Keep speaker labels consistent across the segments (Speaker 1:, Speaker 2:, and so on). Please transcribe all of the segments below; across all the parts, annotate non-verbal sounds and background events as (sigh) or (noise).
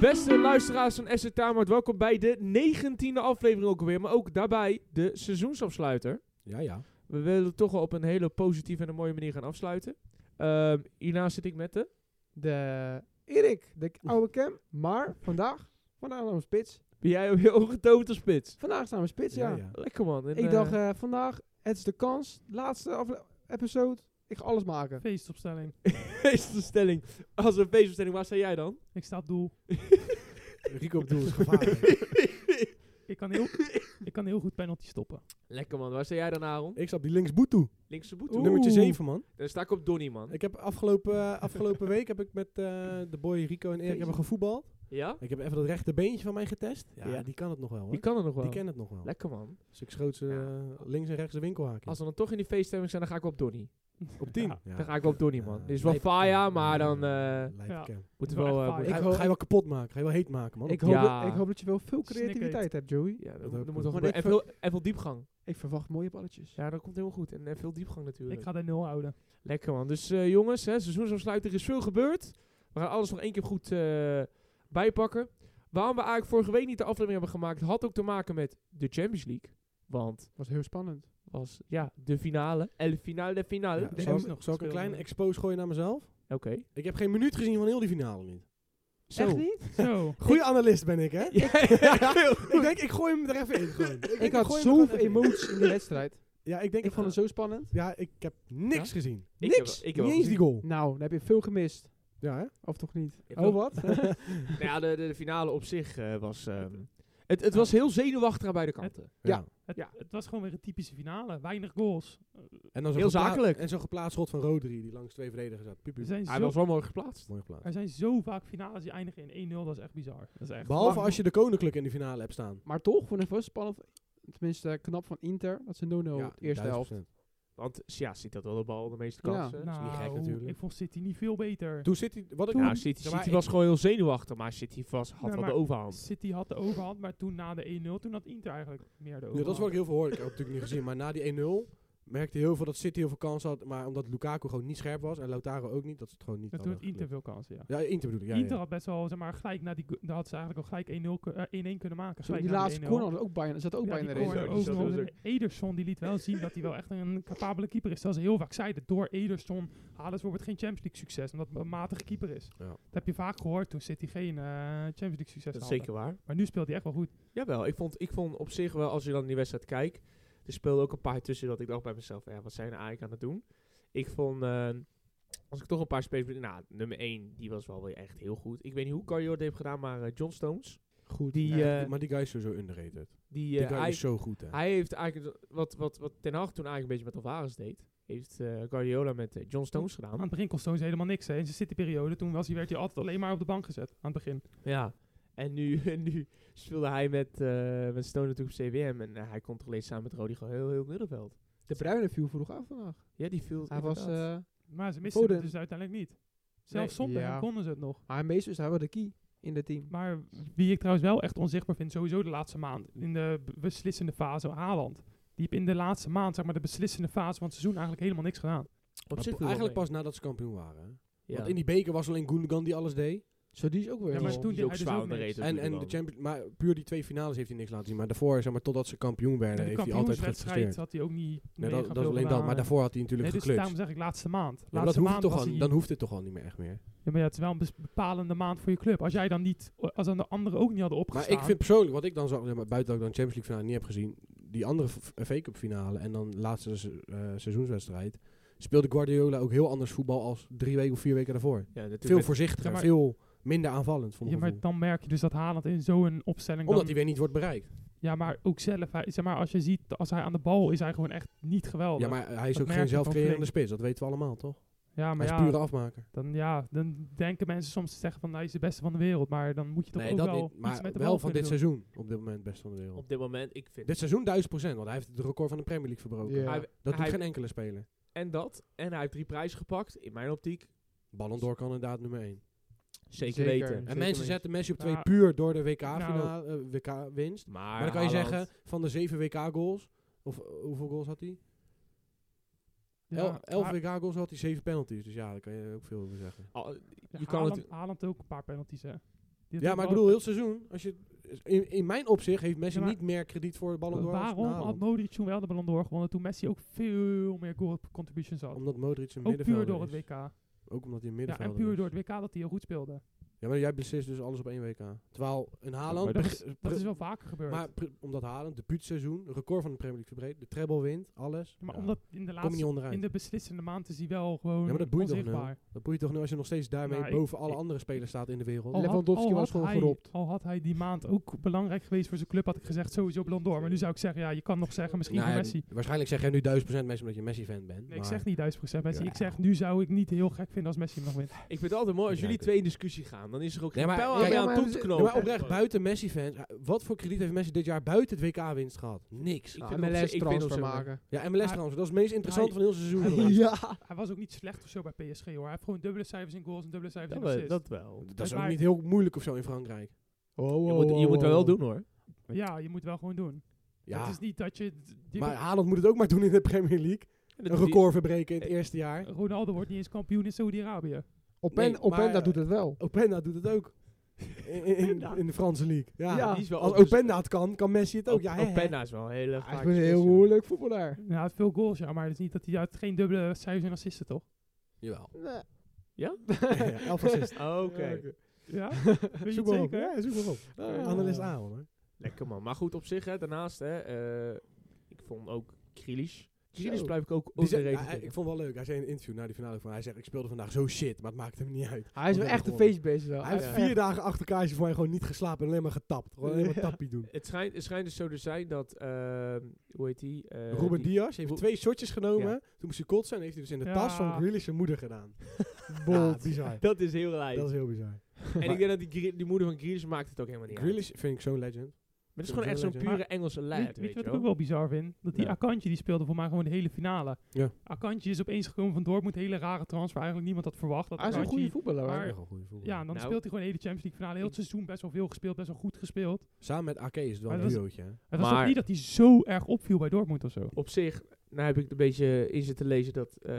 Speaker 1: Beste luisteraars van SC Tamart, welkom bij de negentiende aflevering ook alweer. Maar ook daarbij de seizoensafsluiter.
Speaker 2: Ja, ja.
Speaker 1: We willen toch wel op een hele positieve en een mooie manier gaan afsluiten. Ehm, hierna zit ik met de...
Speaker 3: De Erik, de k- oude cam. Maar vandaag, vandaag staan we spits.
Speaker 1: Ben jij ook heel getoond als spits?
Speaker 3: Vandaag staan we spits, ja.
Speaker 1: Lekker man. En,
Speaker 3: Ik
Speaker 1: eh,
Speaker 3: dacht eh, vandaag, het is de kans. Laatste afle- episode. Ik ga alles maken.
Speaker 4: Feestopstelling.
Speaker 1: feestopstelling. Als een feestopstelling, waar sta jij dan?
Speaker 4: Ik sta op doel.
Speaker 2: Rico op doel
Speaker 1: (laughs)
Speaker 2: is gevaarlijk.
Speaker 4: Ik kan heel, ik kan heel goed penalty stoppen.
Speaker 1: Lekker man, waar sta jij dan Aaron?
Speaker 2: ik stap die linksboet toe.
Speaker 1: Linkse boet.
Speaker 3: Oeh.
Speaker 2: Nummertje 7, man.
Speaker 1: Dan sta ik op Donny man.
Speaker 2: Ik heb afgelopen, eh, afgelopen week heb ik met eh, de boy Rico en Erik hebben gevoetbald.
Speaker 1: Ja?
Speaker 2: Ik heb even dat rechterbeentje van mij getest. Ja,
Speaker 1: Ja.
Speaker 2: die kan het nog wel, hoor.
Speaker 1: Die
Speaker 2: Die,
Speaker 1: kan er nog wel.
Speaker 2: kent het nog wel.
Speaker 1: Lekker man.
Speaker 2: Dus ik schoot ze eh, links en rechts de winkelhaak in.
Speaker 1: Als we dan toch in die feeststemming zijn, dan ga ik wel op Donny.
Speaker 2: Op 10.
Speaker 4: Ja.
Speaker 1: Dan ga ik wel op Donny man.
Speaker 2: Ja,
Speaker 1: Dit is wel
Speaker 2: lijp-
Speaker 1: faya, maar dan eh
Speaker 2: Lijp
Speaker 4: Ja.
Speaker 2: cam.
Speaker 1: moeten we
Speaker 4: Wel
Speaker 1: wel... eh,
Speaker 4: echt fire.
Speaker 2: Ga,
Speaker 3: Ik
Speaker 2: je-
Speaker 3: hoop-
Speaker 2: ga je wel kapot maken. Ga je wel heet maken, man.
Speaker 3: Ik
Speaker 2: Op
Speaker 3: hoop,
Speaker 1: Ja.
Speaker 3: dat, ik hoop dat je wel veel
Speaker 4: Snikken
Speaker 3: creativiteit hebt, Joey.
Speaker 1: Ja,
Speaker 2: Dat
Speaker 1: dan,
Speaker 2: ook.
Speaker 1: dan moet wel
Speaker 3: Maar
Speaker 1: gebeuren.
Speaker 3: ik
Speaker 1: En veel, en veel diepgang.
Speaker 3: Ik verwacht mooie balletjes.
Speaker 1: Ja, dat komt helemaal goed. En, en veel diepgang natuurlijk.
Speaker 4: Ik ga de nul houden.
Speaker 1: Lekker man. Dus eh, jongens, hè, seizoensafsluiter is veel gebeurd. We gaan alles nog één keer goed eh, bijpakken. Waarom we eigenlijk vorige week niet de aflevering hebben gemaakt, had ook te maken met de Champions League. Want
Speaker 3: was heel spannend.
Speaker 1: was ja, de finale. El finale de finale.
Speaker 2: Ja,
Speaker 1: De-
Speaker 2: zal,
Speaker 4: M's
Speaker 2: ik,
Speaker 4: nog
Speaker 2: zal ik een
Speaker 4: gespeeld,
Speaker 2: kleine
Speaker 4: hè?
Speaker 2: expose gooien naar mezelf?
Speaker 1: Oké.
Speaker 2: Ik heb geen minuut gezien van heel die finale niet.
Speaker 1: Zo.
Speaker 3: Echt niet?
Speaker 4: Zo.
Speaker 2: Goeie analist ben ik, hè?
Speaker 1: (laughs) Ja,
Speaker 2: ik denk, ik gooi hem er even in. gewoon. denk,
Speaker 3: Ik had
Speaker 2: gooi hem er gewoon
Speaker 3: zoveel
Speaker 2: even in.
Speaker 3: emoties in die wedstrijd. (laughs)
Speaker 2: Ja, ik denk...
Speaker 3: Ik vond het zo spannend.
Speaker 2: Ja, ik heb niks gezien.
Speaker 1: Ik heb
Speaker 2: niks.
Speaker 1: wel- ik heb
Speaker 2: Niet
Speaker 1: wel
Speaker 2: eens die goal.
Speaker 3: Nou, dan heb je veel gemist.
Speaker 2: Ja, hè?
Speaker 3: Of toch niet?
Speaker 1: Ik
Speaker 3: Oh,
Speaker 1: ook.
Speaker 3: wat?
Speaker 1: Nou (laughs) ja, de, de, de finale op zich eh, was... ehm, het, het was heel zenuwachtig aan beide kanten.
Speaker 2: Ja.
Speaker 4: Het,
Speaker 1: Ja.
Speaker 4: het was gewoon weer een typische finale. Weinig goals.
Speaker 2: En dan zo'n
Speaker 1: Heel
Speaker 2: gepla-
Speaker 1: zakelijk.
Speaker 2: En zo'n geplaatst schot van Rodri, die langs twee verdedigers zat. Piep,
Speaker 4: Er
Speaker 2: piep.
Speaker 4: zijn,
Speaker 1: Hij
Speaker 4: zo,
Speaker 1: was wel mooi geplaatst.
Speaker 2: Mooi geplaatst.
Speaker 4: er zijn zo vaak finales die eindigen in 1-0. Dat is echt bizar. Dat is echt
Speaker 2: Behalve
Speaker 4: Maar-
Speaker 2: als je de koninklijke in de finale hebt staan.
Speaker 3: maar toch, vond ik wel spannend. Tenminste, eh, knap van Inter. Dat ze 0-0
Speaker 2: Ja,
Speaker 3: de eerste helft.
Speaker 2: 1000%.
Speaker 1: Want ja, ziet dat wel de bal de meeste
Speaker 3: Ja.
Speaker 1: kansen.
Speaker 2: is niet gek
Speaker 4: Nou,
Speaker 2: natuurlijk.
Speaker 4: ik vond City niet veel beter.
Speaker 2: Toen zit hij... Wat ik
Speaker 1: Nou, City,
Speaker 2: Ja, maar
Speaker 1: City
Speaker 2: ik-
Speaker 1: was gewoon heel zenuwachtig, maar City was, had
Speaker 4: Ja,
Speaker 1: wel
Speaker 4: maar-
Speaker 1: de overhand.
Speaker 4: City had de overhand, maar toen na de 1-0, toen had Inter eigenlijk meer de
Speaker 2: Ja,
Speaker 4: overhand.
Speaker 2: dat is wat ik heel veel hoor. Ik heb het natuurlijk niet gezien. Maar na die 1-0 merkte heel veel dat City heel veel kans had. Maar omdat Lukaku gewoon niet scherp was en Lautaro ook niet, dat ze het gewoon niet
Speaker 4: En toen had
Speaker 2: hadden
Speaker 4: Inter veel kansen, ja.
Speaker 2: gelukt. Ja, Inter bedoel ik. Ja,
Speaker 4: Inter
Speaker 2: ja.
Speaker 4: had best wel, zeg maar, gelijk na die... go- Daar had ze eigenlijk al gelijk 1-0 ku- eh, 1-1 kunnen
Speaker 3: Zo,
Speaker 4: maken. Gelijk
Speaker 3: die
Speaker 4: na de
Speaker 3: laatste
Speaker 4: 1-0.
Speaker 3: corner had ook bijna, zat ook
Speaker 4: Ja,
Speaker 3: bijna
Speaker 4: die
Speaker 3: in de
Speaker 1: race. Zo,
Speaker 4: corner
Speaker 1: die
Speaker 4: ook
Speaker 1: zat
Speaker 4: nog.
Speaker 1: er
Speaker 4: En Ederson die liet wel zien dat hij wel echt een capabele keeper is. Zoals ze heel vaak zeiden, door Ederson halen ze bijvoorbeeld geen Champions League succes. Omdat het een matige keeper is.
Speaker 2: Ja.
Speaker 4: Dat heb je vaak gehoord toen City geen eh, Champions League succes
Speaker 1: Dat is
Speaker 4: had.
Speaker 1: zeker waar.
Speaker 4: Maar nu speelt hij echt wel goed.
Speaker 1: Jawel, ik vond, ik vond op zich wel, als je dan die wedstrijd kijkt, er speelden ook een paar tussen dat ik dacht bij mezelf, ja, wat zijn we eigenlijk aan het doen? Ik vond, eh, als ik toch een paar spelers, nou, nummer 1, die was wel weer echt heel goed. Ik weet niet hoe Cardio het heeft gedaan, maar eh, John Stones,
Speaker 2: Goed.
Speaker 1: die,
Speaker 2: Ja,
Speaker 1: eh,
Speaker 2: maar die guy is sowieso underrated.
Speaker 1: die,
Speaker 2: Die
Speaker 1: eh,
Speaker 2: guy
Speaker 1: hij,
Speaker 2: is zo goed, hè.
Speaker 1: hij heeft eigenlijk, wat, wat, wat Ten Hag toen eigenlijk een beetje met Alvarez deed, heeft eh Guardiola met eh, John Stones
Speaker 4: Aan
Speaker 1: gedaan.
Speaker 4: het begin kon Stones helemaal niks. Hè. In zijn City-periode, toen was hij, werd hij altijd alleen maar op de bank gezet. Aan het begin.
Speaker 1: Ja. En nu, (laughs) en nu speelde hij met, eh met Stone natuurlijk op CWM en eh, hij controleert samen met Rodi gewoon heel, heel het middenveld.
Speaker 3: De Bruine viel vroeg af vandaag.
Speaker 1: Ja, die viel
Speaker 3: Hij was,
Speaker 1: inderdaad.
Speaker 3: eh
Speaker 4: Maar ze misten
Speaker 3: Foden.
Speaker 4: het dus uiteindelijk niet. Zelfs
Speaker 1: Nee,
Speaker 4: zonder
Speaker 3: ja.
Speaker 4: hem konden ze het nog.
Speaker 3: maar meestal is hij wel de key in het team.
Speaker 4: Maar wie ik trouwens wel echt onzichtbaar vind, sowieso de laatste maand, in de b- beslissende fase, Haaland. Die heeft in de laatste maand, zeg maar de beslissende fase van het seizoen, eigenlijk helemaal niks gedaan.
Speaker 1: op
Speaker 2: Maar
Speaker 1: zich
Speaker 2: po-
Speaker 1: viel
Speaker 2: eh, eigenlijk
Speaker 1: dat
Speaker 2: pas nadat ze kampioen waren. hè.
Speaker 1: mee.
Speaker 2: Want
Speaker 1: Ja.
Speaker 2: in die beker was alleen Gundogan die alles deed.
Speaker 3: Zo, die is ook weer
Speaker 4: Ja, maar
Speaker 3: wel-
Speaker 4: toen
Speaker 1: Die is
Speaker 4: deed
Speaker 1: ook
Speaker 4: hij dus
Speaker 1: zwaar
Speaker 4: ook niks.
Speaker 1: onderrated
Speaker 2: En, en de
Speaker 1: natuurlijk dan.
Speaker 2: Champions, maar puur die twee finales heeft hij niks laten zien. Maar daarvoor, zeg maar, totdat ze kampioen
Speaker 4: En
Speaker 2: werden,
Speaker 4: de
Speaker 2: heeft hij altijd
Speaker 4: kampioenswedstrijd
Speaker 2: gepresteerd.
Speaker 4: had hij ook niet
Speaker 2: Nee,
Speaker 4: mega
Speaker 2: dat, dat
Speaker 4: veel
Speaker 2: is alleen
Speaker 4: gedaan.
Speaker 2: dat. Maar daarvoor had hij natuurlijk
Speaker 4: Nee, dus
Speaker 2: geklut.
Speaker 4: daarom zeg ik laatste maand. Laatste
Speaker 2: maar dat hoeft
Speaker 4: maand
Speaker 2: toch
Speaker 4: was
Speaker 2: al,
Speaker 4: hij-
Speaker 2: dan hoeft het toch al niet meer echt meer.
Speaker 4: Ja, maar ja, het is wel een bes- bepalende maand voor je club. Als jij dan niet, als dan de anderen ook niet hadden
Speaker 2: Maar
Speaker 4: opgestaan.
Speaker 2: ik vind persoonlijk, wat ik dan zo, zeg maar, buiten dat ik dan Champions League finale niet heb gezien, die andere v- V-Cup finale en dan laatste se- eh, seizoenswedstrijd, speelde Guardiola ook heel anders voetbal als drie weken of vier weken daarvoor.
Speaker 1: Ja, natuurlijk
Speaker 2: Veel
Speaker 1: met-
Speaker 2: voorzichtiger,
Speaker 4: Ja, maar-
Speaker 2: veel minder aanvallend, vond
Speaker 4: ja,
Speaker 2: ik.
Speaker 4: maar dan merk je dus dat Haaland in zo'n opstelling
Speaker 2: Omdat
Speaker 4: dan,
Speaker 2: hij weer niet wordt bereikt.
Speaker 4: Ja, maar ook zelf. Hij, zeg maar, als je ziet, als hij aan de bal is, hij gewoon echt niet geweldig.
Speaker 2: Ja, maar hij is
Speaker 4: Oh, dat
Speaker 2: ook
Speaker 4: merk
Speaker 2: geen
Speaker 4: je van
Speaker 2: zelfcreërende
Speaker 4: Flink.
Speaker 2: spits, dat weten we allemaal, toch?
Speaker 4: ja, maar
Speaker 2: hij
Speaker 4: ja,
Speaker 2: is pure afmaker.
Speaker 4: dan, ja, dan denken mensen soms te zeggen van nou, hij is de beste van de wereld. Maar dan moet je toch
Speaker 2: Nee,
Speaker 4: ook
Speaker 2: dat
Speaker 4: wel
Speaker 2: niet.
Speaker 4: iets
Speaker 2: Maar
Speaker 4: met de
Speaker 2: wel
Speaker 4: bal
Speaker 2: van dit
Speaker 4: kunnen doen.
Speaker 2: seizoen op dit moment best van de wereld.
Speaker 1: op dit moment, ik vind...
Speaker 2: Dit seizoen 1000 want hij heeft het record van de Premier League verbroken.
Speaker 3: Ja.
Speaker 1: Hij-
Speaker 2: Dat doet
Speaker 1: hij-
Speaker 2: geen enkele speler.
Speaker 1: En dat, en hij heeft drie prijzen gepakt, in mijn optiek,
Speaker 2: Ballon d'Or kandidaat nummer 1.
Speaker 1: zeker,
Speaker 3: Zeker.
Speaker 1: weten.
Speaker 2: En
Speaker 3: Zeker
Speaker 2: mensen
Speaker 3: mee.
Speaker 2: zetten Messi op
Speaker 4: Nou,
Speaker 2: 2 puur door de
Speaker 4: nou.
Speaker 2: WK-winst. WK eh, winst.
Speaker 1: Maar,
Speaker 2: maar dan kan je
Speaker 1: Haaland-
Speaker 2: zeggen, van de 7 WK-goals, of eh, hoeveel goals had hij?
Speaker 4: Ja,
Speaker 2: 11
Speaker 4: maar
Speaker 2: WK-goals had hij, 7 penalties. Dus ja, daar kan je ook veel over zeggen.
Speaker 1: Al-
Speaker 4: ja,
Speaker 1: je kan het-
Speaker 4: Haaland- Haaland ook een paar penalties, hè. Die had
Speaker 2: Ja,
Speaker 4: ook
Speaker 2: maar ik
Speaker 4: wel-
Speaker 2: bedoel, heel seizoen. Als je, in, in mijn opzicht heeft Messi
Speaker 4: Ja, maar-
Speaker 2: niet meer krediet voor de Ballon d'Or. nou- als
Speaker 4: Waarom had
Speaker 2: Haaland.
Speaker 4: Modric toen wel de Ballon d'Or gewonnen, toen Messi ook veel meer goal contributions had?
Speaker 2: Omdat Modric een
Speaker 4: Ook puur
Speaker 2: middenvelder
Speaker 4: door het
Speaker 2: is.
Speaker 4: WK. Ja,
Speaker 2: Ook omdat hij een
Speaker 4: en
Speaker 2: middenvelder
Speaker 4: puur
Speaker 2: is.
Speaker 4: door het WK dat hij heel goed speelde.
Speaker 2: Ja, maar jij beslist dus alles op één WK. Terwijl een Haaland...
Speaker 4: Maar dat, is,
Speaker 2: beg-
Speaker 4: dat
Speaker 2: beg-
Speaker 4: is wel vaker gebeurd.
Speaker 2: Maar pr- omdat Haaland, debuutseizoen, record van de Premier League verbreed, de treble wint, alles.
Speaker 4: Ja, maar
Speaker 2: Ja,
Speaker 4: omdat in de
Speaker 2: kom je niet
Speaker 4: laatste,
Speaker 2: onderuit.
Speaker 4: in de beslissende maand is hij wel gewoon
Speaker 2: Ja, maar dat boeit toch
Speaker 4: onzichtbaar.
Speaker 2: Dat boeit toch nu als je nog steeds daarmee
Speaker 4: Nou, ik-
Speaker 2: boven alle
Speaker 4: ik-
Speaker 2: andere spelers staat in de wereld.
Speaker 4: Al had-
Speaker 3: Lewandowski
Speaker 4: al had
Speaker 3: was gewoon
Speaker 4: hij-
Speaker 3: geropt.
Speaker 4: Al had hij die maand ook belangrijk geweest voor zijn club, had ik gezegd sowieso Ballon d'Or. Maar nu zou ik zeggen, ja, je kan nog zeggen misschien
Speaker 2: Nou
Speaker 4: voor
Speaker 2: ja,
Speaker 4: Messi.
Speaker 2: Waarschijnlijk zeg jij nu 1000% Messi omdat je Messi-fan bent.
Speaker 4: Nee, ik
Speaker 2: maar-
Speaker 4: zeg niet 1000% Messi.
Speaker 2: Ja.
Speaker 4: Ik zeg, nu zou ik niet heel gek vinden als Messi hem nog wint.
Speaker 1: Ik vind het altijd mooi als
Speaker 2: Ja,
Speaker 1: jullie
Speaker 2: ik-
Speaker 1: twee in discussie gaan. Dan is er ook
Speaker 2: Nee,
Speaker 1: geen
Speaker 2: maar-
Speaker 1: pijl aan
Speaker 2: kijk,
Speaker 1: mij
Speaker 3: ja,
Speaker 1: aan
Speaker 3: maar
Speaker 1: toe
Speaker 3: we-
Speaker 1: te
Speaker 3: ja,
Speaker 2: Ja,
Speaker 1: knopen.
Speaker 2: maar oprecht, buiten Messi-fans, eh, wat voor krediet heeft Messi dit jaar buiten het WK-winst gehad? Niks.
Speaker 1: Ik
Speaker 3: Nou,
Speaker 1: vind het op zich-
Speaker 3: MLS
Speaker 1: ik vind het op
Speaker 3: transfer
Speaker 1: zich wel-
Speaker 3: maken.
Speaker 2: Ja, MLS
Speaker 4: Hij-
Speaker 2: trouwens, dat is het meest interessante van heel
Speaker 4: Nou,
Speaker 2: het
Speaker 4: (laughs)
Speaker 2: seizoen.
Speaker 3: Ja.
Speaker 4: Hij was ook niet slecht of zo bij PSG hoor. Hij heeft gewoon dubbele cijfers in goals en dubbele cijfers
Speaker 1: Dat
Speaker 4: in
Speaker 1: wel-
Speaker 4: assists.
Speaker 1: Dat wel.
Speaker 2: Dat is ook
Speaker 4: Maar-
Speaker 2: niet heel moeilijk of zo in Frankrijk.
Speaker 1: Je moet, je moet dat wel doen hoor.
Speaker 4: Ja, je moet wel gewoon doen. Het
Speaker 2: Ja,
Speaker 4: is niet dat je... die-
Speaker 2: maar Haaland moet het ook maar doen in de Premier League. Een record verbreken in het eerste jaar.
Speaker 4: Ronaldo wordt niet eens kampioen in Saudi-Arabië.
Speaker 3: Open,
Speaker 2: Nee,
Speaker 3: Openda
Speaker 2: maar-
Speaker 3: doet het wel.
Speaker 2: Openda doet het ook. In, in- in, in de Franse league. Ja.
Speaker 3: Ja.
Speaker 1: Die is wel
Speaker 2: Als
Speaker 1: ook-
Speaker 2: Openda het kan, kan Messi het ook. Oh, Ja, hè, hè.
Speaker 1: Openda is wel een hele
Speaker 3: Hij is
Speaker 1: vaak
Speaker 3: een heel
Speaker 1: spits, ja.
Speaker 3: moeilijk voetballer.
Speaker 4: Ja, Nou, hij heeft veel goals, ja, maar het is niet dat hij uit geen dubbele cijfers en assisten, toch?
Speaker 2: Jawel.
Speaker 3: Nee.
Speaker 1: Ja?
Speaker 2: Ja,
Speaker 1: (laughs)
Speaker 2: elf assist.
Speaker 1: Ah, Oké.
Speaker 3: Ja, oké.
Speaker 4: Ja? Weet je
Speaker 2: Zoek
Speaker 4: het
Speaker 2: maar op.
Speaker 4: zeker?
Speaker 2: Ja, zoek maar op.
Speaker 3: Ah.
Speaker 2: Analist A, hoor.
Speaker 1: Lekker man. Maar goed, op zich hè, daarnaast hè. eh, ik vond ook Grealish. Grealish
Speaker 3: Zo.
Speaker 1: blijf ik ook
Speaker 2: Die zei- ja,
Speaker 1: overreden
Speaker 2: hij-
Speaker 1: vinden.
Speaker 2: ik vond het wel leuk. Hij zei in een interview na die finale van... Hij zegt, ik speelde vandaag zo shit, maar het maakt hem niet uit.
Speaker 3: Hij is wel
Speaker 2: Wat
Speaker 3: echt
Speaker 2: een
Speaker 3: een
Speaker 2: goal.
Speaker 3: feestbeest wel.
Speaker 2: Hij heeft
Speaker 1: ja.
Speaker 2: vier dagen achter elkaar is hij voor mij gewoon niet geslapen en alleen maar getapt. Gewoon alleen maar
Speaker 3: Ja.
Speaker 2: tappie doen.
Speaker 1: Het schijnt, het schijnt dus zo te zijn dat, ehm, hoe heet die? Eh,
Speaker 2: Ruben
Speaker 1: die-
Speaker 2: Diaz heeft
Speaker 1: Ro-
Speaker 2: twee shotjes genomen.
Speaker 1: Ja.
Speaker 2: Toen moest hij kotsen en heeft hij dus in de
Speaker 4: Ja.
Speaker 2: tas van Grealish zijn moeder gedaan. Ja, bizar.
Speaker 1: Dat is heel raar.
Speaker 2: Dat is heel bizar.
Speaker 1: En ik denk dat die, Gre- die moeder van Grealish maakt het ook helemaal niet uit.
Speaker 2: Grealish vind ik zo'n legend.
Speaker 1: Maar het is gewoon echt zo'n pure Engelse
Speaker 4: Weet,
Speaker 1: lad,
Speaker 4: weet je wat ik
Speaker 1: wel.
Speaker 4: ook wel bizar vind? Dat die
Speaker 2: Ja.
Speaker 4: Akantje, die speelde voor mij gewoon de hele finale.
Speaker 2: Ja.
Speaker 4: Akantje is opeens gekomen van Dortmund, hele rare transfer. Eigenlijk niemand had verwacht. Dat
Speaker 2: Ah,
Speaker 3: Hij is een
Speaker 4: Akantje-
Speaker 3: goede voetballer. hoor.
Speaker 4: Maar-
Speaker 2: Echt een goede voetballer.
Speaker 4: Ja, en dan
Speaker 1: Nou.
Speaker 4: speelt hij gewoon de hele Champions League finale. Heel het seizoen best wel veel gespeeld, best wel goed gespeeld.
Speaker 2: Samen met Ake is het wel
Speaker 4: Maar
Speaker 2: een
Speaker 4: dat is-
Speaker 2: duootje. hè?
Speaker 4: Het was
Speaker 1: Maar-
Speaker 4: toch niet dat hij zo erg opviel bij Dortmund of zo?
Speaker 1: Op zich, nou heb ik een beetje in zitten lezen dat eh,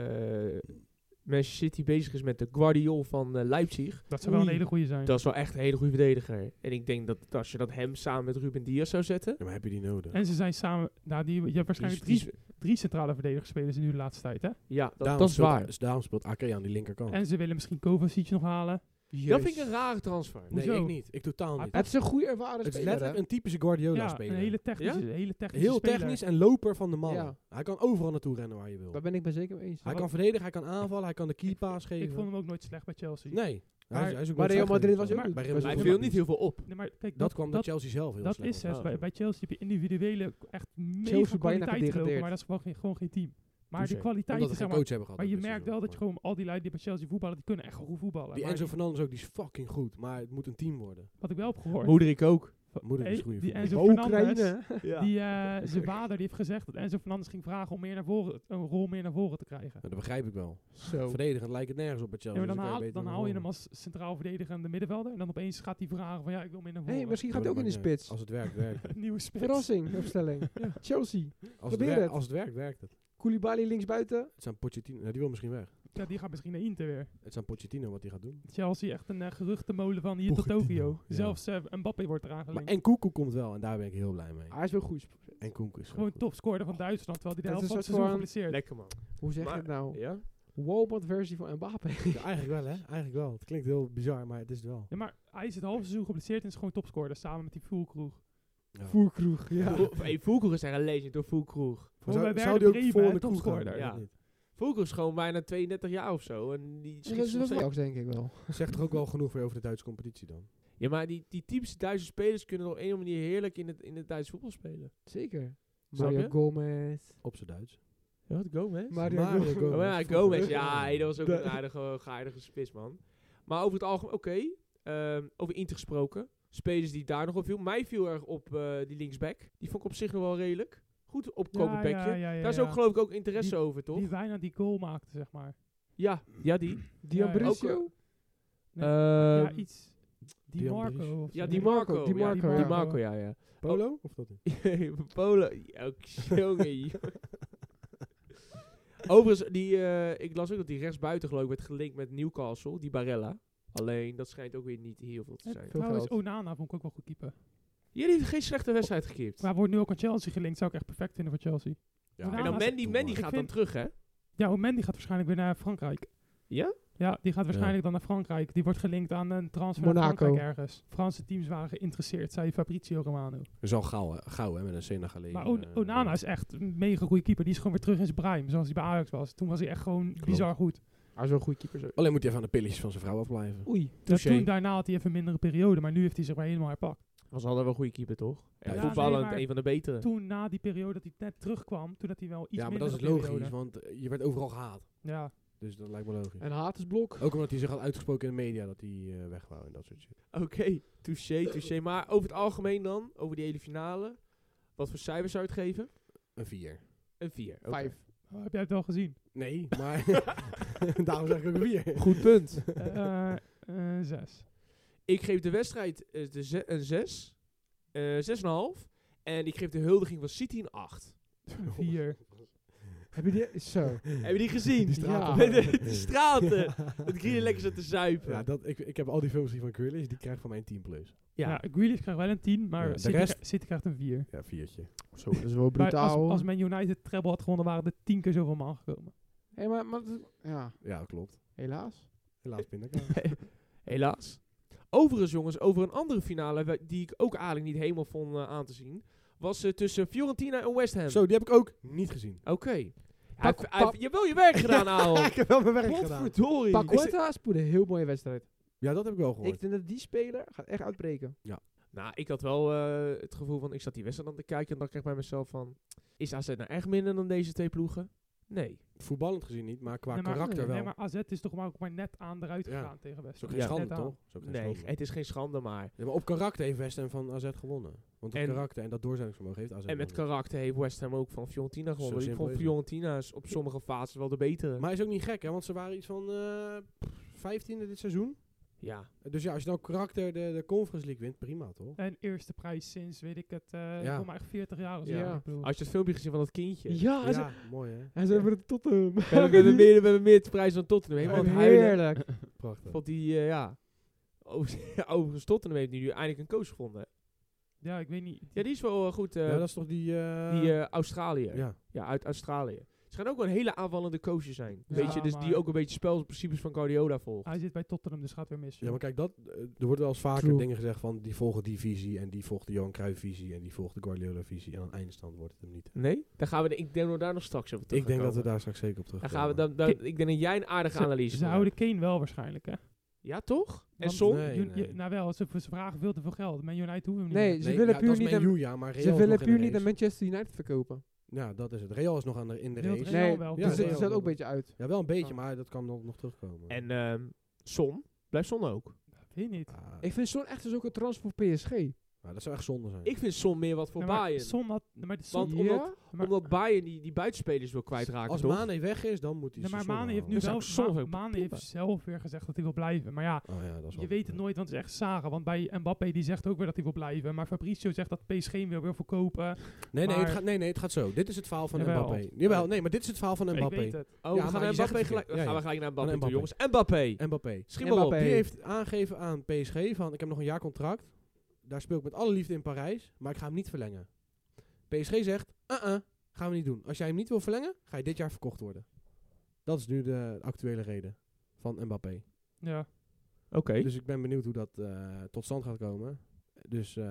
Speaker 1: Manchester City bezig is met de Guardiol van eh, Leipzig.
Speaker 4: Dat zou wel een
Speaker 1: Oei.
Speaker 4: hele goede zijn.
Speaker 1: Dat is wel echt een hele goede verdediger. En ik denk dat als je dat hem samen met Ruben Diaz zou zetten...
Speaker 2: Ja, maar heb je die nodig?
Speaker 4: En ze zijn samen... Nou, die, je hebt waarschijnlijk
Speaker 1: Dus die-
Speaker 4: drie, drie centrale verdedigers spelers nu de laatste tijd, hè?
Speaker 1: Ja, dat,
Speaker 2: Daarom
Speaker 1: dat is
Speaker 2: speelt-
Speaker 1: waar.
Speaker 2: dus daarom speelt Ake aan die
Speaker 1: Oh.
Speaker 2: linkerkant.
Speaker 4: En ze willen misschien Kovacic nog halen.
Speaker 1: Dat vind ik een rare transfer.
Speaker 2: nee,
Speaker 4: Hoezo?
Speaker 2: ik niet. Ik totaal
Speaker 4: Hij
Speaker 2: niet.
Speaker 3: Het is een goede ervaren
Speaker 2: Het is
Speaker 3: speler.
Speaker 2: letterlijk
Speaker 3: hè.
Speaker 2: een typische Guardiola
Speaker 4: ja,
Speaker 2: speler.
Speaker 4: een hele technische, hele technische
Speaker 2: Heel
Speaker 4: speler.
Speaker 2: technisch en loper van de man.
Speaker 3: Ja.
Speaker 2: Hij kan overal naartoe rennen waar je wil.
Speaker 3: Daar ben ik me zeker mee eens.
Speaker 2: Hij
Speaker 4: wat-
Speaker 2: kan verdedigen, hij kan aanvallen, hij kan de key pass geven.
Speaker 4: Ik vond hem ook nooit slecht bij Chelsea.
Speaker 2: Nee.
Speaker 4: Maar-
Speaker 2: Hij is, hij is ook
Speaker 3: maar
Speaker 2: nooit
Speaker 3: Real
Speaker 2: slecht
Speaker 3: Madrid
Speaker 2: geweest.
Speaker 3: was ook
Speaker 2: Maar
Speaker 3: niet-
Speaker 2: bij Real
Speaker 3: Hij
Speaker 1: Hij viel
Speaker 2: Madrid was
Speaker 1: niet heel veel
Speaker 3: (laughs)
Speaker 1: op.
Speaker 4: Nee, maar kijk,
Speaker 2: Dat kwam door Chelsea zelf heel
Speaker 4: dat
Speaker 2: slecht
Speaker 4: is eh,
Speaker 2: was.
Speaker 4: het.
Speaker 1: Oh.
Speaker 4: Bij, bij Chelsea heb je individuele echt mega
Speaker 3: Chelsea bijna
Speaker 4: kwaliteit gelopen,
Speaker 3: gedegradeerd.
Speaker 4: maar dat is gewoon geen, gewoon geen team. Maar
Speaker 1: Hoezo?
Speaker 4: de kwaliteit,
Speaker 2: Omdat we
Speaker 4: zeg
Speaker 2: geen
Speaker 4: maar,
Speaker 2: coach hebben gehad.
Speaker 4: maar je
Speaker 2: dit
Speaker 4: merkt
Speaker 2: seizoen.
Speaker 4: wel dat je gewoon al die lui die bij Chelsea voetballen, die kunnen echt goed voetballen.
Speaker 2: Die
Speaker 4: Maar
Speaker 2: Enzo Fernandes ook, die is fucking goed. Maar het moet een team worden.
Speaker 4: wat ik wel heb gehoord,
Speaker 1: Moederik ook.
Speaker 2: Moeder is
Speaker 4: Hey,
Speaker 2: een goede
Speaker 4: die
Speaker 2: voetballer.
Speaker 4: Enzo
Speaker 3: Oekraïne.
Speaker 4: Fernandes,
Speaker 3: hè.
Speaker 4: die eh, zijn vader, die heeft gezegd dat Enzo Fernandes ging vragen om meer naar voren, een rol meer naar voren te krijgen.
Speaker 2: Ja, Dat begrijp ik wel.
Speaker 3: Zo.
Speaker 2: Verdedigend lijkt Oh. het nergens op bij
Speaker 4: Ja,
Speaker 2: Chelsea.
Speaker 4: maar dan,
Speaker 2: dus kan
Speaker 4: haal,
Speaker 2: beter
Speaker 4: dan
Speaker 2: naar
Speaker 4: haal je
Speaker 2: voren.
Speaker 4: hem als centraal verdedigende middenvelder en dan opeens gaat hij vragen van ja, ik wil meer naar voren.
Speaker 3: hey, misschien gaat
Speaker 2: Ja,
Speaker 3: hij ook
Speaker 2: maar
Speaker 3: in de
Speaker 2: dat maakt
Speaker 3: spits.
Speaker 2: niet uit. Als het werkt, werkt
Speaker 4: (laughs)
Speaker 2: het.
Speaker 4: Nieuwe spits.
Speaker 3: Verrassing, opstelling. Chelsea.
Speaker 2: Als het,
Speaker 3: Probeer
Speaker 2: werkt-
Speaker 3: het.
Speaker 2: als het werkt, werkt het.
Speaker 3: Koulibaly linksbuiten.
Speaker 2: Het zijn Pochettino. Ja, die wil misschien weg.
Speaker 4: Ja, die gaat misschien naar Inter weer.
Speaker 2: Het zijn Pochettino wat hij gaat doen.
Speaker 4: Chelsea echt een eh, geruchtenmolen van hier tot
Speaker 2: Pochettino,
Speaker 4: Tokio.
Speaker 2: ja.
Speaker 4: Zelfs eh, Mbappé wordt eraan
Speaker 2: Maar
Speaker 4: gelinkt.
Speaker 2: en Koekoe komt wel. En daar ben ik heel blij mee.
Speaker 3: Hij is wel goed.
Speaker 2: En Koekoe is
Speaker 4: Ah, Gewoon
Speaker 2: gewoon
Speaker 4: topscorer van Duitsland, terwijl hij de
Speaker 3: Dat
Speaker 4: helft
Speaker 3: is
Speaker 4: van het
Speaker 3: een soort
Speaker 4: seizoen geblesseerd.
Speaker 1: Lekker man.
Speaker 3: Hoe zeg je
Speaker 1: Maar-
Speaker 3: het nou?
Speaker 1: Ja?
Speaker 3: Walmart-versie van Mbappé.
Speaker 2: Ja, eigenlijk wel, hè? Eigenlijk wel. Het klinkt heel bizar, maar het is het wel.
Speaker 4: Ja, maar hij is het halve seizoen geblesseerd en is gewoon topscorer samen met die Voelkroeg.
Speaker 2: Ja.
Speaker 3: (laughs) Voerkroeg, ja.
Speaker 1: Vo- Hey, Voelkroeg is echt een legend door Voelkroeg.
Speaker 4: Voor
Speaker 2: zou-
Speaker 4: bij
Speaker 2: zou
Speaker 4: Werder
Speaker 2: die ook
Speaker 4: Bremen,
Speaker 2: voor
Speaker 4: hè,
Speaker 2: de kroeg
Speaker 4: topscorer.
Speaker 2: gaan?
Speaker 1: Ja.
Speaker 2: Dat niet.
Speaker 1: Voelkroeg is gewoon bijna 32 jaar of zo. En die
Speaker 3: Ja,
Speaker 1: schiet
Speaker 3: Dat
Speaker 1: soms
Speaker 3: is wel
Speaker 1: steeds-
Speaker 3: Ajax, denk ik wel.
Speaker 2: Zegt toch ook wel genoeg weer over de Duitse competitie dan?
Speaker 1: Ja, maar die, die typische Duitse spelers kunnen op een of andere manier heerlijk in het, in het Duitse voetbal spelen.
Speaker 3: Zeker.
Speaker 1: Snap
Speaker 3: Mario
Speaker 1: je?
Speaker 3: Gomez.
Speaker 2: Op zijn Duits.
Speaker 1: Ja, wat Gomez?
Speaker 3: Mario
Speaker 2: Mario
Speaker 3: Gomez.
Speaker 2: Gomez.
Speaker 1: Oh, ja, Gomez. Ja, hey, dat was ook
Speaker 3: Dat-
Speaker 1: een (laughs) aardige, aardige spits, man. Maar over het algemeen, oké. Ehm, over Inter gesproken. Spelers die daar nog op viel. Mij viel erg op eh, die linksback. Die vond ik op zich nog wel redelijk. Goed opkomend
Speaker 4: Ja,
Speaker 1: backje.
Speaker 4: ja, ja, ja,
Speaker 1: daar is
Speaker 4: ja.
Speaker 1: ook geloof ik ook interesse over, toch?
Speaker 4: Die bijna die goal maakte, zeg maar.
Speaker 1: ja, ja, die.
Speaker 3: Di
Speaker 4: Ja, ja.
Speaker 1: Ook,
Speaker 3: Ambrosio.
Speaker 4: Nee, ja,
Speaker 1: Ehm,
Speaker 4: iets. Die
Speaker 2: Di
Speaker 4: Marco.
Speaker 2: Ambris.
Speaker 4: of
Speaker 1: ja,
Speaker 4: zo.
Speaker 1: die Marco.
Speaker 3: Marco, Di
Speaker 1: ja,
Speaker 3: Marco,
Speaker 1: Di
Speaker 3: ja.
Speaker 1: Marco, ja, ja. (laughs)
Speaker 2: Polo?
Speaker 1: Oh.
Speaker 2: Of dat niet?
Speaker 1: Polen. Ja, ook (laughs) jongen,
Speaker 4: (laughs)
Speaker 1: joh. Overigens, die, eh, ik las ook dat die rechtsbuiten geloof ik werd gelinkt met Newcastle, die Barella. Alleen, dat schijnt ook weer niet heel veel te
Speaker 4: En
Speaker 1: zijn.
Speaker 4: trouwens,
Speaker 3: geld.
Speaker 4: Onana vond ik ook wel goed keeper.
Speaker 1: Jullie hebben geen slechte wedstrijd gekiept.
Speaker 4: Maar hij wordt nu ook aan Chelsea gelinkt. Zou ik echt perfect vinden voor Chelsea.
Speaker 1: En dan
Speaker 4: Onana is-
Speaker 1: Mandy, Mandy
Speaker 4: Ik
Speaker 1: gaat dan
Speaker 4: vind-
Speaker 1: terug, hè?
Speaker 4: Ja, Mendy gaat waarschijnlijk weer naar Frankrijk.
Speaker 1: Ja?
Speaker 4: Ja, die gaat waarschijnlijk dan naar Frankrijk. Die wordt gelinkt aan een transfer naar
Speaker 3: Monaco.
Speaker 4: Frankrijk ergens. Franse teams waren geïnteresseerd, zei Fabrizio Romano.
Speaker 2: Dat is al gauw, hè, gauw hè, met een Senegalese.
Speaker 4: Maar On-
Speaker 2: eh,
Speaker 4: Onana is echt een mega goede keeper. Die is gewoon weer terug in zijn prime, zoals hij bij Ajax was. Toen was hij echt gewoon bizar goed.
Speaker 3: Maar zo'n goede keeper zo.
Speaker 2: Alleen moet hij even aan de pilletjes van zijn vrouw afblijven.
Speaker 3: Oei.
Speaker 4: Ja,
Speaker 1: Touché.
Speaker 4: toen daarna had hij even een mindere periode, maar nu heeft hij zich weer helemaal herpakt.
Speaker 1: Was altijd wel een goede keeper, toch? En
Speaker 2: Ja,
Speaker 4: nee,
Speaker 1: voetballend
Speaker 4: maar
Speaker 1: een van de betere.
Speaker 4: Toen na die periode dat hij net terugkwam, toen had hij wel iets
Speaker 2: ja, maar dat
Speaker 4: mindere
Speaker 2: is logisch,
Speaker 4: periode.
Speaker 2: want eh, je werd overal gehaat.
Speaker 4: Ja,
Speaker 2: Dus dat lijkt me logisch.
Speaker 3: En
Speaker 4: Eh.
Speaker 3: Hatersblok.
Speaker 2: Ook omdat hij zich had uitgesproken in de media dat hij eh, weg wou en dat soort shit.
Speaker 1: Oké, touché, touché. Maar over het algemeen dan, over die hele finale. Wat voor cijfers zou je het geven?
Speaker 2: Een vier.
Speaker 1: Een 4.
Speaker 3: Vijf.
Speaker 4: Oh, heb jij het wel
Speaker 2: (laughs)
Speaker 4: gezien?
Speaker 2: Nee,
Speaker 4: (laughs)
Speaker 2: maar daarom zeg ik ook een vier.
Speaker 1: Goed punt.
Speaker 4: Eh, eh, eh, zes.
Speaker 1: ik geef de wedstrijd eh, de ze- een 6. eh 6,5. En ik geef de huldiging van City een 8.
Speaker 4: Vier.
Speaker 3: Heb je die? Zo.
Speaker 1: Hebben jullie gezien?
Speaker 2: Die
Speaker 3: straten.
Speaker 1: (laughs) Met de, de straten. Dat Greeley lekker zat te zuipen.
Speaker 2: Ja, dat, ik, ik heb al die films die van Grealish, die krijg ik van mijn 10 plus.
Speaker 4: Ja,
Speaker 1: Ja.
Speaker 4: Grealish krijgt wel een 10, maar
Speaker 2: Ja, de
Speaker 4: City,
Speaker 2: rest-
Speaker 4: krij- City krijgt een 4.
Speaker 2: Ja, viertje.
Speaker 3: Zo, dat is wel
Speaker 4: Maar als,
Speaker 3: brutaal.
Speaker 4: als Man United treble had gewonnen, waren er tien keer zoveel man gekomen.
Speaker 3: Hé, maar, maar dat- ja,
Speaker 2: Ja, dat klopt.
Speaker 3: helaas.
Speaker 2: Helaas
Speaker 4: (laughs)
Speaker 2: pindakaas.
Speaker 1: Helaas. Overigens, jongens, over een andere finale we- die ik ook eigenlijk niet helemaal vond eh, aan te zien. Was eh, tussen Fiorentina en West Ham.
Speaker 2: Zo, die heb ik ook niet gezien.
Speaker 1: Oké. Hij
Speaker 3: Pak-
Speaker 1: heeft- hij heeft- Je hebt wel je werk
Speaker 2: (laughs)
Speaker 1: gedaan, Aal.
Speaker 2: ik heb wel mijn werk gedaan.
Speaker 1: Godverdorie.
Speaker 3: Paqueta spoedde een heel mooie wedstrijd.
Speaker 2: Ja, dat heb ik wel gehoord.
Speaker 3: Ik denk dat die speler gaat echt uitbreken.
Speaker 1: Nou, ik had wel eh, het gevoel van, ik zat die wedstrijd aan te kijken en dacht ik bij mezelf van, is AZ nou echt minder dan deze twee ploegen? Nee.
Speaker 2: Voetballend gezien niet, maar qua
Speaker 4: Nee, maar-
Speaker 2: karakter
Speaker 4: nee,
Speaker 2: wel.
Speaker 4: maar AZ is toch maar ook maar net aan eruit
Speaker 2: Ja.
Speaker 4: gegaan tegen West
Speaker 2: is ook
Speaker 4: Ham.
Speaker 1: Ja.
Speaker 2: geen schande,
Speaker 4: Net aan.
Speaker 2: toch? Is ook geen
Speaker 1: Nee,
Speaker 2: schande.
Speaker 1: het is geen schande, maar.
Speaker 2: Ja, maar op karakter heeft West Ham van AZ gewonnen. Want op
Speaker 1: En-
Speaker 2: karakter en dat doorzettingsvermogen heeft AZ
Speaker 1: En met
Speaker 2: gewonnen.
Speaker 1: karakter heeft West Ham ook van Fiorentina gewonnen. Ik
Speaker 2: simpel
Speaker 1: vond
Speaker 2: is het.
Speaker 1: Fiorentina is op sommige fases wel de betere.
Speaker 2: Maar is ook niet gek, hè? Want ze waren iets van eh 15e dit seizoen.
Speaker 1: ja.
Speaker 2: Dus ja, als je nou karakter de, de Conference League wint, prima, toch?
Speaker 4: En eerste prijs sinds, weet ik het, eh
Speaker 2: Ja.
Speaker 4: ik wil maar echt 40 jaar of zo.
Speaker 3: Ja.
Speaker 4: Ik bedoel,
Speaker 1: Als je het filmpje gezien van dat kindje. We
Speaker 3: Ja, hij is-
Speaker 2: ja, mooi, hè?
Speaker 3: hij is over de Tottenham.
Speaker 1: hebben- We hebben meer, we hebben meer te prijzen dan Tottenham. Helemaal aan het huilen.
Speaker 3: Heerlijk.
Speaker 2: Prachtig.
Speaker 1: Vond die, eh, ja. Over- (laughs) Overigens, Tottenham heeft nu eindelijk een coach gevonden. hè.
Speaker 4: ja, ik weet niet.
Speaker 1: Ja, die is wel eh, goed. eh,
Speaker 2: ja, dat is toch die... eh,
Speaker 1: die eh, Australiër. Ja.
Speaker 2: ja.
Speaker 1: uit Australië. Ze gaan ook wel een hele aanvallende coach zijn.
Speaker 4: Ja,
Speaker 1: Weet je, dus
Speaker 4: maar-
Speaker 1: die ook een beetje spelprincipes van Guardiola
Speaker 2: Ah.
Speaker 1: volgt.
Speaker 4: Hij zit bij Tottenham, dus gaat weer mis.
Speaker 2: ja, maar kijk, dat, eh, er wordt wel eens vaker
Speaker 3: True.
Speaker 2: dingen gezegd van die volgen die visie en die volgt de Johan Cruijff visie en die volgt de Guardiola visie en aan het eindstand wordt het hem niet.
Speaker 1: Nee? Dan gaan we, de- ik denk dat we daar nog straks over terug
Speaker 2: Ik denk
Speaker 1: gaan
Speaker 2: dat we
Speaker 1: komen.
Speaker 2: daar straks zeker op terug
Speaker 1: Dan gaan we dan, dan- ik denk dat jij een aardige analyse
Speaker 4: Ze
Speaker 1: van
Speaker 4: houden Kane wel waarschijnlijk, hè?
Speaker 1: hebt. Ja, toch? En
Speaker 4: Want-
Speaker 1: Son?
Speaker 2: Nee,
Speaker 4: Ju-
Speaker 2: nee.
Speaker 4: je- nou wel, ze, ze vragen veel te veel geld. Man United hoeven hem niet
Speaker 3: Nee,
Speaker 4: meer.
Speaker 3: ze willen puur niet
Speaker 2: aan...
Speaker 3: aan-
Speaker 2: ja, maar Real
Speaker 3: Ze
Speaker 2: is
Speaker 3: willen
Speaker 2: nog in
Speaker 3: puur
Speaker 2: de
Speaker 3: niet aan
Speaker 2: race.
Speaker 3: Manchester United verkopen.
Speaker 2: Ja, dat is het. Real is nog aan de, in de
Speaker 4: Wilt
Speaker 2: race.
Speaker 4: Real
Speaker 3: Nee,
Speaker 4: wel.
Speaker 2: Ja,
Speaker 3: dus dat
Speaker 2: Real.
Speaker 3: is dat ook een beetje uit.
Speaker 2: Ja, wel een beetje, maar dat kan nog, nog terugkomen.
Speaker 1: En ehm Son? Blijft Son ook?
Speaker 4: Weet niet.
Speaker 2: Ah,
Speaker 3: Ik vind zo'n echt dus ook een transfer voor PSG.
Speaker 2: maar dat zou echt zonde zijn.
Speaker 1: Ik vind Son meer wat voor
Speaker 4: Ja, maar
Speaker 1: Bayern.
Speaker 4: Son had, maar de Son,
Speaker 1: Want
Speaker 3: ja?
Speaker 1: omdat-
Speaker 4: maar-
Speaker 2: Oh,
Speaker 1: Omdat Bayern die, die buitenspelers wil kwijtraken,
Speaker 2: Als
Speaker 1: toch?
Speaker 2: Mane weg is, dan moet hij
Speaker 4: Nee, maar
Speaker 2: Sissoko
Speaker 4: Mane heeft nu
Speaker 2: halen.
Speaker 1: zou
Speaker 4: wel,
Speaker 1: ik Son
Speaker 4: Ma-
Speaker 1: ook
Speaker 4: Mane
Speaker 1: tippen.
Speaker 4: heeft zelf weer gezegd dat hij wil blijven. Maar ja,
Speaker 2: Oh ja, dat is
Speaker 4: je
Speaker 2: wel-
Speaker 4: weet het nooit, want het is echt zagen. Want bij Mbappé, die zegt ook weer dat hij wil blijven. Maar Fabrizio zegt dat PSG hem weer wil verkopen.
Speaker 2: Nee, nee, het
Speaker 4: maar-
Speaker 2: gaat, nee, nee, het gaat zo. Dit is het verhaal van
Speaker 4: Jawel.
Speaker 2: Mbappé. Jawel, nee, maar dit is het verhaal van
Speaker 4: Ik weet
Speaker 2: Mbappé.
Speaker 4: het.
Speaker 1: Oh,
Speaker 2: Ja,
Speaker 1: we
Speaker 2: maar
Speaker 1: gaan,
Speaker 2: je
Speaker 1: naar
Speaker 2: zegt
Speaker 1: Mbappé
Speaker 2: het
Speaker 1: gelijk,
Speaker 2: verkeerd. Ja,
Speaker 1: gaan we
Speaker 2: ja.
Speaker 1: gelijk naar Mbappé, toe,
Speaker 2: Mbappé.
Speaker 1: jongens. Mbappé!
Speaker 2: Mbappé.
Speaker 1: Schiet maar op.
Speaker 3: Mbappé.
Speaker 2: Die heeft aangegeven aan PSG van, ik heb nog een jaar contract. Daar speel ik met alle liefde in Parijs, maar ik ga hem niet verlengen. PSG zegt, ah ah, gaan we niet doen. Als jij hem niet wil verlengen, ga je dit jaar verkocht worden. Dat is nu de actuele reden van Mbappé.
Speaker 4: Ja.
Speaker 1: Oké,
Speaker 2: Dus ik ben benieuwd hoe dat eh, tot stand gaat komen. Dus eh,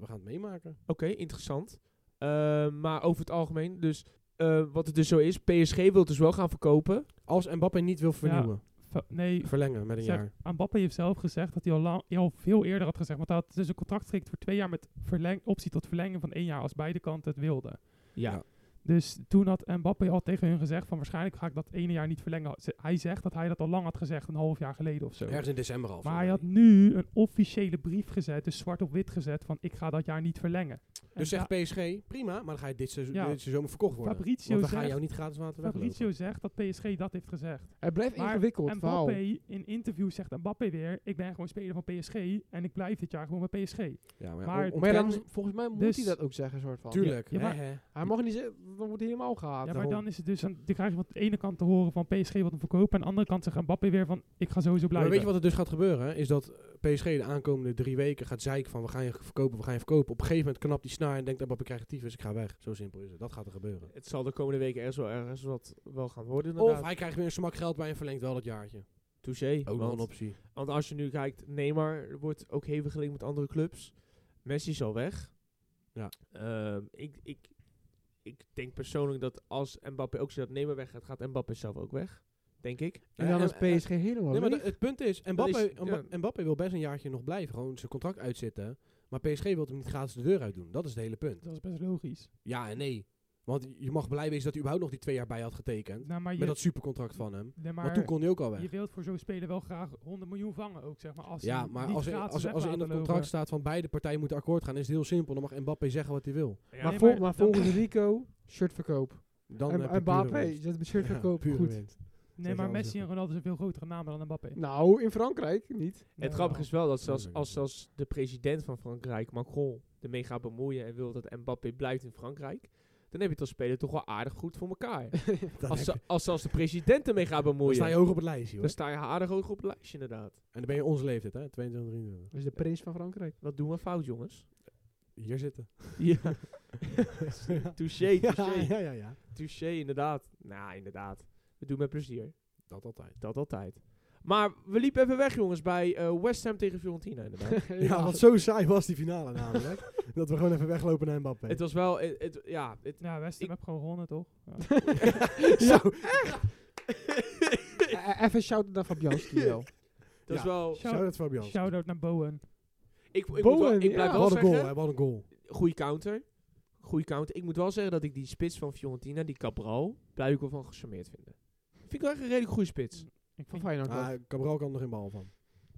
Speaker 2: we gaan het meemaken.
Speaker 1: oké, interessant. Ehm, maar over het algemeen, dus eh, wat het dus zo is, PSG wil het dus wel gaan verkopen.
Speaker 2: Als Mbappé niet wil vernieuwen,
Speaker 4: Va- Nee,
Speaker 2: verlengen met een
Speaker 4: Zeg,
Speaker 2: jaar.
Speaker 4: Mbappé heeft zelf gezegd dat hij al, lang, al veel eerder had gezegd. Want hij had dus een contract gekregen voor twee jaar met verleng, optie tot verlenging van één jaar als beide kanten het wilden.
Speaker 1: Ja.
Speaker 2: Ja.
Speaker 4: Dus toen had Mbappé al tegen hun gezegd van waarschijnlijk ga ik dat ene jaar niet verlengen. Ze- Hij zegt dat hij dat al lang had gezegd, een half jaar geleden of zo.
Speaker 2: Ergens in december al.
Speaker 4: Maar hij had nu een officiële brief gezet, dus zwart op wit gezet van ik ga dat jaar niet verlengen. En
Speaker 2: Dus zegt
Speaker 4: da-
Speaker 2: PSG, prima, maar dan ga je dit seizoen,
Speaker 4: Ja.
Speaker 2: dit seizoen verkocht worden.
Speaker 4: Fabrizio
Speaker 2: want we gaan
Speaker 4: zegt-
Speaker 2: jou niet gratis water weglopen.
Speaker 4: Fabrizio zegt dat PSG dat heeft gezegd.
Speaker 3: Het blijft
Speaker 4: Maar
Speaker 3: ingewikkeld verhaal.
Speaker 4: Mbappé, in interview zegt "Nou, Mbappé weer, ik ben gewoon speler van PSG en ik blijf dit jaar gewoon bij PSG.
Speaker 2: Ja, maar, ja,
Speaker 4: Maar-
Speaker 2: on-
Speaker 3: Maar ja,
Speaker 2: ontkennen-
Speaker 3: dan, volgens mij moet
Speaker 4: dus-
Speaker 3: hij dat ook zeggen, soort van.
Speaker 2: Tuurlijk.
Speaker 4: Ja, maar-
Speaker 2: hè, hè.
Speaker 3: Hij mag niet zeggen, dan wordt hij helemaal gehaat.
Speaker 4: Ja, maar
Speaker 2: daarom.
Speaker 4: dan is het dus, aan- dan krijg je van de ene kant te horen van PSG wat hem verkopen. En aan de andere kant zegt Mbappé weer van, ik ga sowieso
Speaker 2: Maar
Speaker 4: blijven.
Speaker 2: weet je wat er dus gaat gebeuren? hè? Is dat eh, PSG de aankomende drie weken gaat zeiken van we gaan je verkopen, we gaan je verkopen. Op een gegeven moment knapt die snaar en denkt Mbappé krijgt het tyfus, ik ga weg. Zo simpel is het. Dat gaat er gebeuren.
Speaker 1: Het zal de komende weken ergens wel, ergens wat wel gaan worden
Speaker 2: Of
Speaker 1: inderdaad.
Speaker 2: hij krijgt weer een smak geld bij en verlengt wel dat jaartje.
Speaker 1: Touché.
Speaker 2: Ook nog een
Speaker 1: Want,
Speaker 2: optie.
Speaker 1: want als je nu kijkt, Neymar wordt ook hevig gelinkt met andere clubs. Messi is al weg.
Speaker 2: Ja.
Speaker 1: Ehm, ik, ik, ik denk persoonlijk dat als Mbappé ook zo dat Neymar weggaat, gaat Mbappé zelf ook weg. Denk ik. Eh,
Speaker 3: En dan
Speaker 2: Ja,
Speaker 3: is
Speaker 2: en- en-
Speaker 3: PSG helemaal
Speaker 2: Nee, maar
Speaker 3: leeg.
Speaker 2: de- het punt is, Mbappé,
Speaker 1: is-
Speaker 2: Mba-
Speaker 1: ja.
Speaker 2: Mbappé wil best een jaartje nog blijven. Gewoon zijn contract uitzitten. Maar PSG wil hem niet gratis de deur uit doen. Dat is het hele punt.
Speaker 4: Dat is best logisch.
Speaker 2: Ja en nee. Want je mag blij wezen dat hij überhaupt nog die twee jaar bij had getekend.
Speaker 4: Nou, maar je,
Speaker 2: Met dat supercontract van hem.
Speaker 4: nee, maar
Speaker 2: Want toen kon hij ook al weg.
Speaker 4: je wilt voor zo'n speler wel graag 100 miljoen vangen ook, zeg maar. Als
Speaker 2: Ja,
Speaker 4: hij
Speaker 2: maar
Speaker 4: niet
Speaker 2: als er,
Speaker 4: gratis eh,
Speaker 2: als, er-
Speaker 4: weg
Speaker 2: als er in
Speaker 4: laten
Speaker 2: het
Speaker 4: lopen.
Speaker 2: contract staat van beide partijen moeten akkoord gaan, is het heel simpel. Dan mag Mbappé zeggen wat hij wil.
Speaker 1: eh, Ja,
Speaker 3: maar,
Speaker 4: nee,
Speaker 3: vol-
Speaker 4: maar
Speaker 3: maar
Speaker 4: dan-
Speaker 3: volgens Rico, shirtverkoop.
Speaker 2: Dan heb je
Speaker 3: En
Speaker 2: pure
Speaker 3: Mbappé,
Speaker 2: winst.
Speaker 3: zet mijn
Speaker 2: Ja,
Speaker 3: shirtverkoop
Speaker 2: pure
Speaker 3: goed.
Speaker 2: winst.
Speaker 4: Nee, maar
Speaker 2: Zou je
Speaker 4: Messi en
Speaker 2: zeggen.
Speaker 4: Ronaldo zijn veel grotere namen dan Mbappé.
Speaker 3: Nou, in Frankrijk niet.
Speaker 1: Het grappige is wel dat zelfs,
Speaker 2: Tuurlijk,
Speaker 1: als
Speaker 2: natuurlijk.
Speaker 1: zelfs de president van Frankrijk, Macron, ermee gaat bemoeien en wil dat Mbappé blijft in Frankrijk, dan heb je het als speler toch wel aardig goed voor elkaar.
Speaker 2: (laughs) Dan,
Speaker 1: als,
Speaker 2: heb
Speaker 1: ze-
Speaker 2: je-
Speaker 1: als zelfs de president ermee gaat
Speaker 2: dan sta je
Speaker 1: bemoeien,
Speaker 2: hoog op het lijstje.
Speaker 1: dan
Speaker 3: Dus-
Speaker 2: Hoor.
Speaker 1: sta je aardig hoog op het lijstje inderdaad.
Speaker 2: En dan ben je onze leeftijd, hè? 22, 23.
Speaker 3: Dat is de prins van (laughs) Frankrijk.
Speaker 1: Wat doen we fout, jongens?
Speaker 2: Hier
Speaker 3: (laughs)
Speaker 2: zitten.
Speaker 1: Ja. touché,
Speaker 2: (laughs) ja,
Speaker 1: touché.
Speaker 2: ja, ja, ja.
Speaker 1: Touché, inderdaad. Nou, inderdaad. We doen met plezier.
Speaker 2: Dat altijd.
Speaker 1: Dat altijd. Maar we liepen even weg, jongens, bij eh, West Ham tegen Fiorentina, inderdaad.
Speaker 2: Ja, want zo saai was die finale namelijk. (laughs) dat we gewoon even weglopen naar Mbappé.
Speaker 1: (laughs) het was wel... Het, het- ja, het, (laughs)
Speaker 4: Ja, West Ham
Speaker 1: Ik-
Speaker 4: heb gewoon gewonnen, toch? Ja.
Speaker 2: (laughs) Zo.
Speaker 3: Eh, eh, Even shout-out naar
Speaker 2: (laughs)
Speaker 3: Fabianski wel.
Speaker 1: dat is
Speaker 2: Ja.
Speaker 1: wel...
Speaker 2: Shout-out Fabian. Ah,
Speaker 4: Shout-out naar Bowen.
Speaker 1: Ik, ik, moet wel,
Speaker 3: Bowen,
Speaker 1: ik blijf
Speaker 3: ja.
Speaker 1: wel
Speaker 2: Wat een goal,
Speaker 1: zeggen...
Speaker 2: hè? Wat een goal.
Speaker 1: goede counter. Goede counter. Ik moet wel zeggen dat ik die spits van Fiorentina, die Cabral, blijf ik wel van gecharmeerd vinden. Vind ik wel echt een redelijk goede spits.
Speaker 4: Ik
Speaker 3: Van
Speaker 4: vind
Speaker 3: Feyenoord.
Speaker 2: Ah,
Speaker 3: wel.
Speaker 2: Cabral kan er geen bal van.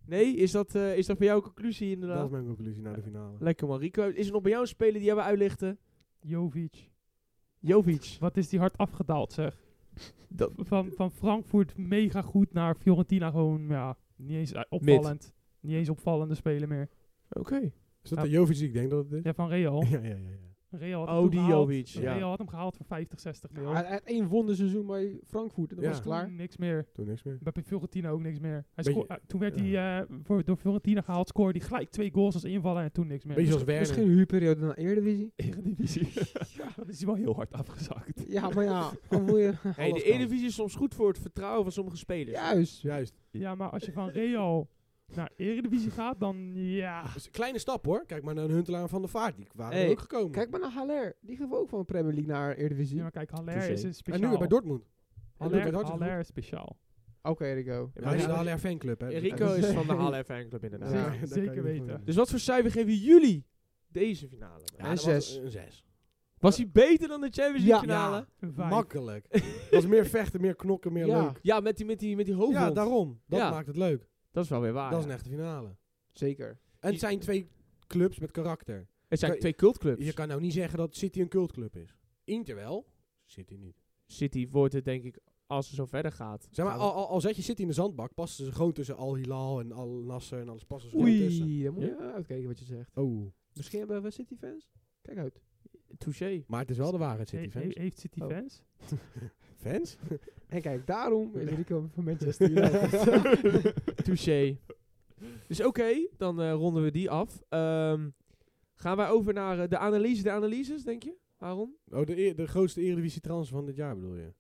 Speaker 1: Nee, is dat, eh, is dat bij jou een conclusie
Speaker 2: Dat is
Speaker 1: inderdaad?
Speaker 2: mijn conclusie naar de finale.
Speaker 1: Lekker man, Rico. Is er nog bij jou een speler die jij wil uitlichten?
Speaker 4: Jovic.
Speaker 1: Jovic.
Speaker 4: Wat is die hard afgedaald, zeg.
Speaker 1: Dat-
Speaker 4: Van, van Frankfurt mega goed naar Fiorentina gewoon, ja, niet eens eh, opvallend. Niet eens opvallende speler meer.
Speaker 1: Oké.
Speaker 2: Is dat
Speaker 4: Ja.
Speaker 2: de Jovic die ik denk dat het is?
Speaker 4: Ja, van Real.
Speaker 2: (laughs) Ja, ja, ja. ja.
Speaker 4: Real had
Speaker 1: Oh,
Speaker 4: hem toen
Speaker 1: die
Speaker 4: gehaald.
Speaker 1: Jovic, ja.
Speaker 4: Real had hem gehaald voor 50, 60 miljoen.
Speaker 3: Ja, Hij had één wonderseizoen bij Frankfurt en dat
Speaker 2: Ja. Mm,
Speaker 3: was het klaar.
Speaker 4: Niks meer.
Speaker 2: Toen niks meer.
Speaker 4: Bij Fiorentina ook niks meer. Hij
Speaker 2: Beetje-
Speaker 4: sco- eh, toen werd
Speaker 2: ja.
Speaker 4: hij eh, voor, door Fiorentina gehaald, scoorde hij gelijk twee goals als invaller en toen niks meer.
Speaker 2: Beetje zoals Werner.
Speaker 3: Misschien een huurperiode naar Eredivisie.
Speaker 4: Eredivisie. (laughs) ja, dat is hij wel heel hard afgezakt.
Speaker 3: Ja, maar
Speaker 2: (laughs)
Speaker 3: ja, dan moet je...
Speaker 1: Hey, de
Speaker 2: Alles kan.
Speaker 1: Eredivisie is soms goed voor het vertrouwen van sommige spelers.
Speaker 3: Juist.
Speaker 2: Juist.
Speaker 4: Ja, maar als je van Real naar Eredivisie gaat, dan ja.
Speaker 2: Dus een kleine stap hoor. Kijk maar naar een Huntelaar en van de Vaart. Die waren
Speaker 3: Hey,
Speaker 2: er ook gekomen.
Speaker 3: Kijk maar naar Haller. Die ging ook van Premier League naar Eredivisie.
Speaker 4: Ja, maar kijk, Haller
Speaker 1: Touché.
Speaker 4: is een
Speaker 2: en
Speaker 4: speciaal.
Speaker 2: nu weer bij Dortmund. Haller doet het
Speaker 4: Haller,
Speaker 2: hartstikke
Speaker 4: Haller is speciaal.
Speaker 3: Oké, Rico.
Speaker 1: Ja,
Speaker 2: Ja, hij is de
Speaker 1: maar
Speaker 2: Haller fanclub hè. Dus-
Speaker 1: Rico is
Speaker 2: (laughs)
Speaker 1: van de Halle fanclub inderdaad.
Speaker 3: Ja.
Speaker 2: daar kan
Speaker 4: zeker
Speaker 2: je niet
Speaker 4: weten.
Speaker 2: voor winnen.
Speaker 1: Dus wat voor cijfer geven jullie deze finale?
Speaker 2: Ja,
Speaker 3: En
Speaker 2: dat was
Speaker 3: zes.
Speaker 2: Een 6.
Speaker 1: Was hij beter dan de Champions League
Speaker 3: Ja.
Speaker 1: finale?
Speaker 2: Ja.
Speaker 4: Een vijf.
Speaker 2: Makkelijk. (laughs) Dat is meer vechten, meer knokken, meer
Speaker 3: Ja.
Speaker 2: leuk.
Speaker 1: Ja, met die, met die, met die hoofdhond.
Speaker 2: Ja, daarom. Dat
Speaker 1: Ja.
Speaker 2: maakt het leuk.
Speaker 1: Dat is wel weer waar.
Speaker 2: dat is
Speaker 1: ja.
Speaker 2: een echte finale.
Speaker 3: Zeker.
Speaker 2: En het zijn twee clubs met karakter.
Speaker 1: Het zijn
Speaker 2: Kan-
Speaker 1: twee cultclubs.
Speaker 2: Je kan nou niet zeggen dat City een cultclub is. Inter wel. City niet.
Speaker 1: City wordt het denk ik als het zo verder gaat. Nou,
Speaker 2: Zeg maar,
Speaker 1: Gaan we-
Speaker 2: al, al, al zet je City in de zandbak, passen ze gewoon tussen Al Hilal en Al Nasser en alles passen ze gewoon tussen.
Speaker 3: Oei, dan moet je uitkijken wat je zegt.
Speaker 2: Oh.
Speaker 3: Misschien hebben we City fans? Kijk uit.
Speaker 1: touché.
Speaker 2: Maar het is wel de waarheid,
Speaker 4: He-
Speaker 2: City
Speaker 4: he-
Speaker 2: fans.
Speaker 4: heeft City
Speaker 3: Oh.
Speaker 4: fans?
Speaker 2: Fans?
Speaker 3: En kijk, daarom is Rico
Speaker 1: (laughs)
Speaker 3: van Manchester (laughs) United.
Speaker 1: Touché. Dus oké, dan eh, ronden we die af. Ehm, gaan wij over naar eh, de analyse, de analyses, denk je, Aaron?
Speaker 2: Oh, de, e- de grootste Eredivisie-transfer van dit jaar bedoel je?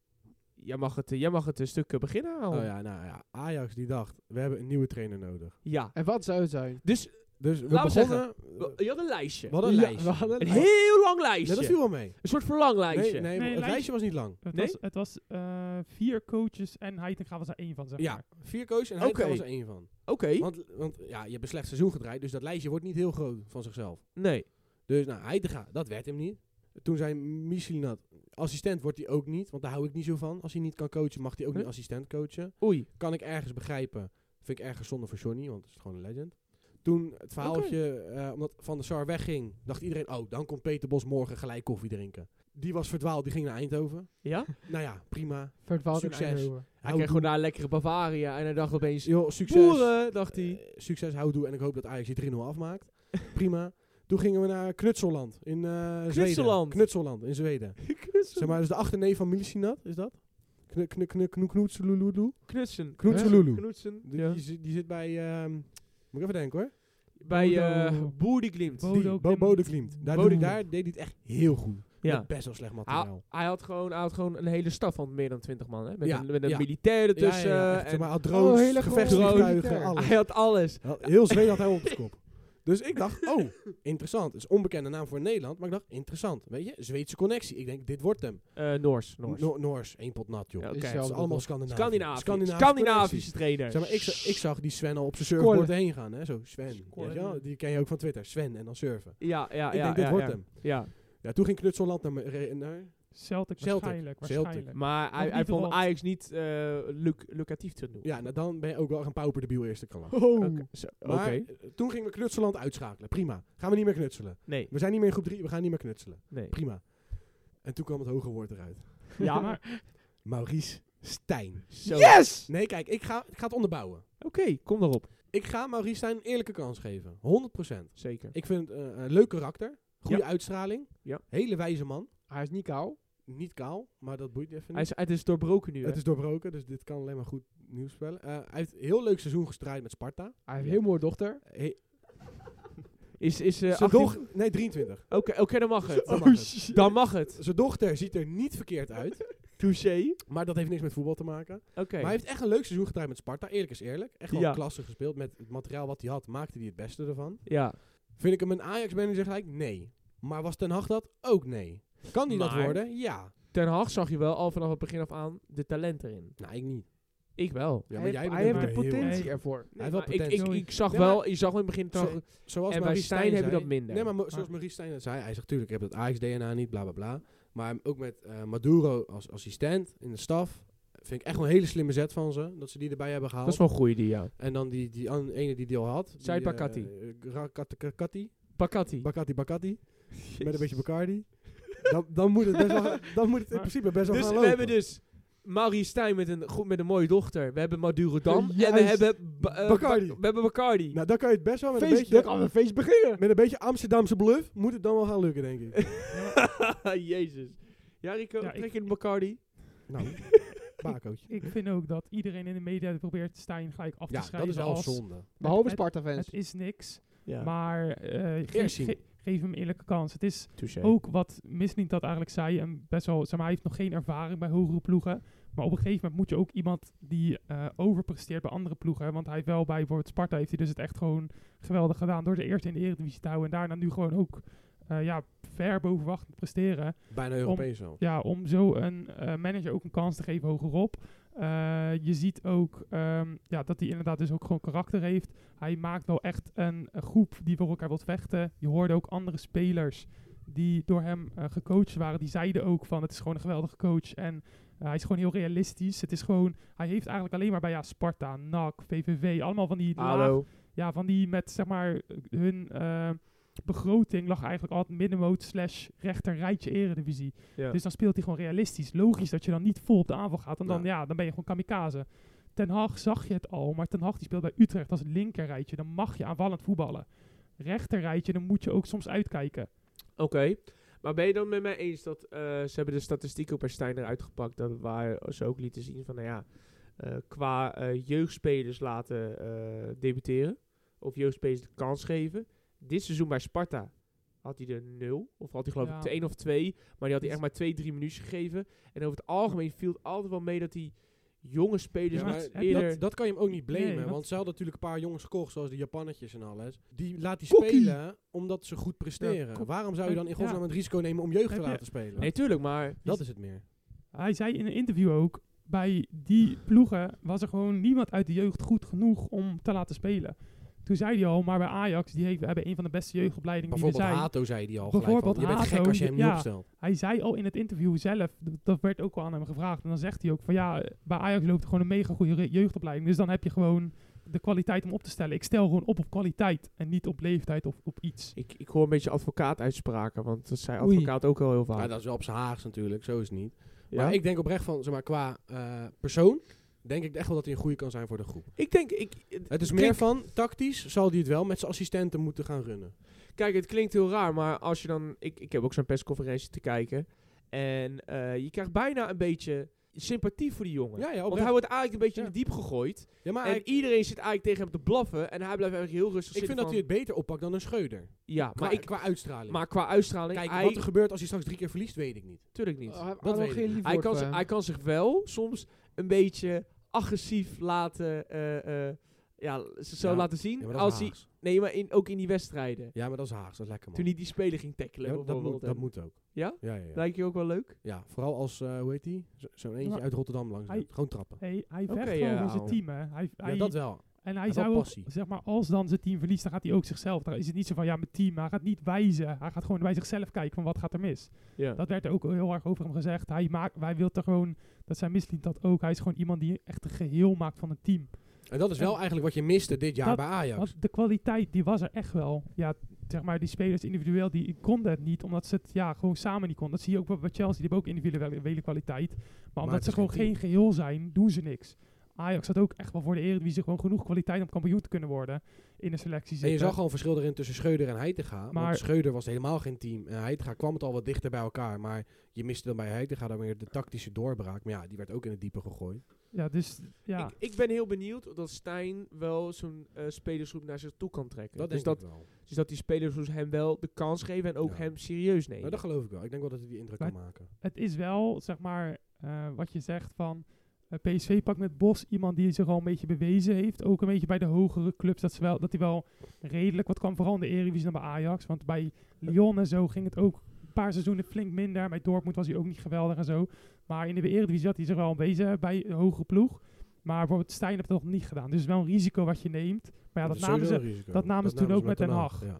Speaker 1: Jij mag het, eh, jij mag het een stuk eh, beginnen, Aaron.
Speaker 2: Oh ja, nou ja. Ajax die dacht, we hebben een nieuwe trainer nodig.
Speaker 1: Ja.
Speaker 3: en wat zou het zijn?
Speaker 1: Dus
Speaker 2: Dus we
Speaker 1: Laten we
Speaker 2: begonnen...
Speaker 1: w- je had een lijstje.
Speaker 2: Wat een
Speaker 3: Ja,
Speaker 2: lijstje.
Speaker 3: we hadden
Speaker 1: Een
Speaker 3: lijst.
Speaker 1: heel lang
Speaker 2: Nee,
Speaker 1: lijstje.
Speaker 2: dat viel wel mee.
Speaker 1: Een soort
Speaker 2: Nee,
Speaker 1: verlanglijstje.
Speaker 2: nee, maar het
Speaker 4: lijstje-
Speaker 2: lijstje was niet lang.
Speaker 4: Het
Speaker 1: Nee?
Speaker 4: was, het was eh, vier coaches en Heitinga was er één van, zeg
Speaker 2: Ja,
Speaker 4: maar.
Speaker 2: vier coaches en hij
Speaker 1: Oké.
Speaker 2: was er één van.
Speaker 1: Oké.
Speaker 2: Want, want ja, je hebt een slecht seizoen gedraaid, dus dat lijstje wordt niet heel groot van zichzelf.
Speaker 1: Nee.
Speaker 2: Dus nou, Heitinga, dat werd hem niet. Toen zei Michelinat, assistent wordt hij ook niet, want daar hou ik niet zo van. Als hij niet kan coachen, mag hij ook
Speaker 1: Nee.
Speaker 2: niet assistent coachen.
Speaker 1: Oei.
Speaker 2: Kan ik ergens begrijpen, vind ik ergens zonde voor Johnny, want het is gewoon een legend. Toen het verhaaltje, eh, omdat Van der Sar wegging, dacht iedereen, oh, dan komt Peter Bos morgen gelijk koffie drinken. Die was verdwaald, die ging naar Eindhoven.
Speaker 1: Ja?
Speaker 2: Nou ja, prima.
Speaker 3: Verdwaald in
Speaker 2: Succes.
Speaker 3: Eindhoven.
Speaker 1: Hij
Speaker 2: Houdoe.
Speaker 1: kreeg gewoon daar een lekkere Bavaria en hij dacht opeens...
Speaker 2: Joh, succes.
Speaker 1: Boeren, dacht hij. (laughs)
Speaker 2: Eh, succes, houdoe. En ik hoop dat Ajax die 3-0 afmaakt. Prima. Toen gingen we naar Knutselland in eh, Zweden.
Speaker 1: Knutselland.
Speaker 2: Knutselland in
Speaker 1: (laughs)
Speaker 2: Zweden. Zeg maar, dat is de achterneef van Milicinat, is dat? Knu- knu- knu- knu- Knutselulu?
Speaker 1: Knutsen.
Speaker 2: Knutselulu.
Speaker 1: Knutsen.
Speaker 2: Die,
Speaker 1: Ja.
Speaker 2: die, zit- die zit bij... ehm, moet ik even denken hoor.
Speaker 1: Bij eh
Speaker 4: Bodo-
Speaker 1: Boerdeglimt.
Speaker 4: Bodo
Speaker 2: Die, Bo
Speaker 4: Klimt.
Speaker 2: Bode Klimt. Daar,
Speaker 1: Bode
Speaker 2: doet- daar deed hij het echt heel goed.
Speaker 1: Ja. Ah,
Speaker 2: Met best wel slecht
Speaker 1: Hij,
Speaker 2: materiaal.
Speaker 1: hij had gewoon, hij had gewoon een hele staf van meer dan 20 man. Hè? Met,
Speaker 2: Ja,
Speaker 1: een, met een
Speaker 2: ja.
Speaker 1: militair ertussen. eh,
Speaker 2: ja, ja, echt,
Speaker 1: en
Speaker 2: zeg maar, hij had drones,
Speaker 3: Oh, hele
Speaker 2: gevechtsvliegtuigen,
Speaker 3: grote-
Speaker 1: (laughs)
Speaker 2: alles.
Speaker 1: hij had alles.
Speaker 2: Wel, Heel Zweden had hij op zijn kop. Dus ik dacht, oh,
Speaker 1: (laughs)
Speaker 2: interessant. Het is een onbekende naam voor Nederland, maar ik dacht, interessant. Weet je, Zweedse connectie. Ik denk, dit wordt hem.
Speaker 1: Eh, Noors. Noors.
Speaker 2: No- Noors, één pot nat, joh.
Speaker 1: Ja,
Speaker 2: Het
Speaker 1: oké.
Speaker 3: Is
Speaker 2: is
Speaker 3: zelf-
Speaker 2: allemaal Scandinavië.
Speaker 1: Scandinavisch. Scandinavische,
Speaker 2: connecties.
Speaker 1: trainer.
Speaker 2: Zeg maar, ik, za- ik zag die Sven al op zijn
Speaker 3: Scoren.
Speaker 2: surfboard heen gaan, hè. Zo, Sven.
Speaker 4: Scoren.
Speaker 2: Weet je wel? Die ken je ook van Twitter. Sven en dan surfen.
Speaker 1: ja, ja, ja.
Speaker 2: ik denk, dit
Speaker 1: ja,
Speaker 2: wordt
Speaker 1: ja.
Speaker 2: hem.
Speaker 1: Ja.
Speaker 2: Ja, toen ging Knutselland naar... me- re- naar
Speaker 4: Celtic,
Speaker 2: Celtic.
Speaker 4: waarschijnlijk.
Speaker 2: Celtic.
Speaker 4: waarschijnlijk.
Speaker 1: Maar hij,
Speaker 4: niet
Speaker 1: hij vond
Speaker 4: rond.
Speaker 1: Ajax niet eh, luc- lucratief te doen.
Speaker 2: ja, nou, dan ben je ook wel een pauper debiel
Speaker 1: (laughs)
Speaker 2: eerste klas.
Speaker 1: Oké. Zo, Oké.
Speaker 2: Maar eh, toen gingen we Knutselland uitschakelen. Prima. Gaan we niet meer knutselen.
Speaker 1: Nee,
Speaker 2: We zijn niet meer in groep 3, we gaan niet meer knutselen.
Speaker 1: nee.
Speaker 2: Prima. En toen kwam het hoge woord eruit.
Speaker 1: Ja,
Speaker 2: (laughs)
Speaker 4: maar
Speaker 2: Maurice Stijn.
Speaker 1: Zo.
Speaker 3: Yes!
Speaker 2: Nee, kijk, ik ga, ik ga het onderbouwen.
Speaker 1: Oké, kom daarop.
Speaker 2: Ik ga Maurice Stijn een eerlijke kans geven. 100%.
Speaker 1: Zeker.
Speaker 2: Ik vind het eh, een leuk karakter. Goede
Speaker 1: Ja.
Speaker 2: uitstraling.
Speaker 1: Ja.
Speaker 2: Hele wijze man.
Speaker 3: Hij is niet koud.
Speaker 2: Niet kaal, maar dat boeit even
Speaker 1: Hij
Speaker 2: niet.
Speaker 1: is, het is doorbroken nu. hè?
Speaker 2: Het is doorbroken, dus dit kan alleen maar goed nieuws spellen. Eh, hij heeft een heel leuk seizoen gestraaid met Sparta.
Speaker 3: Hij heeft
Speaker 1: Ja.
Speaker 3: een heel mooie dochter.
Speaker 2: Hey,
Speaker 1: Is, is, eh
Speaker 2: zijn
Speaker 1: 18
Speaker 2: doch- nee, 23.
Speaker 1: Oké, oké, dan mag
Speaker 2: (laughs)
Speaker 1: het.
Speaker 2: Dan
Speaker 1: Dan
Speaker 2: mag
Speaker 1: mag
Speaker 2: het.
Speaker 1: het. Dan mag het.
Speaker 2: Oh, Zijn dochter ziet er niet verkeerd uit,
Speaker 1: Touché.
Speaker 2: maar dat heeft niks met voetbal te maken.
Speaker 1: Oké.
Speaker 2: Maar hij heeft echt een leuk seizoen gedraaid met Sparta. Eerlijk is eerlijk. Echt wel
Speaker 1: Ja.
Speaker 2: klasse gespeeld. Met het materiaal wat hij had, maakte hij het beste ervan.
Speaker 1: Ja.
Speaker 2: Vind ik hem een Ajax-manager gelijk? Nee. Maar was Ten Hag dat? Ook nee. Kan hij dat
Speaker 1: Maar-
Speaker 2: worden? Ja.
Speaker 1: Ten Hag zag je wel al vanaf het begin af aan de talent erin.
Speaker 2: Nou, ik niet.
Speaker 1: Ik wel.
Speaker 2: Ja,
Speaker 3: hij
Speaker 2: jij
Speaker 3: heeft,
Speaker 2: bent
Speaker 3: hij heeft
Speaker 2: er
Speaker 3: de
Speaker 2: maar heel
Speaker 3: potentie
Speaker 2: erg.
Speaker 4: Nee.
Speaker 3: ervoor.
Speaker 2: Hij heeft wel
Speaker 1: Maar ik,
Speaker 2: potentie.
Speaker 1: ik, ik zag
Speaker 2: Nee,
Speaker 1: wel, je zag wel in het begin
Speaker 2: Zo-
Speaker 1: toch.
Speaker 2: zoals
Speaker 1: en bij
Speaker 2: Maurice
Speaker 1: Stijn
Speaker 2: Stijn
Speaker 1: hebben
Speaker 2: zei-
Speaker 1: dat minder. Ah.
Speaker 2: Nee, maar mo- zoals
Speaker 4: Maar-
Speaker 2: Maurice Stijn dat zei, hij zegt natuurlijk, ik heb het Ajax-DNA niet, bla bla bla. Maar ook met eh, Maduro als assistent in de staf. Vind ik echt wel een hele slimme zet van ze. Dat ze die erbij hebben
Speaker 1: Dat is
Speaker 2: gehaald.
Speaker 1: wel een goeie die, ja.
Speaker 2: En dan die, die an- ene die die al had. die,
Speaker 1: Said
Speaker 2: eh,
Speaker 1: Bakati.
Speaker 2: eh, Ra- Kat- Kat- Kati.
Speaker 4: Hm.
Speaker 1: Pakati.
Speaker 2: Bakati Bakati. Met een beetje
Speaker 4: (laughs)
Speaker 2: Bacardi. Dan, dan, moet het best wel, dan moet het in
Speaker 4: Maar-
Speaker 2: principe best wel
Speaker 1: Dus
Speaker 2: gaan
Speaker 1: we
Speaker 2: lopen.
Speaker 1: hebben dus Marie Stijn met een, goed, met een mooie dochter. We hebben Maduro (laughs) Dam. en we
Speaker 3: Juist.
Speaker 1: hebben, ba- eh,
Speaker 2: Bacardi.
Speaker 1: Ba- we hebben Bacardi.
Speaker 2: Nou, dan kan je het best wel met een,
Speaker 3: Feest, dan
Speaker 2: beetje,
Speaker 3: kan een feest beginnen.
Speaker 2: met een beetje Amsterdamse bluff. Moet het dan wel gaan lukken,
Speaker 4: (laughs)
Speaker 2: denk ik.
Speaker 1: (laughs) Jezus. Ja, Rico,
Speaker 4: Ja, ik-
Speaker 1: trek in de Bacardi.
Speaker 2: nou, bakootje.
Speaker 4: ik vind ook dat iedereen in de media probeert Stijn gelijk af te
Speaker 2: Ja, dat
Speaker 4: schrijven
Speaker 2: is wel
Speaker 4: als
Speaker 2: zonde.
Speaker 3: Behalve
Speaker 4: het-
Speaker 3: Sparta-fans.
Speaker 4: het is niks.
Speaker 1: Ja,
Speaker 4: Maar eh, geef,
Speaker 2: Eersien.
Speaker 4: ge- geef hem een eerlijke kans. Het is
Speaker 1: touché.
Speaker 4: ook wat Misling dat eigenlijk zei. En best wel, zeg maar, hij heeft nog geen ervaring bij hogere ploegen. Maar op een gegeven moment moet je ook iemand die eh, overpresteert bij andere ploegen. Want hij heeft wel bij bijvoorbeeld Sparta heeft hij dus het echt gewoon geweldig gedaan. Door de eerste in de Eredivisie te houden. En daarna nu gewoon ook eh, ja, ver boven verwachting te presteren.
Speaker 2: Bijna Europees zo.
Speaker 4: Ja, om zo een eh, manager ook een kans te geven hogerop. Eh, je ziet ook ehm, ja, dat hij inderdaad dus ook gewoon karakter heeft. Hij maakt wel echt een, eh, groep die voor elkaar wilt vechten. Je hoorde ook andere spelers die door hem eh, gecoacht waren. Die zeiden ook van het is gewoon een geweldige coach. En eh, hij is gewoon heel realistisch. Het is gewoon, hij heeft eigenlijk alleen maar bij ja, Sparta, NAC, VVV. Allemaal van die laag-
Speaker 1: Hallo.
Speaker 4: ja, van die met zeg maar hun eh, begroting lag eigenlijk altijd middenmoot slash rechter rijtje eredivisie.
Speaker 1: Ja.
Speaker 4: Dus dan speelt hij gewoon realistisch. Logisch dat je dan niet vol op de aanval gaat. En dan,
Speaker 2: Ja.
Speaker 4: ja. dan ben je gewoon kamikaze. Ten Hag zag je het al, maar Ten Hag die speelt bij Utrecht als linker rijtje. Dan mag je aanvallend voetballen. Rechter rijtje, dan moet je ook soms uitkijken.
Speaker 1: Oké. Maar ben je dan met mij eens dat eh, ze hebben de statistieken per Stijn eruit gepakt, dat waar ze ook lieten zien van, nou ja, eh, qua eh, jeugdspelers laten eh, debuteren, of jeugdspelers de kans geven. Dit seizoen bij Sparta had hij er nul, of had hij geloof
Speaker 4: Ja.
Speaker 1: ik één of twee, maar die had hij
Speaker 4: Dus-
Speaker 1: echt maar twee, drie minuutjes gegeven. En over het algemeen viel het altijd wel mee dat die jonge spelers
Speaker 4: Ja, maar
Speaker 1: wat
Speaker 4: heb je
Speaker 1: eerder...
Speaker 2: Dat, dat kan je hem ook niet blamen.
Speaker 4: Nee, dat-
Speaker 2: want ze hadden natuurlijk een paar jongens gekocht, zoals de Japannetjes en alles. Die laat die
Speaker 3: Kokkie.
Speaker 2: spelen omdat ze goed presteren.
Speaker 4: Ja, kok-
Speaker 2: Waarom zou je dan in godsnaam
Speaker 4: Ja.
Speaker 2: het risico nemen om jeugd te
Speaker 4: Heb je-
Speaker 2: laten spelen?
Speaker 1: Nee, tuurlijk, maar...
Speaker 2: dat is het meer.
Speaker 4: Hij zei in een interview ook, bij die ploegen was er gewoon niemand uit de jeugd goed genoeg om te laten spelen. Toen zei hij al, maar bij Ajax, die heeft, we hebben een van de beste jeugdopleidingen die er
Speaker 2: Bijvoorbeeld
Speaker 4: zijn.
Speaker 2: Hato zei die al gelijk van,
Speaker 4: Bijvoorbeeld
Speaker 2: je bent gek
Speaker 4: Hato,
Speaker 2: als je hem niet
Speaker 4: ja.
Speaker 2: opstelt.
Speaker 4: Hij zei al in het interview zelf, d- dat werd ook al aan hem gevraagd. En dan zegt hij ook van ja, bij Ajax loopt er gewoon een mega goede re- jeugdopleiding. Dus dan heb je gewoon de kwaliteit om op te stellen. Ik stel gewoon op op kwaliteit en niet op leeftijd of op iets.
Speaker 1: Ik, ik hoor een beetje advocaat-uitspraken, want dat zei
Speaker 3: Oei.
Speaker 1: advocaat ook al heel vaak.
Speaker 2: Ja, dat is wel op zijn haags natuurlijk, zo is het niet.
Speaker 1: Ja?
Speaker 2: Maar ik denk oprecht van, zeg maar, qua eh, persoon denk ik echt wel dat hij een goede kan zijn voor de groep.
Speaker 1: Ik denk, ik,
Speaker 2: Het is
Speaker 1: klinkt-
Speaker 2: meer van, tactisch zal hij het wel met zijn assistenten moeten gaan runnen.
Speaker 1: Kijk, het klinkt heel raar, maar als je dan... Ik, ik heb ook zo'n persconferentie te kijken. En eh, je krijgt bijna een beetje sympathie voor die jongen.
Speaker 2: Ja, ja,
Speaker 1: Want
Speaker 2: oprecht.
Speaker 1: hij wordt eigenlijk een beetje
Speaker 2: Ja.
Speaker 1: in het diep gegooid.
Speaker 2: ja maar
Speaker 1: en
Speaker 2: hij-
Speaker 1: iedereen zit eigenlijk tegen hem te blaffen. En hij blijft eigenlijk heel rustig
Speaker 2: ik vind
Speaker 1: zitten
Speaker 2: dat hij het beter oppakt dan een scheuder.
Speaker 1: hij... Ja,
Speaker 2: Qua,
Speaker 1: maar, ik,
Speaker 2: qua uitstraling.
Speaker 1: maar qua uitstraling...
Speaker 2: Kijk,
Speaker 1: hij,
Speaker 2: wat er gebeurt als hij straks drie keer verliest, weet ik niet. eh,
Speaker 1: Tuurlijk niet.
Speaker 3: Hij- hij
Speaker 2: dat
Speaker 3: wil
Speaker 2: weet
Speaker 3: Ah, geen eh,
Speaker 2: ik.
Speaker 3: lief
Speaker 1: hij,
Speaker 3: woord
Speaker 1: kan,
Speaker 3: voor
Speaker 1: zich-
Speaker 3: hem.
Speaker 1: hij kan zich wel soms een beetje agressief laten... eh, eh, ja, z- zo
Speaker 2: Ja,
Speaker 1: laten zien. als hij, nee, maar in, ook in die wedstrijden.
Speaker 2: Ja, maar dat is Haags. Dat is lekker, man.
Speaker 1: Toen hij die speler ging tackelen.
Speaker 2: Ja, dat,
Speaker 1: bijvoorbeeld.
Speaker 2: moet, dat
Speaker 1: En-
Speaker 2: moet ook.
Speaker 1: Ja?
Speaker 2: Ja, ja, ja.
Speaker 1: Lijkt je ook wel leuk?
Speaker 2: Ja, vooral als, eh, hoe heet die? Zo- Zo'n eentje
Speaker 4: Ja.
Speaker 2: uit Rotterdam langs.
Speaker 4: Hij-
Speaker 2: Gewoon trappen.
Speaker 4: Hey, hij
Speaker 1: Oké,
Speaker 4: vecht gewoon
Speaker 1: ja,
Speaker 4: voor zijn
Speaker 1: ouwe.
Speaker 4: team, hè. Hij, hij,
Speaker 2: oh. Ja, dat wel.
Speaker 4: en hij
Speaker 2: wel
Speaker 4: zou ook,
Speaker 2: passie.
Speaker 4: zeg maar, als dan zijn team verliest, dan gaat hij ook zichzelf. Dan is het niet zo van, ja, mijn team. Hij gaat niet wijzen. Hij gaat gewoon bij zichzelf kijken van, wat gaat er mis?
Speaker 1: Ja.
Speaker 4: Dat werd er ook heel erg over hem gezegd. Hij, maakt, hij wil er gewoon, dat zijn misliet dat ook. Hij is gewoon iemand die echt een geheel maakt van het team.
Speaker 2: En dat is wel eigenlijk wat je miste dit jaar
Speaker 4: Dat-
Speaker 2: bij Ajax.
Speaker 4: Want de kwaliteit, die was er echt wel. Ja, zeg maar, die spelers individueel, die konden het niet. Omdat ze het ja, gewoon samen niet konden. Dat zie je ook bij bij Chelsea. Die hebben ook individuele kwaliteit. Maar omdat
Speaker 2: het
Speaker 4: ze
Speaker 2: is
Speaker 4: gewoon
Speaker 2: geen
Speaker 4: geen geheel zijn, doen ze niks. Ajax had ook echt wel voor de Eredivisie gewoon genoeg kwaliteit om kampioen te kunnen worden. In de selectie
Speaker 2: En je
Speaker 4: zitten.
Speaker 2: zag al een verschil erin tussen Scheuder en Heitinga.
Speaker 4: Maar-
Speaker 2: want Scheuder was helemaal geen team. En Heitinga kwam het al wat dichter bij elkaar. Maar je miste dan bij Heitinga dan weer de tactische doorbraak. Maar ja, die werd ook in het diepe gegooid.
Speaker 4: Ja, dus ja.
Speaker 1: Ik, ik ben heel benieuwd dat Stijn wel zo'n eh, spelersgroep naar zich toe kan trekken.
Speaker 2: Dat
Speaker 1: dus,
Speaker 2: denk
Speaker 1: dat,
Speaker 2: ik wel.
Speaker 1: dus dat die spelersgroep hem wel de kans geven en ook
Speaker 2: Ja.
Speaker 1: hem serieus nemen.
Speaker 2: Nou, dat geloof ik wel. Ik denk wel dat hij die indruk
Speaker 4: Maar-
Speaker 2: kan maken.
Speaker 4: het is wel, zeg maar, eh, wat je zegt van... eh, PSV pakt met Bos iemand die zich al een beetje bewezen heeft. Ook een beetje bij de hogere clubs. Dat, ze wel, dat hij wel redelijk wat kan vooral in de Eredivisie dan bij Ajax. Want bij Lyon en zo ging het ook een paar seizoenen flink minder. Bij Dortmund was hij ook niet geweldig en zo. Maar in de Eredivisie had hij zich wel bewezen bij een hogere ploeg. Maar bijvoorbeeld Stijn heeft dat nog niet gedaan. Dus het is wel een risico wat je neemt. Maar ja, dat
Speaker 2: is
Speaker 4: namen
Speaker 2: sowieso
Speaker 4: ze...
Speaker 2: een risico.
Speaker 4: dat namen ze toen ook met Den Haag.
Speaker 2: Ja.
Speaker 4: En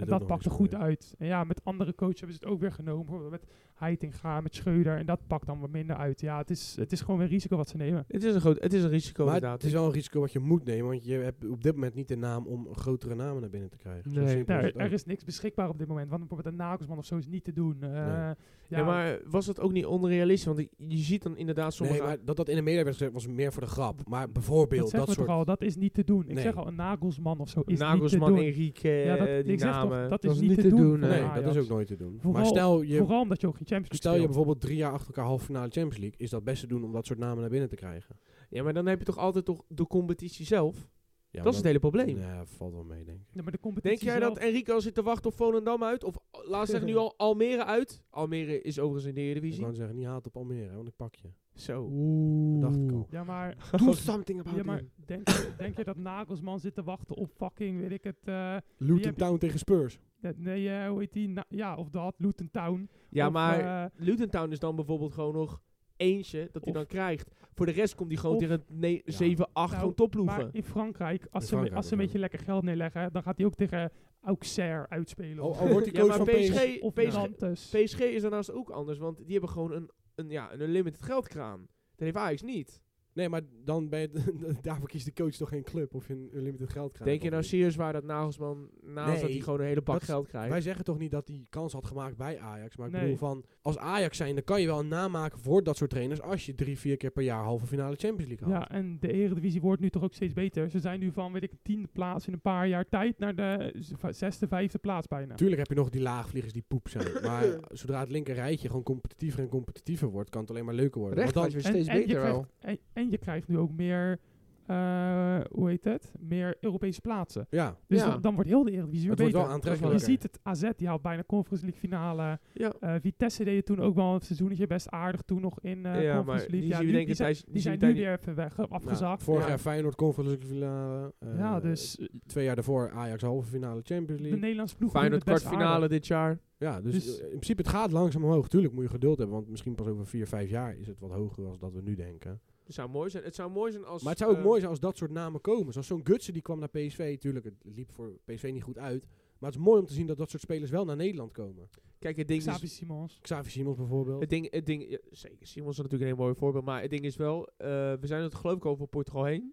Speaker 2: doet
Speaker 4: dat
Speaker 2: nog
Speaker 4: pakte
Speaker 2: niks
Speaker 4: goed
Speaker 2: mee.
Speaker 4: uit. En ja, met andere coaches hebben ze het ook weer genomen. Bijvoorbeeld met Heitinga, met Schreuder. En dat pakt dan wat minder uit. Ja, het is, het is gewoon weer risico wat ze nemen.
Speaker 1: het, is een groot, het is een risico
Speaker 2: Maar
Speaker 1: eh, inderdaad.
Speaker 2: het is wel een risico wat je moet nemen, want je hebt op dit moment niet de naam om grotere namen naar binnen te krijgen. Zo
Speaker 1: Nee.
Speaker 2: simpel
Speaker 4: Ja,
Speaker 2: is
Speaker 4: er,
Speaker 2: het ook.
Speaker 4: er is niks beschikbaar op dit moment. Want bijvoorbeeld een Nagelsman of zo is niet te doen. Eh, ja,
Speaker 1: ja, maar was dat ook niet onrealistisch? Want ik- je ziet dan inderdaad sommige...
Speaker 2: nee, maar dat dat in de media werd gezegd was meer voor de grap. Maar bijvoorbeeld dat,
Speaker 4: dat zeggen we
Speaker 2: soort...
Speaker 4: toch al. Dat is niet te doen. Ik
Speaker 2: Nee.
Speaker 4: zeg al, een Nagelsman of zo is
Speaker 1: Nagelsman,
Speaker 4: niet te doen.
Speaker 1: Enrique,
Speaker 4: ja, dat,
Speaker 1: eh,
Speaker 4: ik
Speaker 1: die
Speaker 4: zeg
Speaker 1: namen.
Speaker 4: toch, dat,
Speaker 3: Dat
Speaker 4: is niet te doen.
Speaker 3: nee.
Speaker 2: Nee,
Speaker 4: voor
Speaker 2: dat
Speaker 4: Ajax.
Speaker 2: is ook nooit te doen. maar
Speaker 4: Vooral-
Speaker 2: stel je,
Speaker 4: Vooral omdat je ook geen Champions
Speaker 2: stel je
Speaker 4: League speelt.
Speaker 2: bijvoorbeeld drie jaar achter elkaar halve finale Champions League, is dat best te doen om dat soort namen naar binnen te krijgen.
Speaker 1: Ja, maar dan heb je toch altijd toch de competitie zelf?
Speaker 2: Ja,
Speaker 1: dat is het hele probleem.
Speaker 2: Ja, valt wel mee, denk ik.
Speaker 4: Ja, maar de competitie
Speaker 1: Denk jij dat
Speaker 4: zelf-
Speaker 1: Enrique al zit te wachten op Volendam uit? Of oh, laat zeggen
Speaker 4: (laughs)
Speaker 1: nu al Almere uit? Almere is overigens in de
Speaker 2: Ik
Speaker 1: Eredivisie.
Speaker 2: kan zeggen, niet haat op Almere, hè, want ik pak je.
Speaker 1: Zo.
Speaker 3: Oeh.
Speaker 2: dacht
Speaker 1: (laughs)
Speaker 2: ik al.
Speaker 4: Ja,
Speaker 2: (laughs)
Speaker 4: maar
Speaker 3: Do something about
Speaker 4: Ja,
Speaker 3: it.
Speaker 4: maar denk, je- denk je dat Nagelsman zit te wachten op fucking, weet ik het, eh, Die
Speaker 2: Luton
Speaker 4: heb-
Speaker 2: Town tegen Spurs.
Speaker 4: dat- nee, eh, hoe heet die? Na- ja, of dat, Luton Town.
Speaker 1: Ja,
Speaker 4: Of,
Speaker 1: maar...
Speaker 4: eh,
Speaker 1: Lutentown is dan bijvoorbeeld gewoon nog eentje dat hij
Speaker 4: Of-
Speaker 1: dan krijgt. Voor de rest komt hij gewoon
Speaker 4: Of-
Speaker 1: tegen het ne-
Speaker 2: Ja.
Speaker 1: 7, 8
Speaker 4: Nou,
Speaker 1: gewoon topploegen.
Speaker 4: maar in Frankrijk, als,
Speaker 2: In
Speaker 4: ze,
Speaker 2: Frankrijk
Speaker 4: als ze een
Speaker 2: ook.
Speaker 4: beetje lekker geld neerleggen, dan gaat hij ook tegen Auxerre uitspelen.
Speaker 2: Al,
Speaker 4: of-
Speaker 2: al Oh, wordt die
Speaker 1: (laughs) Ja,
Speaker 2: coach
Speaker 1: maar
Speaker 2: van
Speaker 1: PSG,
Speaker 2: PSG...
Speaker 4: of
Speaker 1: PSG,
Speaker 4: Nantes.
Speaker 1: PSG is daarnaast ook anders, want die hebben gewoon een, een, ja, een unlimited geldkraan. Dat heeft Ajax niet.
Speaker 2: Nee, maar dan ben je... (laughs) daarvoor kiest de coach toch geen club of je een limited geld krijgt.
Speaker 1: Denk je
Speaker 2: of
Speaker 1: nou
Speaker 2: niet.
Speaker 1: serieus waar dat Nagelsman, naast dat hij
Speaker 2: Nee,
Speaker 1: gewoon een hele pak
Speaker 2: dat is-
Speaker 1: geld krijgt?
Speaker 2: Wij zeggen toch niet dat hij kans had gemaakt bij Ajax. Maar ik
Speaker 4: Nee.
Speaker 2: bedoel van, als Ajax zijn, dan kan je wel een naam maken voor dat soort trainers. Als je drie, vier keer per jaar halve finale Champions League haalt.
Speaker 4: Ja, en de Eredivisie wordt nu toch ook steeds beter. Ze zijn nu van, weet ik, tiende plaats in een paar jaar tijd naar de z- zesde, vijfde plaats bijna.
Speaker 2: Tuurlijk heb je nog die laagvliegers die poep zijn. maar zodra het linker rijtje gewoon competitiever en competitiever wordt, kan het alleen maar leuker worden.
Speaker 3: Recht
Speaker 2: Want
Speaker 3: was
Speaker 2: dan,
Speaker 3: weer steeds
Speaker 4: je
Speaker 3: beter
Speaker 4: krijgt,
Speaker 3: wel.
Speaker 4: en, en je krijgt nu ook meer, eh, hoe heet het, meer Europese plaatsen.
Speaker 2: ja,
Speaker 4: Dus
Speaker 1: Ja.
Speaker 4: dan, dan wordt heel de Eredivisie weer
Speaker 2: Het wordt
Speaker 4: beter.
Speaker 2: wel aantrekkelijker.
Speaker 4: Je ziet het, AZ die haalt bijna Conference League finale.
Speaker 1: ja,
Speaker 4: Eh, Vitesse deed het toen ook wel een seizoentje best aardig toen nog in eh
Speaker 1: ja maar
Speaker 4: Conference
Speaker 1: die,
Speaker 4: League. Ja,
Speaker 1: zien we
Speaker 4: nu-
Speaker 1: denk
Speaker 4: die,
Speaker 1: ik
Speaker 4: zijn,
Speaker 1: tijdens-
Speaker 4: die
Speaker 1: zien
Speaker 4: zijn
Speaker 1: we
Speaker 4: nu
Speaker 1: tijdens-
Speaker 4: weer even weg, eh,
Speaker 2: nou,
Speaker 4: afgezakt.
Speaker 2: vorig
Speaker 4: ja.
Speaker 2: jaar Feyenoord Conference League finale. eh,
Speaker 4: Ja, dus eh,
Speaker 2: Twee jaar daarvoor Ajax halve finale Champions
Speaker 4: de
Speaker 2: League.
Speaker 4: Nederlandse ploeg
Speaker 1: Feyenoord
Speaker 4: doet het best
Speaker 1: kwartfinale
Speaker 4: aardig.
Speaker 1: dit jaar.
Speaker 2: Ja, dus,
Speaker 4: Dus-
Speaker 2: eh, in principe het gaat langzaam omhoog. Tuurlijk moet je geduld hebben, want misschien pas over vier, vijf jaar is het wat hoger dan dat we nu denken.
Speaker 1: Het zou mooi zijn. Het zou mooi zijn als...
Speaker 2: Maar het zou ook
Speaker 1: eh,
Speaker 2: mooi zijn als dat soort namen komen. Zoals zo'n Gutsen die kwam naar PSV. Tuurlijk, het liep voor PSV niet goed uit. Maar het is mooi om te zien dat dat soort spelers wel naar Nederland komen.
Speaker 1: Kijk, het ding is...
Speaker 4: Xavi Simons.
Speaker 2: Xavi Simons bijvoorbeeld.
Speaker 1: Het ding, het ding, ja, zeker, Simon is natuurlijk een heel mooi voorbeeld. Maar het ding is wel, eh, we zijn het geloof ik over Portugal heen.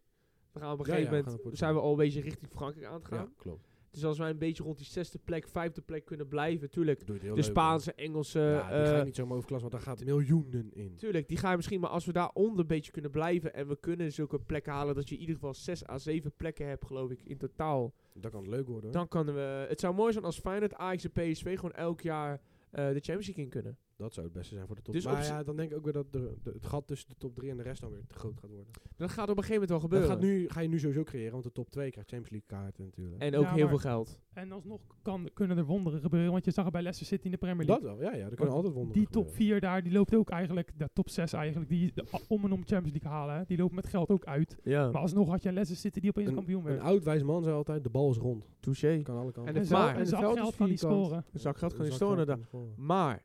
Speaker 1: We gaan op een
Speaker 2: Ja,
Speaker 1: gegeven
Speaker 2: ja, we gaan naar
Speaker 1: moment,
Speaker 2: Portugal.
Speaker 1: zijn we al een beetje richting Frankrijk aan het gaan.
Speaker 2: ja, klopt.
Speaker 1: Dus als wij een beetje rond die zesde plek, vijfde plek kunnen blijven, tuurlijk.
Speaker 2: Dat doe je heel
Speaker 1: de
Speaker 2: leuk,
Speaker 1: Spaanse, Engelse.
Speaker 2: hoor. Ja, die ga je
Speaker 1: eh,
Speaker 2: niet zomaar overklassen, want daar gaat miljoenen in.
Speaker 1: Tuurlijk, die ga je misschien, maar als we daaronder een beetje kunnen blijven en we kunnen zulke plekken halen dat je in ieder geval 6 à 7 plekken hebt, geloof ik, in totaal.
Speaker 2: Dat kan leuk worden. hoor.
Speaker 1: Dan kunnen we, het zou mooi zijn als Feyenoord, Ajax en PSV gewoon elk jaar eh, de Champions League in kunnen.
Speaker 2: Dat zou het beste zijn voor de top.
Speaker 1: Dus op
Speaker 2: maar
Speaker 1: zi-
Speaker 2: ja, dan denk ik ook weer dat de, de- het gat tussen de top 3 en de rest dan weer te groot gaat worden.
Speaker 1: Dat gaat op een gegeven moment wel
Speaker 2: Dat
Speaker 1: gebeuren.
Speaker 2: gaat, nu, ga je nu sowieso creëren, want de top 2 krijgt Champions League kaarten natuurlijk.
Speaker 1: En ook
Speaker 4: Ja,
Speaker 1: heel
Speaker 4: maar-
Speaker 1: veel geld.
Speaker 4: En alsnog kan, kunnen er wonderen gebeuren, want je zag het bij Leicester City in de Premier
Speaker 2: dat
Speaker 4: League.
Speaker 2: wel, ja, ja. Er kunnen altijd wonderen
Speaker 4: die top 4 daar, die loopt ook eigenlijk, de top 6 eigenlijk, die de- om en om Champions League halen, hè, die loopt met geld ook uit.
Speaker 1: Ja,
Speaker 4: Maar alsnog had je een Leicester City die opeens kampioen
Speaker 2: Een
Speaker 4: werd.
Speaker 2: oud wijs man zei altijd, de bal is rond.
Speaker 1: touché.
Speaker 2: Kan alle kanten.
Speaker 3: En de
Speaker 4: En
Speaker 3: veld-
Speaker 4: zag
Speaker 1: maar-
Speaker 3: en de veld is
Speaker 4: geld van die
Speaker 3: vierkant.
Speaker 4: scoren.
Speaker 1: Een zak geld
Speaker 2: Een
Speaker 1: kan je
Speaker 2: zak
Speaker 1: stonen
Speaker 2: geld
Speaker 1: daar.
Speaker 2: kan je stonen.
Speaker 1: Maar,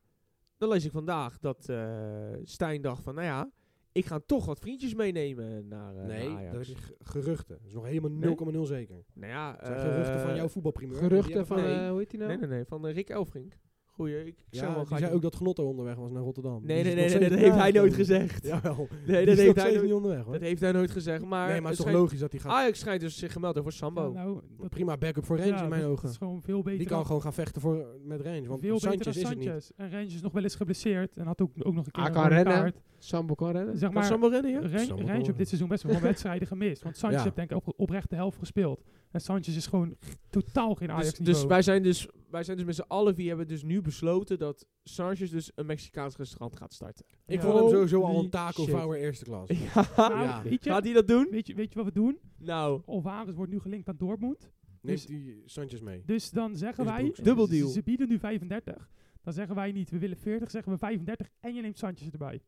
Speaker 1: dan lees ik vandaag dat eh, Stijn dacht van, nou ja, ik ga toch wat vriendjes meenemen naar eh,
Speaker 2: Nee,
Speaker 1: naar Ajax.
Speaker 2: dat is g- geruchten. Dat is nog helemaal 0,0 zeker.
Speaker 1: Nou ja,
Speaker 2: Het zijn
Speaker 1: eh,
Speaker 2: geruchten van jouw voetbalprimeur.
Speaker 3: Geruchten van,
Speaker 1: nee.
Speaker 3: eh, hoe heet die nou?
Speaker 1: Nee, nee, nee, van eh, Rick Elfrink. Goeie, ik, ik zou
Speaker 2: Ja,
Speaker 1: wel
Speaker 2: die
Speaker 1: gaan.
Speaker 2: zei ook dat Gnotto onderweg was naar Rotterdam.
Speaker 1: Nee,
Speaker 2: Die
Speaker 1: nee,
Speaker 2: is
Speaker 1: nee, nee,
Speaker 2: nog
Speaker 1: dat
Speaker 2: steeds
Speaker 1: heeft
Speaker 2: niet
Speaker 1: hij nooit
Speaker 2: aangekomen.
Speaker 1: gezegd.
Speaker 2: (laughs) Jawel.
Speaker 1: Nee,
Speaker 2: die
Speaker 1: dat
Speaker 2: is
Speaker 1: heeft, hij
Speaker 2: nog steeds
Speaker 1: nooit,
Speaker 2: niet onderweg hoor.
Speaker 1: dat heeft hij nooit gezegd. Maar,
Speaker 2: nee, maar het is toch
Speaker 1: schijnt-
Speaker 2: logisch dat hij gaat...
Speaker 1: Ajax schijnt dus zich gemeld hebben voor Sambo.
Speaker 4: Ja, nou, dat-
Speaker 2: prima backup voor Range
Speaker 4: ja,
Speaker 2: in mijn
Speaker 4: dat-
Speaker 2: ogen.
Speaker 4: Dat is gewoon veel beter.
Speaker 2: Die kan
Speaker 4: dan-
Speaker 2: gewoon gaan vechten voor, met Range. Want
Speaker 4: veel beter dan
Speaker 2: Sanchez is het niet.
Speaker 4: Sanchez. En Range is nog wel eens geblesseerd en had ook, ook nog een keer
Speaker 3: Hij
Speaker 4: een
Speaker 3: kan
Speaker 4: rode
Speaker 3: rennen.
Speaker 4: kaart. Eh,
Speaker 3: Sambo kan rennen.
Speaker 4: Zeg
Speaker 1: kan
Speaker 4: maar,
Speaker 1: Sambo rennen, ja?
Speaker 4: Range
Speaker 2: Sam moet
Speaker 4: heeft
Speaker 2: horen.
Speaker 4: dit seizoen
Speaker 2: (laughs)
Speaker 4: best wel wat wedstrijden gemist. Want Sanchez
Speaker 2: Ja.
Speaker 4: heeft denk ik op, oprecht de helft gespeeld. En Sanchez is gewoon g- totaal geen
Speaker 1: Dus,
Speaker 4: Ajax
Speaker 1: dus
Speaker 4: niveau.
Speaker 1: wij zijn dus, wij zijn dus met z'n allen vier hebben dus nu besloten dat Sanchez dus een Mexicaans restaurant gaat starten.
Speaker 2: Ik
Speaker 4: Ja.
Speaker 2: vond hem sowieso al
Speaker 1: Holy
Speaker 2: een taco
Speaker 1: shit.
Speaker 2: vouwer eerste klas.
Speaker 1: Ja.
Speaker 4: Nou,
Speaker 2: Ja.
Speaker 4: weet, je,
Speaker 1: Gaat hij dat doen?
Speaker 4: weet, je, weet je wat we doen?
Speaker 1: Nou,
Speaker 4: Alvarez wordt nu gelinkt aan Dortmund.
Speaker 2: Neemt die Sanchez mee.
Speaker 4: Dus dan zeggen
Speaker 2: Is
Speaker 4: wij...
Speaker 2: Broeks.
Speaker 1: Dubbeldeal.
Speaker 4: Ze, ze bieden nu 35. Dan zeggen wij niet, we willen 40, zeggen we 35 en je neemt Sanchez erbij.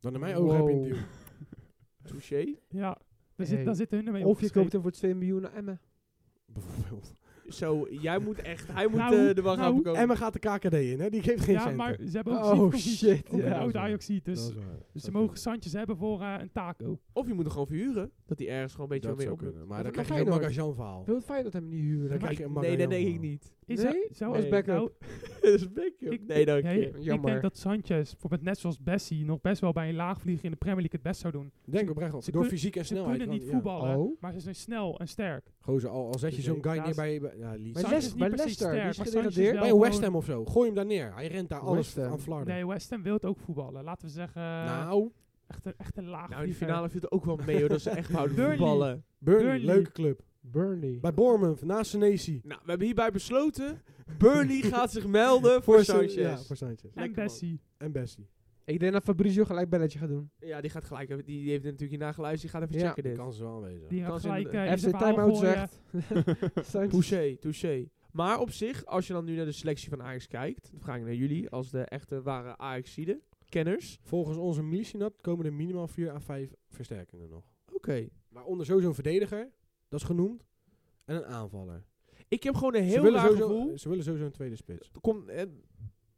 Speaker 2: Dan in mijn ogen heb je een
Speaker 3: Wow.
Speaker 2: deal.
Speaker 1: touché.
Speaker 4: Ja, dan,
Speaker 3: Hey.
Speaker 4: zit, dan zitten hun ermee
Speaker 3: Of je
Speaker 4: opgeschreven.
Speaker 3: koopt hem voor 2 miljoen naar Emmen.
Speaker 2: Bijvoorbeeld.
Speaker 1: Zo, jij moet echt, hij moet
Speaker 4: Nou,
Speaker 1: eh, er wel gaan
Speaker 4: nou,
Speaker 1: komen.
Speaker 2: Emma gaat de KKD in, hè? Die geeft geen
Speaker 4: Ja,
Speaker 2: centen.
Speaker 4: maar ze hebben ook
Speaker 3: Oh,
Speaker 4: Sivkovic,
Speaker 3: shit,
Speaker 4: ook
Speaker 3: ja.
Speaker 4: een oud Ajax dus
Speaker 2: Dat is waar.
Speaker 4: Dus
Speaker 2: Dat
Speaker 4: ze
Speaker 2: zou
Speaker 4: mogen
Speaker 2: kunnen.
Speaker 4: Sanchez hebben voor eh, een taco.
Speaker 1: Of je moet hem gewoon verhuren. Dat hij ergens gewoon een beetje
Speaker 2: Dat
Speaker 1: mee
Speaker 2: zou
Speaker 1: op...
Speaker 2: kunnen. Maar
Speaker 3: Of
Speaker 2: dan
Speaker 3: een
Speaker 2: krijg je een
Speaker 3: Feyenoord.
Speaker 2: Magajan verhaal.
Speaker 3: Wil het fijn dat hem niet huren?
Speaker 2: Dan
Speaker 3: Kijk,
Speaker 2: krijg je een
Speaker 1: Nee, dat
Speaker 2: Magallon
Speaker 1: denk ik
Speaker 2: verhaal.
Speaker 4: (laughs)
Speaker 1: niet.
Speaker 4: Is
Speaker 3: Nee?
Speaker 4: hij- zou
Speaker 1: Nee.
Speaker 4: als
Speaker 3: backup.
Speaker 4: nou,
Speaker 1: dat is backup.
Speaker 4: Ik-
Speaker 1: Nee, dank
Speaker 4: ja,
Speaker 1: je. Nou,
Speaker 4: ik
Speaker 3: Jammer.
Speaker 4: denk dat Sanchez, bijvoorbeeld net zoals Bessie, nog best wel bij een laag vliegen in de Premier League het best zou doen.
Speaker 2: Denk oprecht op.
Speaker 4: ze
Speaker 2: Door
Speaker 4: kun-
Speaker 2: fysiek en
Speaker 4: Ze
Speaker 2: snelheid.
Speaker 4: kunnen
Speaker 2: want-
Speaker 4: niet
Speaker 2: ja.
Speaker 4: voetballen,
Speaker 3: Oh.
Speaker 4: maar ze zijn snel en sterk.
Speaker 2: Gozer, al, al zet je
Speaker 1: Dus
Speaker 2: zo'n
Speaker 1: ik-
Speaker 2: guy
Speaker 4: ja,
Speaker 2: neer
Speaker 4: ze-
Speaker 2: bij... bij- Ja, Leeds.
Speaker 3: Maar
Speaker 4: Sanchez
Speaker 3: Les-
Speaker 4: is niet
Speaker 3: bij
Speaker 4: per se
Speaker 3: Leicester, die is
Speaker 4: maar
Speaker 3: gedegradeerd.
Speaker 4: Sanchez wel
Speaker 2: bij een West
Speaker 4: gewoon-
Speaker 2: Ham of zo. Gooi hem daar neer. Hij rent daar alles
Speaker 3: West Ham.
Speaker 2: aan flarden.
Speaker 4: Nee, West Ham wil het ook voetballen. Laten we zeggen,
Speaker 2: nou,
Speaker 4: echt, een, echt een laag
Speaker 1: Nou, die
Speaker 4: vlieger.
Speaker 1: finale viel er ook wel mee hoor, dat ze echt houden
Speaker 4: Burnley.
Speaker 1: voetballen.
Speaker 2: Burnley,
Speaker 4: Burnley.
Speaker 2: leuke club.
Speaker 3: Burnley.
Speaker 2: Bij Bournemouth, naast Senesi.
Speaker 1: Nou, we hebben hierbij besloten, Burnley gaat zich melden voor
Speaker 2: San-
Speaker 1: Sanchez.
Speaker 2: Ja, voor Sanchez.
Speaker 4: En
Speaker 1: Lekker, man.
Speaker 4: Bessie.
Speaker 2: En Bessie.
Speaker 3: Ik denk dat Fabrizio gelijk belletje gaat doen.
Speaker 1: Ja, die gaat gelijk. even- Die, die heeft natuurlijk hierna geluisterd. Die gaat even
Speaker 3: Ja,
Speaker 1: checken
Speaker 2: De
Speaker 1: dit.
Speaker 2: kans is wel aanwezig.
Speaker 4: Die gaat
Speaker 1: Kans in
Speaker 4: gelijk
Speaker 1: de-
Speaker 4: eh, in zijn
Speaker 3: FC
Speaker 4: verhaal
Speaker 3: Timeout
Speaker 4: gooien.
Speaker 3: zegt. (laughs) Sanchez.
Speaker 1: Touché, touché. Maar op zich, als je dan nu naar de selectie van Ajax kijkt, dan vraag ik naar jullie als de echte ware Ajaxiden, kenners.
Speaker 2: Volgens onze Milicinap komen er minimaal 4 à 5 versterkingen nog.
Speaker 1: Oké.
Speaker 2: Waaronder sowieso een verdediger, dat is genoemd. En een aanvaller.
Speaker 1: Ik heb gewoon een
Speaker 2: ze,
Speaker 1: heel
Speaker 2: willen
Speaker 1: raar
Speaker 2: sowieso,
Speaker 1: gevoel.
Speaker 2: ze willen sowieso een tweede spits.
Speaker 1: Kom, eh, dat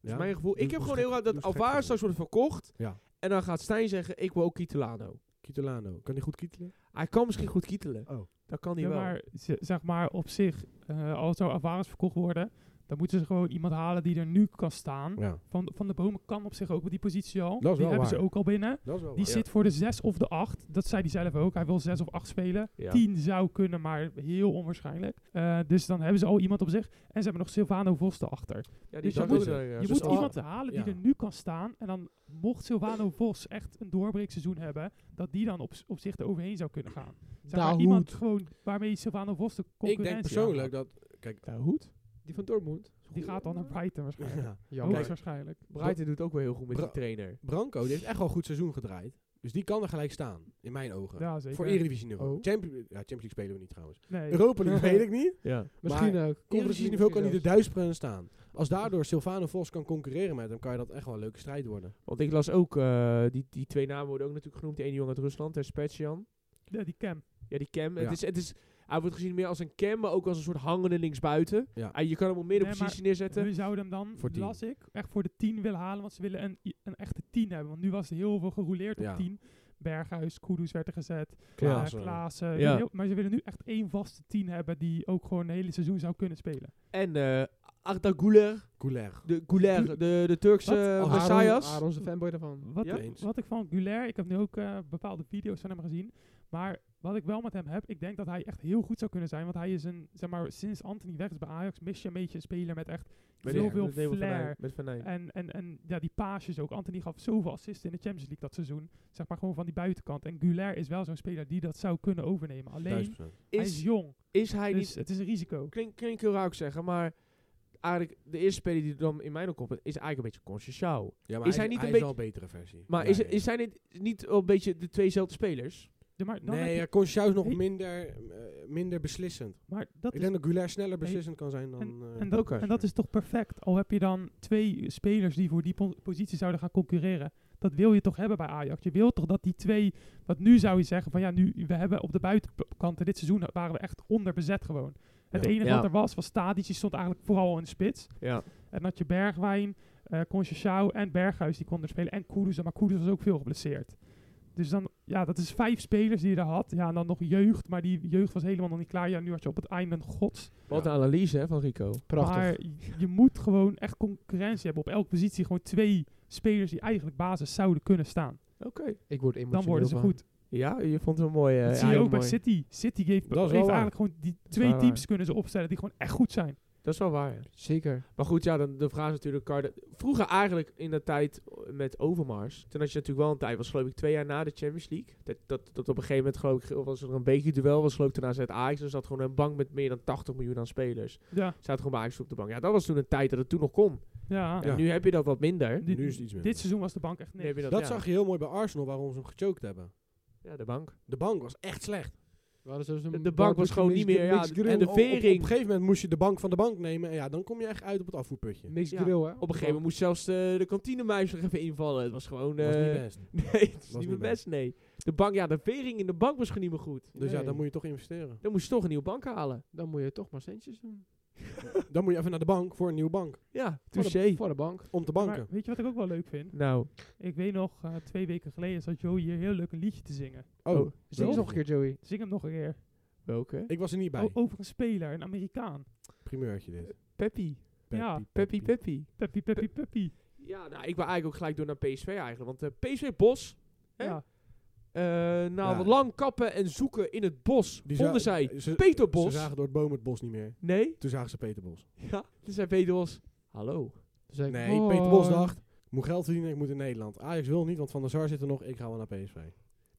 Speaker 1: is
Speaker 2: Ja?
Speaker 1: mijn gevoel.
Speaker 2: Doe-
Speaker 1: Ik heb
Speaker 2: doe
Speaker 1: gewoon
Speaker 2: gek-
Speaker 1: heel raar
Speaker 2: doe
Speaker 1: dat
Speaker 2: gek
Speaker 1: Alvarez
Speaker 2: gevoel.
Speaker 1: straks wordt verkocht.
Speaker 2: Ja.
Speaker 1: En dan gaat Stijn zeggen, ik wil ook Kittelano.
Speaker 2: Kitolano, kan die goed kietelen?
Speaker 1: Hij kan misschien goed kietelen.
Speaker 2: Oh.
Speaker 1: Dat kan hij
Speaker 4: Ja,
Speaker 1: wel.
Speaker 4: maar ze- zeg maar op zich, eh, als er Alvarez verkocht worden, dan moeten ze gewoon iemand halen die er nu kan staan.
Speaker 2: Hm. Ja,
Speaker 4: Van, van de Bomen kan op zich ook op die positie al.
Speaker 2: wel
Speaker 4: Die hebben
Speaker 2: waar.
Speaker 4: ze ook al binnen.
Speaker 2: dat is wel
Speaker 4: Die
Speaker 2: waar.
Speaker 4: zit voor de 6 of de 8. Dat zei hij zelf ook. Hij wil 6 of 8 spelen.
Speaker 1: Ja.
Speaker 4: 10 zou kunnen, maar heel onwaarschijnlijk. Eh, dus dan hebben ze al iemand op zich. En ze hebben nog Silvano Vos erachter.
Speaker 1: Ja, die
Speaker 4: Dus je
Speaker 1: zag
Speaker 4: moet-
Speaker 1: ook daar, ja.
Speaker 4: je
Speaker 2: dus
Speaker 4: moet
Speaker 2: al-
Speaker 4: iemand halen die
Speaker 2: ja.
Speaker 4: er nu kan staan. En dan mocht Silvano Vos echt een doorbreekseizoen hebben, dat die dan op, op zich er overheen zou kunnen gaan. Zeg maar
Speaker 3: Dahoud.
Speaker 4: iemand gewoon waarmee Silvano Vos de
Speaker 2: Ik
Speaker 4: concurrentie
Speaker 2: denk persoonlijk
Speaker 4: aangaat.
Speaker 2: dat... Kijk,
Speaker 1: goed.
Speaker 3: Die van Dortmund.
Speaker 4: Die gaat dan naar Brighton waarschijnlijk.
Speaker 2: (laughs) ja.
Speaker 3: Jammer.
Speaker 2: Kijk,
Speaker 4: waarschijnlijk.
Speaker 1: Brighton doet ook wel heel goed met
Speaker 2: Bra-
Speaker 1: die trainer.
Speaker 2: Branco, die heeft echt wel een goed seizoen gedraaid. Dus die kan er gelijk staan, in mijn ogen.
Speaker 4: Ja, zeker.
Speaker 2: Voor Eredivisie niveau.
Speaker 3: Oh.
Speaker 2: Champions, ja, Champions League spelen we niet trouwens.
Speaker 4: Nee.
Speaker 2: Europa League
Speaker 3: Ja.
Speaker 2: weet ik niet.
Speaker 1: Ja.
Speaker 3: Misschien ook.
Speaker 2: Eredivisie niveau kan hij
Speaker 1: dus-
Speaker 2: de duisperen staan. Als daardoor Silvano Vos kan concurreren met hem, kan je dat echt wel een leuke strijd worden.
Speaker 1: Want ik las ook, eh, die, die twee namen worden ook natuurlijk genoemd. De ene jongen uit Rusland, Terspetjan.
Speaker 4: Ja, die Cam.
Speaker 1: Ja, die Cam.
Speaker 2: Ja.
Speaker 1: Het is, het is, hij wordt gezien meer als een Cam, maar ook als een soort hangende linksbuiten.
Speaker 2: Ja.
Speaker 1: En je kan hem op middenpositie
Speaker 4: Nee,
Speaker 1: positie neerzetten.
Speaker 4: We zouden hem dan,
Speaker 2: Voor tien.
Speaker 4: las ik, echt voor de 10 willen halen. Want ze willen een, i- een echte 10 hebben. Want nu was er heel veel gerouleerd
Speaker 2: Ja.
Speaker 4: op 10. Berghuis, Kudus werd er gezet.
Speaker 1: Ja.
Speaker 4: Ja.
Speaker 2: Klaassen.
Speaker 4: Klaassen.
Speaker 1: Ja.
Speaker 4: heel- maar ze willen nu echt één vaste 10 hebben die ook gewoon een hele seizoen zou kunnen spelen.
Speaker 1: En eh, Arda Güler,
Speaker 2: Couler.
Speaker 1: de, Güler, de, de Turkse eh,
Speaker 4: Wat?
Speaker 1: Messias.
Speaker 3: Oh, Aaron is een fanboy daarvan.
Speaker 4: Wat,
Speaker 1: Ja.
Speaker 4: ik,
Speaker 2: Eens.
Speaker 4: wat ik van Guler, ik heb nu ook eh, bepaalde video's van hem gezien. Maar wat ik wel met hem heb, ik denk dat hij echt heel goed zou kunnen zijn. Want hij is een, zeg maar, sinds Anthony weg is bij Ajax, mis je een beetje een speler met echt
Speaker 1: Met-
Speaker 4: veel,
Speaker 1: met
Speaker 4: veel
Speaker 1: Nevel van
Speaker 4: flair. Eh,
Speaker 1: Eyck, Met Van Eyck.
Speaker 4: En, en, en ja, die paasjes ook. Anthony gaf zoveel assisten in de Champions League dat seizoen. Zeg maar gewoon van die buitenkant. En Guler is wel zo'n speler die dat zou kunnen overnemen. Alleen, hij is
Speaker 1: Is,
Speaker 4: jong.
Speaker 1: is hij
Speaker 4: dus
Speaker 1: niet...
Speaker 4: het is een risico.
Speaker 1: Klinkt klink heel raar ook zeggen, maar... Eigenlijk, de eerste speler die dan in mijn opkomt, is eigenlijk een beetje Conceição.
Speaker 2: Ja, maar
Speaker 1: Is
Speaker 2: hij
Speaker 1: hij niet
Speaker 2: hij
Speaker 1: een beetje-
Speaker 2: is wel een betere versie.
Speaker 1: Maar
Speaker 2: Ja,
Speaker 1: is,
Speaker 2: ja,
Speaker 1: het- is zijn dit niet wel een beetje de tweezelfde spelers?
Speaker 4: Ja, maar, dan
Speaker 2: Nee,
Speaker 4: heb
Speaker 2: ja,
Speaker 4: je,
Speaker 2: Conchau is nog
Speaker 4: Hey.
Speaker 2: minder, eh, minder beslissend.
Speaker 4: maar dat
Speaker 2: Ik
Speaker 4: is
Speaker 2: denk dat Goulair sneller
Speaker 4: Hey.
Speaker 2: beslissend kan zijn dan... eh,
Speaker 4: En dat,
Speaker 1: Oké.
Speaker 4: en dat is toch perfect. Al heb je dan twee spelers die voor die po- positie zouden gaan concurreren. Dat wil je toch hebben bij Ajax. Je wilt toch dat die twee. Want nu zou je zeggen van ja, nu we hebben op de buitenkanten dit seizoen waren we echt onderbezet gewoon. Het
Speaker 2: Ja.
Speaker 4: enige
Speaker 1: Ja.
Speaker 4: wat er was was Tadic, die stond eigenlijk vooral in de spits.
Speaker 1: Ja.
Speaker 4: En dan had je Bergwijn, eh Conceição en Berghuis die konden er spelen. En Kudus, maar Kudus was ook veel geblesseerd. Dus dan, ja, dat is vijf spelers die je daar had. Ja, en dan nog jeugd, maar die jeugd was helemaal nog niet klaar. Ja, nu had je op het einde een gods.
Speaker 1: Wat een analyse hè, van Rico.
Speaker 3: Prachtig.
Speaker 4: Maar je- je moet gewoon echt concurrentie hebben op elke positie. Gewoon twee spelers die eigenlijk basis zouden kunnen staan.
Speaker 1: Oké.
Speaker 3: ik word emotioneel
Speaker 4: Dan worden ze
Speaker 3: van.
Speaker 4: goed.
Speaker 1: Ja, je vond het mooi. eh,
Speaker 4: dat
Speaker 1: ja,
Speaker 4: zie je
Speaker 1: heel
Speaker 4: ook bij
Speaker 1: mooi.
Speaker 4: City. City heeft,
Speaker 2: Dat is wel
Speaker 4: heeft
Speaker 2: waar.
Speaker 4: eigenlijk gewoon die twee
Speaker 1: wel waar.
Speaker 4: teams kunnen ze opstellen die gewoon echt goed zijn.
Speaker 1: Dat is wel waar. ja.
Speaker 3: Zeker.
Speaker 1: Maar goed, ja, dan de vraag is natuurlijk... Cardi- Vroeger eigenlijk in de tijd eh, met Overmars... Toen had je natuurlijk wel een tijd, was geloof ik twee jaar na de Champions League. Dat, dat, dat op een gegeven moment geloof ik, was er een bekerduel, was geloof ik daarna zet Ajax. Er zat gewoon een bank met meer dan 80 miljoen aan spelers.
Speaker 4: Ja,
Speaker 1: Zaten gewoon bij Ajax op de bank. Ja, dat was toen een tijd dat het toen nog kon.
Speaker 4: ja.
Speaker 1: En nu heb je dat wat minder.
Speaker 4: Dit,
Speaker 2: Nu is het iets minder.
Speaker 4: dit seizoen was de bank echt
Speaker 1: Nu heb
Speaker 4: niks.
Speaker 1: je
Speaker 2: dat
Speaker 1: ja.
Speaker 2: zag je heel mooi bij Arsenal, waarom ze hem gechoked hebben.
Speaker 1: Ja, de bank.
Speaker 2: De bank was echt slecht.
Speaker 3: We hadden zelfs een
Speaker 1: De- de bank was gewoon niet
Speaker 3: mixed-
Speaker 1: meer, ja,
Speaker 3: mixed grill.
Speaker 1: en de
Speaker 2: Op- op- Op,
Speaker 1: vering.
Speaker 2: een gegeven moment moest je de bank van de bank nemen. En ja, dan kom je echt uit op het afvoerputje.
Speaker 3: Mixed
Speaker 1: Ja.
Speaker 3: grill, hè?
Speaker 1: Op een gegeven moment moest zelfs eh, de, de kantinemuis nog even invallen. Het was gewoon...
Speaker 2: Dat was
Speaker 1: eh,
Speaker 2: niet best.
Speaker 1: (laughs) Nee, het is
Speaker 2: Was
Speaker 1: niet
Speaker 2: niet
Speaker 1: mijn best, nee. De bank, ja, de vering in de bank was gewoon niet meer goed.
Speaker 2: Dus ja,
Speaker 3: Nee.
Speaker 2: dan moet je toch investeren.
Speaker 1: Dan moest je toch een nieuwe bank halen.
Speaker 3: Dan moet je toch maar centjes doen.
Speaker 2: Dan moet je even naar de bank voor een nieuwe bank.
Speaker 1: Ja,
Speaker 3: Voor
Speaker 1: touché.
Speaker 3: de, voor de bank.
Speaker 2: Om te
Speaker 4: Maar
Speaker 2: banken.
Speaker 4: weet je wat ik ook wel leuk vind?
Speaker 1: Nou,
Speaker 4: Ik weet nog, eh, twee weken geleden zat Joey hier heel leuk een liedje te zingen.
Speaker 2: Oh,
Speaker 1: Oh.
Speaker 3: Zing eens nog een keer, Joey.
Speaker 4: Zing hem nog een keer.
Speaker 1: welke?
Speaker 2: ik was er niet bij.
Speaker 1: Oh,
Speaker 4: O- over een speler, een Amerikaan.
Speaker 2: Primeurtje dit.
Speaker 1: Peppy.
Speaker 4: Ja.
Speaker 1: Peppy, Peppy.
Speaker 4: Peppy, peppy, peppy.
Speaker 1: Ja, nou, ik wil eigenlijk ook gelijk door naar PSV eigenlijk. Want eh, PSV Bos, Hè?
Speaker 4: Ja.
Speaker 1: eh, na
Speaker 2: Ja.
Speaker 1: lang kappen en zoeken in het bos,
Speaker 2: Die
Speaker 1: vonden
Speaker 2: za-
Speaker 1: zij
Speaker 2: ze-
Speaker 1: Peter Bos.
Speaker 2: Ze zagen door het boom het bos niet meer.
Speaker 1: Nee? (laughs)
Speaker 2: Toen zagen ze Peter Bos.
Speaker 1: Ja. Toen zei Peter Bos, hallo.
Speaker 3: Toen zei ik, oh.
Speaker 2: Nee, Peter Bos
Speaker 3: hoi.
Speaker 2: dacht, ik moet geld verdienen, ik moet in Nederland. Ajax wil niet, want Van der Sar zit er nog, ik ga wel naar PSV.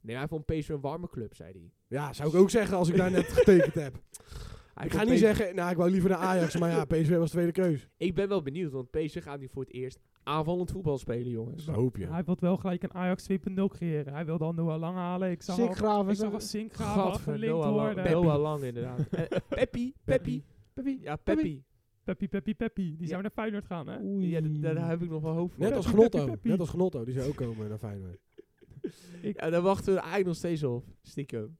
Speaker 1: Nee, hij vond PSV een warme club, zei hij.
Speaker 2: Ja, zou ik ook zeggen als ik daar
Speaker 1: (laughs)
Speaker 2: net getekend heb.
Speaker 1: hij
Speaker 2: Ik
Speaker 1: vond
Speaker 2: ga niet
Speaker 1: PSV
Speaker 2: zeggen, nou ik wou liever naar Ajax,
Speaker 1: (laughs)
Speaker 2: maar ja, PSV was tweede keus.
Speaker 1: Ik ben wel benieuwd, want PSV gaat nu voor het eerst aanvallend voetbal spelen, jongens.
Speaker 2: Zo hoop je.
Speaker 4: Hij wil wel gelijk een Ajax 2.0 creëren. Hij wilde al Noah Lang halen. Ik zag al
Speaker 3: Sick graven.
Speaker 4: Ik zag wel Sink gaan afgelinkt
Speaker 1: Lang,
Speaker 4: worden.
Speaker 1: Noah Lang inderdaad. (laughs) Eh, Peppy, Peppy.
Speaker 3: Peppy.
Speaker 1: Ja, Peppy.
Speaker 4: Peppy, Peppy, Peppy. Die zou naar Feyenoord gaan, hè?
Speaker 3: Oei.
Speaker 1: Ja, d- daar heb ik nog wel hoofd voor.
Speaker 2: Net als
Speaker 4: Peppie,
Speaker 2: Gnotto.
Speaker 4: Peppie, Peppie.
Speaker 2: Net als Gnotto, die zou ook komen naar Feyenoord.
Speaker 1: Ja, daar wachten we eigenlijk nog steeds op. Stiekem.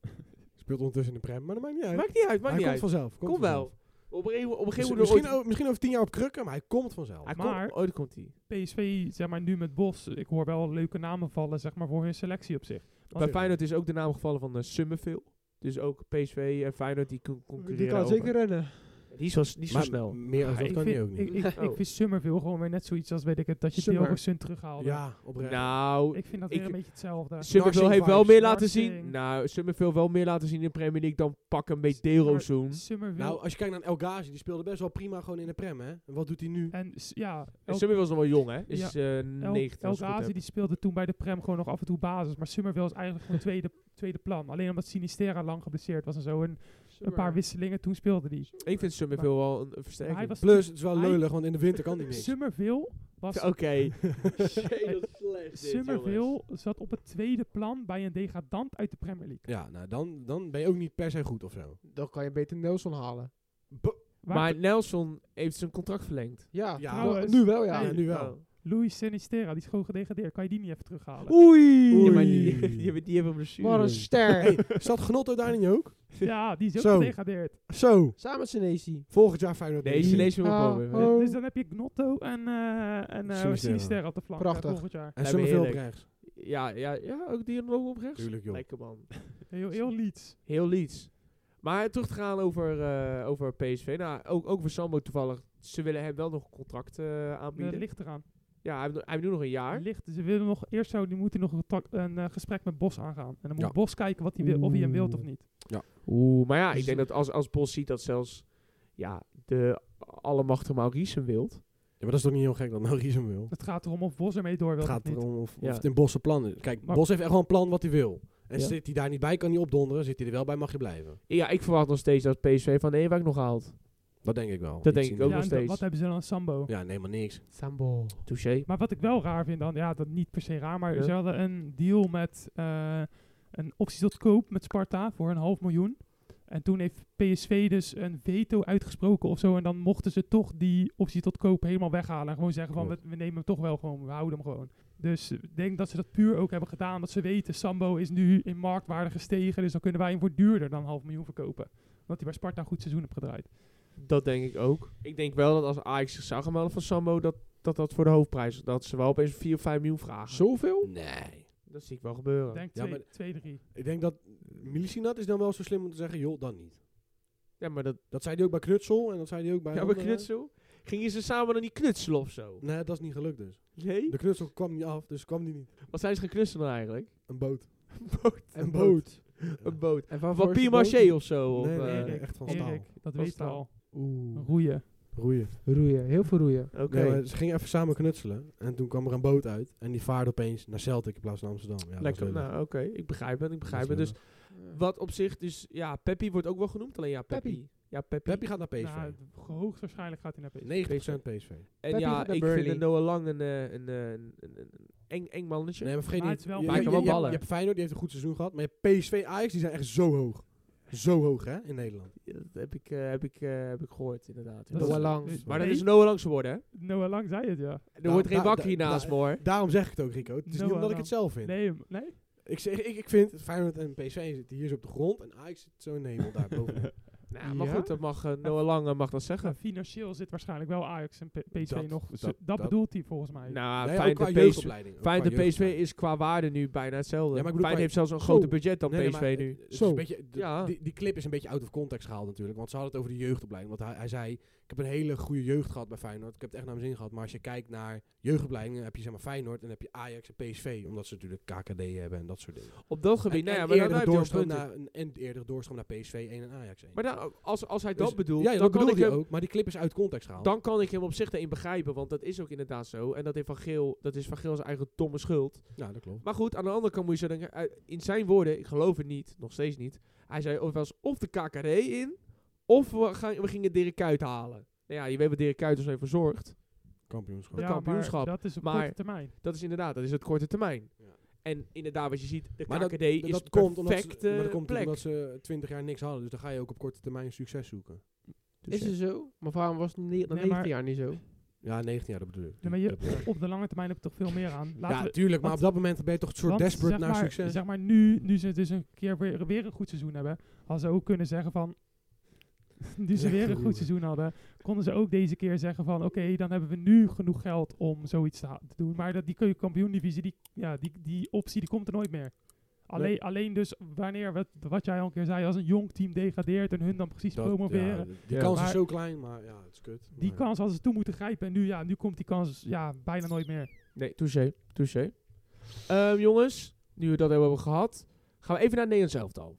Speaker 2: Speelt ondertussen in de prem, maar dat maakt niet uit.
Speaker 1: Maakt niet uit, maakt
Speaker 2: hij
Speaker 1: niet
Speaker 2: komt
Speaker 1: uit.
Speaker 2: vanzelf. Komt
Speaker 1: Kom wel.
Speaker 2: vanzelf.
Speaker 1: Op een gegeven op een
Speaker 2: Misschien,
Speaker 1: gegeven moment... ooit-
Speaker 2: misschien o- misschien over tien jaar op krukken, maar hij komt vanzelf.
Speaker 1: Hij komt-
Speaker 4: Maar-
Speaker 1: Oh, daar komt hij.
Speaker 4: PSV, zeg maar nu met Bos. Ik hoor wel leuke namen vallen, zeg maar, voor hun selectie op zich.
Speaker 1: Bij Feyenoord is ook de naam gevallen van eh, Summerville. Dus ook PSV en Feyenoord die con- concurreren.
Speaker 3: Die kan
Speaker 1: over.
Speaker 3: zeker rennen.
Speaker 1: Die is wel, die is wel
Speaker 2: Maar
Speaker 1: snel. Ah,
Speaker 2: Meer als
Speaker 4: Ja,
Speaker 2: dat
Speaker 4: ik
Speaker 2: kan
Speaker 4: vind-
Speaker 2: hij ook niet.
Speaker 4: Ik, ik,
Speaker 1: Oh.
Speaker 4: ik vind Summerville gewoon weer net zoiets als, weet ik het, dat je
Speaker 3: Summer.
Speaker 4: Theo Sun terughaalde.
Speaker 2: Ja, oprecht.
Speaker 1: Nou,
Speaker 4: Ik vind dat
Speaker 1: Ik-
Speaker 4: weer een beetje hetzelfde.
Speaker 1: Summerville
Speaker 2: Narsing
Speaker 1: heeft wel
Speaker 2: vibes.
Speaker 1: meer laten zien.
Speaker 4: Narsing.
Speaker 1: Nou, Summerville wel meer laten zien in de Premier League dan pak een beetje Deelrozoen.
Speaker 4: Summerville.
Speaker 2: Nou, als je kijkt naar El Ghazi, die speelde best wel prima gewoon in de prem, hè? En wat doet hij nu?
Speaker 4: en s- ja, El,
Speaker 1: Summerville is nog wel jong, hè? Is eh,
Speaker 4: El,
Speaker 1: 19.
Speaker 4: El
Speaker 1: als ik het goed
Speaker 4: Ghazi
Speaker 1: heb.
Speaker 4: die speelde toen bij de Prem gewoon nog af en toe basis. Maar Summerville is eigenlijk gewoon tweede, tweede plan. Alleen omdat Sinistera lang geblesseerd was en zo. En een paar wisselingen, toen speelde die.
Speaker 1: Ik vind Summerville wel een, een versterking.
Speaker 4: Maar hij was
Speaker 2: Plus, het is wel
Speaker 4: Hij-
Speaker 2: lullig, want in de
Speaker 1: (laughs)
Speaker 2: winter kan hij niks.
Speaker 4: Summerville was
Speaker 1: Oké.
Speaker 4: Summerville zat op het tweede plan bij een degradant uit de Premier League.
Speaker 2: Ja, nou, dan, dan ben je ook niet per se goed of zo.
Speaker 3: Dan kan je beter Nelson halen.
Speaker 4: Waar
Speaker 1: Maar Nelson heeft zijn contract verlengd.
Speaker 3: Ja,
Speaker 2: Ja,
Speaker 3: nou,
Speaker 4: trouwens.
Speaker 3: nu wel ja.
Speaker 2: Ja,
Speaker 4: Nee.
Speaker 2: nu wel.
Speaker 4: Louis Sinistera, die is gewoon gedegradeerd. Kan je die niet even terughalen?
Speaker 3: Oei.
Speaker 1: Ja, maar
Speaker 2: Oei.
Speaker 1: die, (laughs) die hebben, die hebben een blessure.
Speaker 3: Wat een ster.
Speaker 2: Hey, zat Gnotto daar niet
Speaker 1: (laughs)
Speaker 2: ook?
Speaker 4: Ja, die is ook
Speaker 2: Zo.
Speaker 4: gedegradeerd.
Speaker 2: Zo,
Speaker 3: Samen met Senesi.
Speaker 2: volgend jaar Feyenoord.
Speaker 1: Nee,
Speaker 2: niet.
Speaker 1: Chinees wil
Speaker 3: Ah,
Speaker 1: proberen.
Speaker 3: oh.
Speaker 4: Dus dan heb je Gnotto en, eh en eh,
Speaker 2: Sinisterra.
Speaker 4: Sinisterra op de flank eh,
Speaker 3: Prachtig.
Speaker 4: volgend jaar.
Speaker 2: En
Speaker 1: Lijkt me
Speaker 2: Summerville op
Speaker 1: heerlijk.
Speaker 2: rechts.
Speaker 1: Ja, ja, ja, ook die nog op rechts.
Speaker 2: Tuurlijk, joh.
Speaker 1: Lekker man.
Speaker 4: Heel, heel Leeds.
Speaker 1: Heel Leeds. Maar terug te gaan over, eh, over PSV. Nou, ook, ook voor Sambo toevallig ze willen hem wel nog een contract eh,
Speaker 4: Dat
Speaker 1: aanbieden.
Speaker 4: ligt eraan.
Speaker 1: Ja, hij, heeft nog- hij heeft nu nog een jaar.
Speaker 4: Ligt, ze willen nog, eerst zou, die moeten nog een, tak- een eh, gesprek met Bos aangaan. En dan moet
Speaker 2: Ja.
Speaker 4: Bos kijken wat hij wil, of hij hem wilt of
Speaker 1: Oeh.
Speaker 4: niet.
Speaker 1: Oeh, maar ja,
Speaker 4: Dus-
Speaker 1: ik denk dat als, als Bos ziet dat zelfs ja, de allemachtige Maurice hem wilt.
Speaker 2: maar dat is toch niet heel gek dat Maurice hem wil.
Speaker 4: Het gaat erom of Bos ermee door wil
Speaker 2: Het
Speaker 4: of
Speaker 2: gaat
Speaker 4: niet.
Speaker 2: erom of,
Speaker 1: Ja.
Speaker 2: of het in Bos zijn plan is. Kijk,
Speaker 4: Maar-
Speaker 2: Bos heeft echt wel een plan wat hij wil. En
Speaker 1: Ja.
Speaker 2: zit hij daar niet bij, kan hij opdonderen. Zit hij er wel bij, mag je blijven.
Speaker 1: Ja, ik verwacht nog steeds dat PSV van Ewijk nog haalt.
Speaker 2: Dat denk ik wel.
Speaker 1: Dat denk
Speaker 2: in
Speaker 1: ik
Speaker 2: die
Speaker 1: ook
Speaker 4: ja,
Speaker 1: nog
Speaker 2: richting.
Speaker 4: en
Speaker 1: steeds.
Speaker 4: wat hebben ze dan aan Sambo?
Speaker 2: Ja, nee, maar niks.
Speaker 1: Sambo. Touché.
Speaker 4: Maar wat ik wel raar vind dan, ja, dat niet per se raar, maar
Speaker 1: Ja.
Speaker 4: ze hadden een deal met eh, een optie tot koop met Sparta voor een half miljoen. En toen heeft PSV dus een veto uitgesproken of zo. En dan mochten ze toch die optie tot koop helemaal weghalen. En gewoon zeggen van, we,
Speaker 2: Klopt.
Speaker 4: we nemen hem toch wel gewoon, we houden hem gewoon. Dus ik denk dat ze dat puur ook hebben gedaan. Dat ze weten, Sambo is nu in marktwaarde gestegen. Dus dan kunnen wij hem voor duurder dan een half miljoen verkopen. Omdat hij bij Sparta een goed seizoen heeft gedraaid.
Speaker 1: Dat denk ik ook. Ik denk wel dat als Ajax zich zou gaan melden van Sambo, dat, dat dat voor de hoofdprijs, dat ze wel opeens 4 of 5 miljoen vragen.
Speaker 3: Zoveel?
Speaker 2: Nee.
Speaker 1: Dat zie ik wel gebeuren.
Speaker 4: Ik denk
Speaker 2: Ja, maar-
Speaker 4: 2-3.
Speaker 2: Ik denk dat Milicinat is dan wel zo slim om te zeggen, joh, dan niet.
Speaker 1: ja, maar dat,
Speaker 2: Dat zei hij ook bij Knutsel en dat zei hij ook bij...
Speaker 1: ja,
Speaker 2: een
Speaker 1: maar
Speaker 2: andere.
Speaker 1: knutsel? Gingen ze samen dan niet knutselen of zo?
Speaker 2: Nee, dat is niet gelukt dus.
Speaker 1: Nee?
Speaker 2: De knutsel kwam niet af, dus kwam die niet.
Speaker 1: Wat zijn ze gaan knutselen dan eigenlijk?
Speaker 2: Een boot.
Speaker 3: Een boot.
Speaker 1: (laughs) Een boot.
Speaker 3: En waarvoor
Speaker 1: Van
Speaker 3: is de
Speaker 1: Pimaché
Speaker 3: boot?
Speaker 1: of zo?
Speaker 2: Nee,
Speaker 1: of,
Speaker 2: nee,
Speaker 1: eh,
Speaker 2: nee, echt van staal.
Speaker 4: Erik, dat
Speaker 1: Van
Speaker 4: weet je
Speaker 1: staal.
Speaker 4: al.
Speaker 3: Oeh.
Speaker 4: Roeien.
Speaker 2: Roeien.
Speaker 3: Roeien, heel veel roeien.
Speaker 1: Oké.
Speaker 2: Nee, maar ze gingen even samen knutselen. En toen kwam er een boot uit. En die vaarde opeens naar Celtic in plaats van Amsterdam. Ja, dat was
Speaker 1: Lekker.
Speaker 2: lullig.
Speaker 1: Nou, oké. Ik begrijp het. Ik
Speaker 2: Dat
Speaker 1: begrijp het.
Speaker 2: was
Speaker 1: Dus
Speaker 2: lullig.
Speaker 1: wat op zich, dus ja, Peppi wordt ook wel genoemd. Alleen ja, Peppi.
Speaker 3: Peppi.
Speaker 1: Ja, Peppi.
Speaker 2: Peppi gaat naar PSV.
Speaker 4: Nou, hoogstwaarschijnlijk gaat hij naar PSV.
Speaker 2: 90% PSV.
Speaker 1: En
Speaker 3: Peppi
Speaker 1: ja,
Speaker 3: gaat naar
Speaker 1: ik
Speaker 3: Burnley.
Speaker 1: vind een Noah Lang een, eh, een, eh, een, een, een, een eng, eng mannetje.
Speaker 2: Nee, maar vergeet
Speaker 4: Maar
Speaker 2: niet.
Speaker 4: het is wel-
Speaker 2: je,
Speaker 1: Maar
Speaker 2: je,
Speaker 1: hij kan wel
Speaker 2: je- je hebt-
Speaker 1: ballen.
Speaker 2: je hebt Feyenoord, die heeft een goed seizoen gehad. Maar je hebt PSV, Ajax, die zijn echt zo hoog. Zo hoog, hè, in Nederland.
Speaker 1: Ja, dat heb ik, eh, heb ik, eh, heb ik gehoord, inderdaad. Ja.
Speaker 4: Dat
Speaker 3: Noah
Speaker 4: is-
Speaker 3: Lang.
Speaker 4: dus-
Speaker 1: maar dat
Speaker 4: nee,
Speaker 1: is Noah Lang geworden, hè?
Speaker 4: Noah Lang zei het, ja.
Speaker 1: Er
Speaker 2: Nou,
Speaker 1: wordt geen
Speaker 2: da-
Speaker 1: bak hier
Speaker 2: da-
Speaker 1: naast
Speaker 2: da-
Speaker 1: me, hoor.
Speaker 2: Daarom zeg ik het ook, Rico. Het is
Speaker 4: Noah
Speaker 2: niet omdat ik
Speaker 4: Lang.
Speaker 2: het zelf vind.
Speaker 4: Nee, m- nee?
Speaker 2: Ik, zeg, ik, ik vind Feyenoord en PSV zitten hier zo op de grond. En Ajax zit zo in de hemel daar
Speaker 1: (laughs)
Speaker 2: boven.
Speaker 1: Nou, maar
Speaker 4: Ja?
Speaker 1: goed, dat mag, eh, Noah Lang eh, mag dat
Speaker 4: Ja,
Speaker 1: zeggen.
Speaker 4: financieel zit waarschijnlijk wel Ajax en P- PSV
Speaker 2: Dat-
Speaker 4: nog.
Speaker 2: dat-
Speaker 4: Zo- Dat,
Speaker 2: dat-
Speaker 4: bedoelt hij volgens mij.
Speaker 1: Nou,
Speaker 2: Nee, ook
Speaker 1: fijn
Speaker 2: qua
Speaker 1: dat PSV...
Speaker 2: jeugdopleiding. Ook
Speaker 1: Fijn
Speaker 2: qua
Speaker 1: dat PSV
Speaker 2: jeugdopleiding.
Speaker 1: is qua waarde nu bijna hetzelfde.
Speaker 2: Ja, maar ik bedoel,
Speaker 1: Fijn
Speaker 2: qua-
Speaker 1: heeft zelfs een
Speaker 2: Zo.
Speaker 1: groter budget dan
Speaker 2: Nee, nee,
Speaker 1: PSV
Speaker 2: maar,
Speaker 1: nu.
Speaker 2: eh, het is
Speaker 3: Zo.
Speaker 2: een beetje, de-
Speaker 1: Ja.
Speaker 2: die, die clip is een beetje out of context gehaald natuurlijk. Want ze hadden het over de jeugdopleiding. Want hij, hij zei, ik heb een hele goede jeugd gehad bij Feyenoord. Ik heb het echt naar mijn zin gehad. Maar als je kijkt naar jeugdopleidingen, heb je zeg maar Feyenoord en heb je Ajax en PSV. Omdat ze natuurlijk KKD hebben en dat soort dingen.
Speaker 1: Op dat gebied,
Speaker 2: en,
Speaker 1: nou ja,
Speaker 2: en
Speaker 1: maar dan
Speaker 2: eerdere
Speaker 1: heb je wel
Speaker 2: doorstroom
Speaker 1: punten.
Speaker 2: naar, en, en eerdere doorstroom naar PSV 1 en Ajax 1.
Speaker 1: Maar nou, als, als hij
Speaker 2: Dus-
Speaker 1: dat bedoelt,
Speaker 2: ja, ja,
Speaker 1: dan,
Speaker 2: dat
Speaker 1: kan ik
Speaker 2: bedoelde je
Speaker 1: hem,
Speaker 2: ook. Maar die clip is uit context gehaald.
Speaker 1: dan kan ik hem op zich daarin begrijpen. Want dat is ook inderdaad zo. En dat, heeft van Geel, dat is van Geel zijn eigen domme schuld.
Speaker 2: ja, dat klopt.
Speaker 1: Maar goed, aan de andere kant moet je zo denken. eh, In zijn woorden, ik geloof het niet, nog steeds niet. Hij zei of was of de KKD in, of we, gaan, we gingen Dirk Kuyt halen. Nou ja, je weet wat Dirk Kuyt ons heeft verzorgd.
Speaker 2: Kampioenschap.
Speaker 1: het
Speaker 4: ja, maar
Speaker 1: kampioenschap.
Speaker 4: dat is op
Speaker 1: Maar-
Speaker 4: korte termijn.
Speaker 1: Dat is inderdaad, dat is het korte termijn.
Speaker 2: Ja.
Speaker 1: En inderdaad, wat je ziet, de
Speaker 2: Maar dat-
Speaker 1: KKD
Speaker 2: Dat-
Speaker 1: is
Speaker 2: dat
Speaker 1: dat
Speaker 2: komt
Speaker 1: perfecte
Speaker 2: omdat ze, maar dat komt
Speaker 1: plek.
Speaker 2: omdat ze 20 jaar niks hadden. Dus dan ga je ook op korte termijn succes zoeken.
Speaker 3: Is het zo? Maar waarom was het niet- na
Speaker 4: Nee, maar-
Speaker 3: 19 jaar niet zo?
Speaker 2: Ja, 19 jaar, dat bedoel ik.
Speaker 4: Nee, maar je-
Speaker 2: Dat bedoel ik.
Speaker 4: Op de lange termijn heb je toch veel meer aan. Laten
Speaker 2: ja,
Speaker 4: we-
Speaker 2: tuurlijk, maar
Speaker 4: want-
Speaker 2: op dat moment ben je toch een soort
Speaker 4: want
Speaker 2: desperate
Speaker 4: zeg
Speaker 2: naar
Speaker 4: maar,
Speaker 2: succes.
Speaker 4: Zeg maar nu, nu ze dus een keer weer, weer een goed seizoen hebben, hadden ze ook kunnen zeggen van... (laughs) Nu ze
Speaker 2: Lekker
Speaker 4: weer een
Speaker 2: roeren.
Speaker 4: goed seizoen hadden, konden ze ook deze keer zeggen van... Oké, dan hebben we nu genoeg geld om zoiets te, ha- te doen. Maar dat, die kampioendivisie, die, ja, die, die optie, die komt er nooit meer. Alleen, alleen dus wanneer, wat, wat jij al een keer zei, als een jong team degradeert en hun dan precies
Speaker 2: Dat-
Speaker 4: promoveren.
Speaker 2: ja, die
Speaker 1: Ja.
Speaker 2: kans
Speaker 4: Maar-
Speaker 2: is zo klein, maar ja, het is kut.
Speaker 4: Die
Speaker 2: Maar-
Speaker 4: kans hadden ze toen moeten grijpen en nu, ja, nu komt die kans ja, bijna nooit meer.
Speaker 1: Nee, touché, touché. Ehm, jongens, nu we dat hebben gehad, gaan we even naar Nederland zelf al.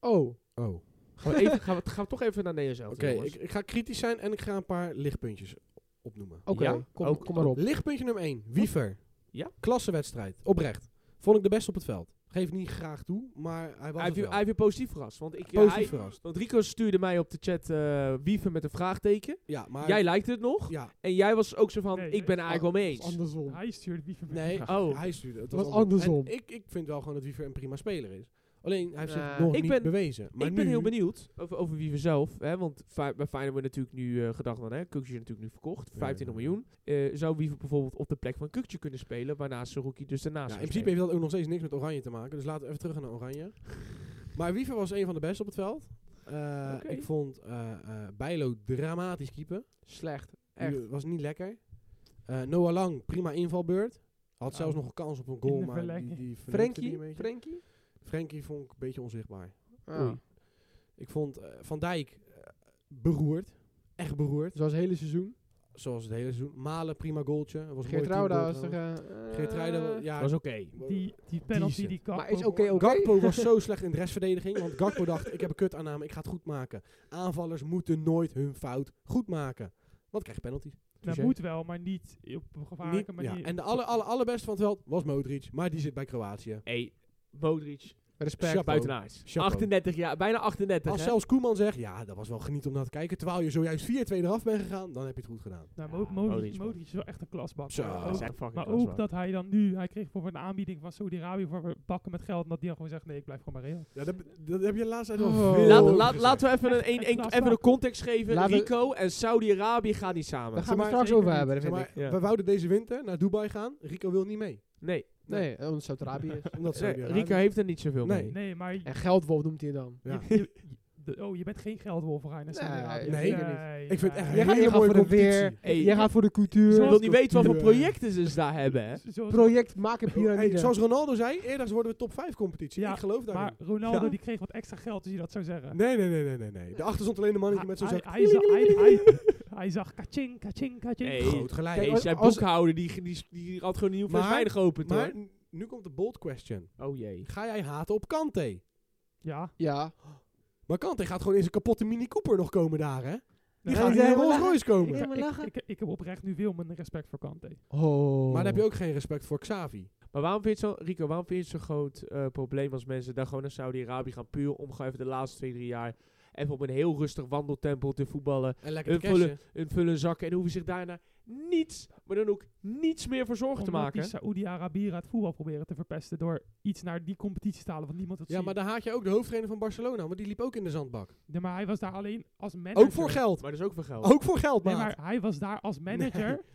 Speaker 3: Oh,
Speaker 2: Oh. Oké,
Speaker 1: Gaan we,
Speaker 2: (laughs)
Speaker 1: even, gaan we, gaan we toch even naar Nederland zelf.
Speaker 2: ik, ik ga kritisch zijn en ik ga een paar lichtpuntjes opnoemen.
Speaker 3: oké.
Speaker 1: Ja,
Speaker 3: Kom,
Speaker 1: ook-
Speaker 3: kom maar op.
Speaker 2: Lichtpuntje nummer 1, Wiever.
Speaker 1: Ja.
Speaker 2: Klassenwedstrijd, oprecht. Vond ik de beste op het veld. Geef niet graag toe, maar hij was
Speaker 1: hij heeft
Speaker 2: het
Speaker 1: je-
Speaker 2: wel.
Speaker 1: hij heeft je positief verrast. Want, ik,
Speaker 2: Positief
Speaker 1: hij,
Speaker 2: verrast.
Speaker 1: want Rico stuurde mij op de chat eh wieven met een vraagteken.
Speaker 2: Ja, maar...
Speaker 1: jij lijkt het nog.
Speaker 2: ja,
Speaker 1: En jij was ook zo van,
Speaker 4: Nee,
Speaker 1: ik ben
Speaker 4: nee.
Speaker 1: eigenlijk wel mee eens.
Speaker 3: Andersom.
Speaker 4: Hij stuurde wie van
Speaker 2: nee,
Speaker 1: Oh.
Speaker 2: hij stuurde. Het
Speaker 3: Was
Speaker 2: was andersom.
Speaker 3: andersom.
Speaker 2: En ik, ik vind wel gewoon dat Wiever een prima speler is. Alleen, hij heeft zich
Speaker 1: Eh,
Speaker 2: nog
Speaker 1: ik
Speaker 2: niet
Speaker 1: ben-
Speaker 2: bewezen. Maar
Speaker 1: ik ben
Speaker 2: nu-
Speaker 1: heel benieuwd over, over wie we zelf. Hè, want fi- bij Feyenoord wordt natuurlijk nu eh, gedacht dan, hè, Kukje is natuurlijk nu verkocht,
Speaker 2: Ja,
Speaker 1: 25
Speaker 2: ja.
Speaker 1: miljoen. Eh, zou Wiever bijvoorbeeld op de plek van Kukje kunnen spelen, waarna Suruki dus daarnaast
Speaker 2: Ja, in
Speaker 1: zou
Speaker 2: principe
Speaker 1: spelen?
Speaker 2: heeft dat ook nog steeds niks met Oranje te maken. Dus laten we even terug gaan naar Oranje. Maar Wiever was een van de beste op het veld. Eh,
Speaker 1: Oké.
Speaker 2: Ik vond eh eh, Bijlo dramatisch keeper.
Speaker 1: Slecht.
Speaker 2: Die
Speaker 1: Echt.
Speaker 2: Was niet lekker. Eh, Noah Lang, prima invalbeurt. Had
Speaker 4: Ja.
Speaker 2: zelfs nog een kans op een
Speaker 4: In
Speaker 2: goal,
Speaker 4: de
Speaker 2: maar die,
Speaker 4: verlenging.
Speaker 2: die vernukte die een
Speaker 3: Frenkie?
Speaker 2: beetje.
Speaker 3: Frenkie?
Speaker 2: Frenkie vond ik een beetje onzichtbaar.
Speaker 3: Ah.
Speaker 2: Oei. Ik vond eh, Van Dijk eh, beroerd. echt beroerd.
Speaker 3: Zoals het hele seizoen.
Speaker 2: Zoals het hele seizoen. Malen, prima goaltje. Er Was een mooi
Speaker 3: Geert Rouda
Speaker 2: teamgoal
Speaker 3: was er...
Speaker 2: trouwens.
Speaker 3: eh,
Speaker 2: Geert Rouda, ja.
Speaker 1: was oké.
Speaker 4: Die, die penalty
Speaker 2: Decent.
Speaker 4: die Gakpo...
Speaker 3: Maar is oké, oké.
Speaker 2: Gakpo was zo slecht in de restverdediging. Want Gakpo dacht, ik heb een kut aanname, ik ga het goed maken. Aanvallers moeten nooit hun fout goed maken. Want krijg je penalties.
Speaker 4: Dat
Speaker 2: touché.
Speaker 4: Nou, moet wel, maar niet op een gevaarlijke
Speaker 2: Niet- ja.
Speaker 4: manier.
Speaker 2: En de aller, aller, allerbeste van het veld was Modric. Maar die zit bij Kroatië.
Speaker 1: Hey, Modric,
Speaker 3: Respect.
Speaker 2: Chapeau.
Speaker 1: buitenaards.
Speaker 2: Chapeau. Ah,
Speaker 1: 38 jaar, bijna 38
Speaker 2: Als
Speaker 1: hè?
Speaker 2: zelfs Koeman zegt, ja, dat was wel geniet om naar te kijken. Terwijl je zojuist 4-2 eraf bent gegaan, dan heb je het goed gedaan.
Speaker 4: Nou,
Speaker 1: Ja,
Speaker 4: Mo- Modric,
Speaker 2: Oh,
Speaker 1: Modric, man.
Speaker 4: Modric is wel echt een klasbak.
Speaker 2: Zo.
Speaker 4: Maar
Speaker 1: Dat
Speaker 4: ook-
Speaker 1: is echt fucking
Speaker 4: maar
Speaker 1: klas,
Speaker 4: ook
Speaker 1: man.
Speaker 4: dat hij dan nu, hij kreeg bijvoorbeeld een aanbieding van Saudi-Arabië voor bakken met geld. En dat die dan gewoon zegt, nee, ik blijf gewoon bij Real.
Speaker 2: Ja, dat, dat heb je laatst uit
Speaker 3: Oh.
Speaker 1: Laat,
Speaker 3: Oh,
Speaker 1: laat, laten we even een,
Speaker 4: Echt,
Speaker 1: een,
Speaker 4: echt
Speaker 1: een-
Speaker 4: knap,
Speaker 1: even
Speaker 4: knap.
Speaker 1: een context geven.
Speaker 3: Laten we-
Speaker 1: Rico en Saudi-Arabië gaan niet
Speaker 3: Daar
Speaker 1: samen.
Speaker 3: gaan we
Speaker 2: maar
Speaker 3: het straks
Speaker 4: zeker
Speaker 3: over
Speaker 4: niet.
Speaker 3: hebben, dat
Speaker 2: Zeg
Speaker 3: vind
Speaker 2: maar,
Speaker 3: ik.
Speaker 1: Ja.
Speaker 2: We wouden deze winter naar Dubai gaan. Rico wil niet mee.
Speaker 1: Nee,
Speaker 3: Nee, omdat het Saudi-Arabië
Speaker 2: (laughs)
Speaker 3: is.
Speaker 2: Omdat
Speaker 1: nee,
Speaker 2: Saudi-Arabië-
Speaker 1: Eh, Rico heeft er niet zoveel
Speaker 2: Nee.
Speaker 1: mee.
Speaker 4: Nee, maar...
Speaker 3: En Geldwolf noemt hij dan.
Speaker 2: Ja.
Speaker 4: je- je- de- oh, je bent geen geldwolf, Reiner.
Speaker 3: Nee,
Speaker 4: Saudi-Arabië.
Speaker 2: nee, zeker niet. Ik vind het echt
Speaker 4: nee.
Speaker 2: een
Speaker 3: Jij gaat-
Speaker 2: hele
Speaker 3: jij gaat
Speaker 2: mooie
Speaker 3: voor de
Speaker 2: competitie.
Speaker 3: weer.
Speaker 1: Hey,
Speaker 3: Jij gaat voor de
Speaker 1: je
Speaker 3: cultuur.
Speaker 1: wilt niet weten wat voor
Speaker 2: Ja.
Speaker 1: projecten ze daar hebben, hè?
Speaker 4: Zoals-
Speaker 3: Project maken
Speaker 2: Hey,
Speaker 3: piramide.
Speaker 2: zoals Ronaldo zei, eerder worden we top 5 competitie.
Speaker 4: Ja,
Speaker 2: ik geloof daarin.
Speaker 4: Maar Ronaldo
Speaker 1: Ja.
Speaker 4: die kreeg wat extra geld, als je dat zou zeggen.
Speaker 2: Nee, nee, nee, nee, nee, nee. Daarachter stond alleen een mannetje met zo'n
Speaker 4: Ah, Hij-
Speaker 2: zak.
Speaker 4: hij, hij, zag- hij, hij, hij zag kaching, kaching, kaching.
Speaker 1: Nee.
Speaker 2: Groot gelijk.
Speaker 1: Hey,
Speaker 3: als-
Speaker 1: zijn
Speaker 3: als-
Speaker 1: boekhouder die, die, die had gewoon nieuw fles
Speaker 2: Maar-
Speaker 1: wijn geopend,
Speaker 2: maar
Speaker 1: hoor.
Speaker 2: n- nu komt de bold question.
Speaker 1: Oh jee.
Speaker 2: Ga jij haten op Kante?
Speaker 4: Ja.
Speaker 3: Ja.
Speaker 2: Maar Kante gaat gewoon in zijn kapotte Mini Cooper nog komen daar, hè? Die
Speaker 4: Nee,
Speaker 2: gaat
Speaker 4: ik-
Speaker 2: in
Speaker 3: ja,
Speaker 2: een
Speaker 3: maar
Speaker 2: Rolls
Speaker 3: laat-
Speaker 2: Royce komen.
Speaker 3: Ja,
Speaker 4: ik,
Speaker 3: maar
Speaker 4: ik,
Speaker 3: lachen.
Speaker 4: ik, ik heb oprecht nu veel mijn respect voor Kante.
Speaker 3: Oh.
Speaker 2: Maar dan heb je ook geen respect voor Xavi.
Speaker 1: Maar waarom vind je het zo, Rico, waarom vind je het zo'n groot eh, probleem als mensen daar gewoon naar Saudi-Arabië gaan puur om gewoon even de laatste twee, drie jaar even op een heel rustig wandeltempo te voetballen,
Speaker 2: En lekker
Speaker 1: hun
Speaker 2: te
Speaker 1: vullen,
Speaker 2: cashen.
Speaker 1: hun vullen zakken en hoeven zich daarna niets, maar dan ook niets meer voor zorgen te
Speaker 4: Omdat die
Speaker 1: maken?
Speaker 4: Saoedi-Arabieren het voetbal proberen te verpesten door iets naar die competitie te halen, want niemand het
Speaker 2: Ja,
Speaker 4: ziet.
Speaker 2: maar dan haat je ook de hoofdtrainer van Barcelona, want die liep ook in de zandbak.
Speaker 4: Nee, maar hij was daar alleen als manager.
Speaker 2: Ook voor geld.
Speaker 1: Maar dat is ook voor geld.
Speaker 2: Ook voor geld,
Speaker 4: Nee,
Speaker 2: maat.
Speaker 4: maar hij was daar als manager.
Speaker 2: (laughs)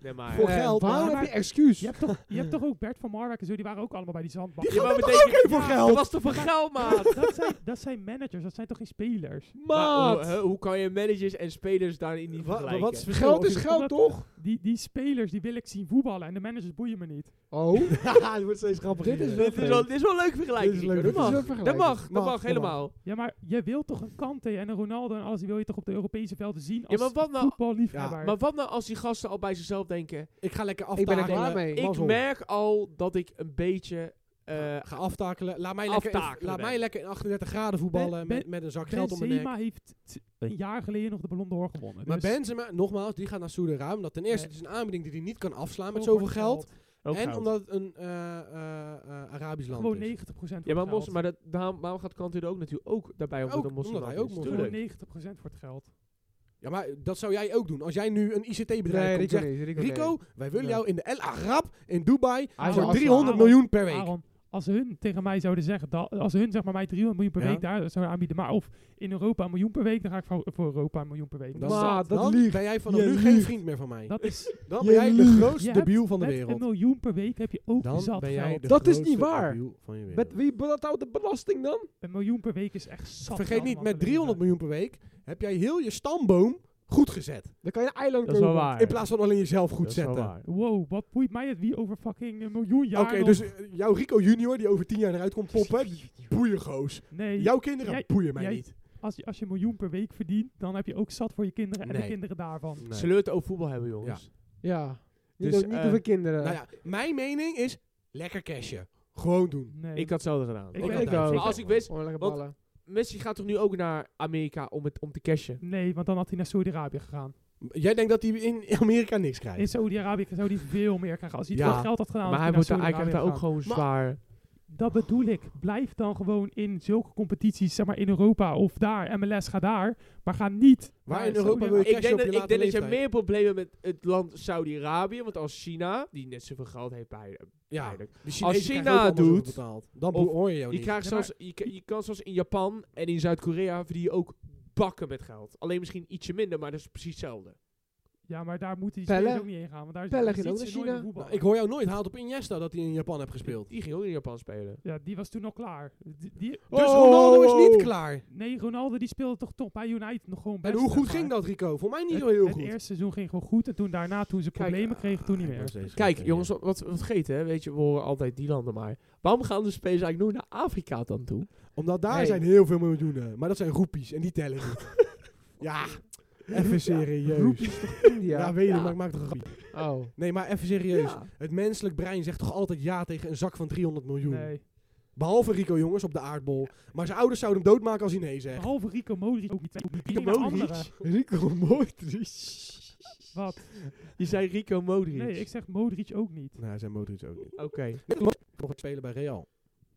Speaker 1: Nee, maar...
Speaker 2: Voor geld,
Speaker 3: Waarom
Speaker 4: maar-
Speaker 3: heb je excuus?
Speaker 4: Je, hebt toch, je hebt toch ook Bert van Marwijk en zo, die waren ook allemaal bij die zandbak.
Speaker 1: Ja, maar
Speaker 2: toch
Speaker 1: betekent-
Speaker 2: ook even voor
Speaker 1: Ja,
Speaker 2: geld?
Speaker 1: Dat was toch voor geld,
Speaker 2: (laughs)
Speaker 1: maat?
Speaker 4: dat, zijn, dat zijn managers, dat zijn toch geen spelers?
Speaker 1: Maar hoe,
Speaker 2: Maat!
Speaker 1: hè, hoe kan je managers en spelers daarin niet
Speaker 2: Wa- wa-
Speaker 1: vergelijken?
Speaker 2: wat is het verschil?
Speaker 3: Geld is
Speaker 2: Of je-
Speaker 3: geld,
Speaker 4: omdat-
Speaker 3: toch?
Speaker 4: Die, die spelers die wil ik zien voetballen en de managers boeien me niet.
Speaker 3: Oh.
Speaker 2: (laughs) Ja, het wordt steeds grappiger.
Speaker 3: Dit is wel
Speaker 1: dit, is wel, dit is wel een leuk vergelijking.
Speaker 2: Dit is leuk.
Speaker 1: Rico.
Speaker 2: Dit
Speaker 1: Dat mag.
Speaker 2: is
Speaker 3: wel vergelijking.
Speaker 1: Dat mag, dat
Speaker 2: Mag,
Speaker 1: mag
Speaker 2: dat
Speaker 1: helemaal.
Speaker 4: Ja, maar je wilt toch een Kante en een Ronaldo en alles, die wil je toch op de Europese velden zien
Speaker 1: Ja,
Speaker 4: als
Speaker 1: maar wat nou,
Speaker 4: voetballiefhebber.
Speaker 1: maar wat nou als die gasten al bij zichzelf denken...
Speaker 2: Ik ga lekker eh,
Speaker 3: Ik ben
Speaker 2: aftakelen.
Speaker 3: er klaar mee.
Speaker 1: Ik
Speaker 3: Mazzel.
Speaker 1: merk al dat ik een beetje... eh,
Speaker 2: ga aftakelen. Laat mij, lekker in,
Speaker 1: Aftakelen
Speaker 2: laat
Speaker 1: ben.
Speaker 2: mij lekker in 38 graden voetballen
Speaker 4: Ben-
Speaker 2: met, met een zak
Speaker 4: Benzema
Speaker 2: geld om mijn nek.
Speaker 4: heeft t- een jaar geleden nog de Ballon d'Or gewonnen.
Speaker 2: Maar
Speaker 4: dus
Speaker 2: Benzema, nogmaals, die gaat naar Saudi-Arabië. Omdat ten eerste,
Speaker 4: Nee.
Speaker 2: het is een aanbieding die hij niet kan afslaan met
Speaker 4: gewoon
Speaker 2: zoveel
Speaker 4: voor
Speaker 2: geld.
Speaker 1: ook
Speaker 2: En
Speaker 1: goud.
Speaker 2: omdat het een eh, eh, eh, Arabisch land
Speaker 4: Gewoon
Speaker 2: is.
Speaker 4: 90% voor
Speaker 1: Ja, maar,
Speaker 4: het
Speaker 1: mos,
Speaker 4: geld.
Speaker 1: maar dat, daarom, waarom gaat Kant er ook natuurlijk ook daarbij om
Speaker 2: Ook,
Speaker 1: dat het een moslim
Speaker 2: omdat hij
Speaker 1: land
Speaker 2: ook
Speaker 1: is?
Speaker 2: moslim
Speaker 4: Gewoon
Speaker 1: Tuurlijk.
Speaker 4: 90% voor het geld.
Speaker 2: Ja, maar dat zou jij ook doen. Als jij nu een ICT-bedrijf komt en
Speaker 3: Nee, Rico,
Speaker 2: zegt...
Speaker 3: nee, Rico, nee.
Speaker 2: Rico, wij willen
Speaker 3: Nee.
Speaker 2: jou in de El Arab in Dubai
Speaker 3: Hij
Speaker 2: voor
Speaker 3: zou
Speaker 2: 300
Speaker 4: afslaan.
Speaker 2: miljoen per week.
Speaker 4: Aaron, als hun tegen mij zouden zeggen, dat, als hun zeg maar mij 300 miljoen per
Speaker 2: Ja.
Speaker 4: week daar zouden aanbieden, maar of in Europa een miljoen per week, dan ga ik voor, voor Europa een miljoen per week.
Speaker 2: Dan-
Speaker 4: Dat,
Speaker 3: Maar, dat
Speaker 2: dan
Speaker 3: liegt.
Speaker 2: ben jij vanaf
Speaker 3: Je
Speaker 2: nu geen
Speaker 3: liegt.
Speaker 2: vriend meer (laughs) van mij.
Speaker 4: dat is
Speaker 2: Dan
Speaker 3: Je
Speaker 2: ben jij de
Speaker 3: liegt.
Speaker 4: Je
Speaker 2: grootste
Speaker 4: hebt
Speaker 2: debiel van de
Speaker 4: met een
Speaker 2: wereld.
Speaker 4: miljoen per week heb je ook
Speaker 2: Dan
Speaker 4: zat
Speaker 2: ben jij
Speaker 4: geld.
Speaker 2: de
Speaker 3: Dat is niet
Speaker 2: grootste
Speaker 3: waar.
Speaker 2: debiel van je wereld.
Speaker 3: Met wie betaalt de belasting dan?
Speaker 4: Een miljoen per week is echt zat
Speaker 2: Vergeet
Speaker 4: geld
Speaker 2: niet,
Speaker 4: om aan
Speaker 2: met
Speaker 4: te
Speaker 2: 300
Speaker 4: leven.
Speaker 2: miljoen per week heb jij heel je stamboom goed gezet.
Speaker 3: Dan kan je een eiland
Speaker 1: Dat is
Speaker 3: kopen.
Speaker 1: wel waar.
Speaker 2: In plaats van alleen jezelf goed
Speaker 1: Ah, Dat is wel
Speaker 2: zetten.
Speaker 1: waar.
Speaker 4: Wow, wat boeit mij het wie over fucking een miljoen
Speaker 2: Oké,
Speaker 4: jaar nog-
Speaker 2: dus eh, jouw Rico junior die over 10 jaar eruit komt poppen, die boeien goos.
Speaker 4: nee,
Speaker 2: Jouw kinderen
Speaker 4: jij-
Speaker 2: boeien mij
Speaker 4: jij-
Speaker 2: niet.
Speaker 4: als, je, als je een miljoen per week verdient, dan heb je ook zat voor je kinderen en
Speaker 2: Nee.
Speaker 4: de kinderen daarvan.
Speaker 1: Zullen we het over voetbal hebben, jongens?
Speaker 3: Ja. Niet,
Speaker 1: Dus,
Speaker 3: ook niet
Speaker 1: eh,
Speaker 3: over kinderen.
Speaker 2: Nou ja, mijn mening is lekker cashen. Gewoon doen.
Speaker 4: Nee.
Speaker 1: Ik had hetzelfde gedaan.
Speaker 4: Ik
Speaker 2: had
Speaker 4: ben-
Speaker 2: daar
Speaker 3: ik ook.
Speaker 2: zin in.
Speaker 1: Maar als ik wist,
Speaker 3: Oh, lekker
Speaker 1: want-
Speaker 3: ballen.
Speaker 1: Messi gaat toch nu ook naar Amerika om, het, om te cashen?
Speaker 4: Nee, want dan had hij naar Saudi-Arabië gegaan.
Speaker 2: Jij denkt dat hij in Amerika niks
Speaker 4: In
Speaker 2: krijgt.
Speaker 4: Saudi-Arabië zou hij veel meer krijgen. Als hij
Speaker 2: Ja,
Speaker 4: het voor geld had gedaan,
Speaker 1: maar hij,
Speaker 4: had
Speaker 1: wordt daar, hij krijgt daar ook
Speaker 4: gewoon...
Speaker 1: gewoon
Speaker 2: Maar-
Speaker 1: zwaar...
Speaker 4: Dat bedoel ik. Blijf dan gewoon in zulke competities, zeg maar in Europa of daar. MLS, ga daar. Maar ga niet...
Speaker 2: Waar
Speaker 4: naar
Speaker 2: in Europa
Speaker 4: Saudi-Arabië.
Speaker 2: wil je
Speaker 1: Ik
Speaker 2: cashen
Speaker 1: denk,
Speaker 2: op
Speaker 1: dat, ik
Speaker 2: je late
Speaker 1: denk dat je
Speaker 2: leeftijd.
Speaker 1: meer problemen met het land Saudi-Arabië, want als China, die net zoveel geld heeft bij,
Speaker 2: Ja,
Speaker 1: eigenlijk.
Speaker 2: de Chinezen
Speaker 1: Als
Speaker 2: krijgen
Speaker 1: China
Speaker 2: ook allemaal
Speaker 1: doet,
Speaker 2: zoveel betaald. dan
Speaker 1: of
Speaker 2: hoor je jou
Speaker 1: Je,
Speaker 2: niet.
Speaker 1: krijgt
Speaker 4: Ja, maar-
Speaker 1: zelfs, je, ka- je kan zelfs in Japan en in Zuid-Korea verdien je ook bakken met geld. Alleen misschien ietsje minder, maar dat is precies hetzelfde.
Speaker 4: Ja, maar daar moeten die
Speaker 3: Pelle?
Speaker 4: spelers ook niet heen gaan. Want daar is
Speaker 3: Pelle
Speaker 4: daar
Speaker 3: ging
Speaker 4: ziet
Speaker 3: ook
Speaker 4: ze
Speaker 3: naar
Speaker 4: nooit
Speaker 3: China.
Speaker 4: meer voetbal.
Speaker 2: Nou, ik hoor jou nooit haalt op Iniesta dat hij in Japan hebt gespeeld.
Speaker 1: Die ging ook in Japan spelen.
Speaker 4: Ja, die was toen al klaar. Die, die-
Speaker 2: Dus
Speaker 1: Oh.
Speaker 2: Ronaldo is niet klaar.
Speaker 4: nee, Ronaldo die speelde toch toch bij United nog gewoon best.
Speaker 2: En hoe
Speaker 4: zeg
Speaker 2: goed
Speaker 4: maar.
Speaker 2: ging dat, Rico? Voor mij niet
Speaker 4: Het-
Speaker 2: zo heel
Speaker 4: het
Speaker 2: goed.
Speaker 4: eerste seizoen ging gewoon goed. En toen daarna, toen ze
Speaker 3: ah,
Speaker 4: problemen kregen, toen niet meer.
Speaker 1: Kijk, jongens, wat, wat wat vergeten, hè? weet je, we horen altijd die landen maar. Waarom gaan de spelers eigenlijk nooit naar Afrika dan toe?
Speaker 2: Omdat daar
Speaker 3: Nee.
Speaker 2: zijn heel veel miljoenen. Maar dat zijn roepies en die tellen niet. ja, Even serieus.
Speaker 3: Roep is toch India?
Speaker 2: Ja, weet je, maar ik maak toch een grapje.
Speaker 3: Oh.
Speaker 2: Nee, maar even serieus.
Speaker 3: Ja.
Speaker 2: Het menselijk brein zegt toch altijd ja tegen een zak van 300 miljoen?
Speaker 4: Nee.
Speaker 2: Behalve Rico jongens op de aardbol. Maar zijn ouders zouden hem doodmaken als hij nee zegt.
Speaker 4: Behalve Rico Modric ook niet. Ook niet.
Speaker 1: Rico
Speaker 4: Die andere.
Speaker 1: Modric?
Speaker 3: Rico Modric.
Speaker 4: Wat?
Speaker 1: Je zei Rico Modric.
Speaker 4: Nee, ik zeg Modric ook niet.
Speaker 2: Nou, zijn Modric ook niet.
Speaker 1: Oké.
Speaker 2: Nog het spelen bij Real.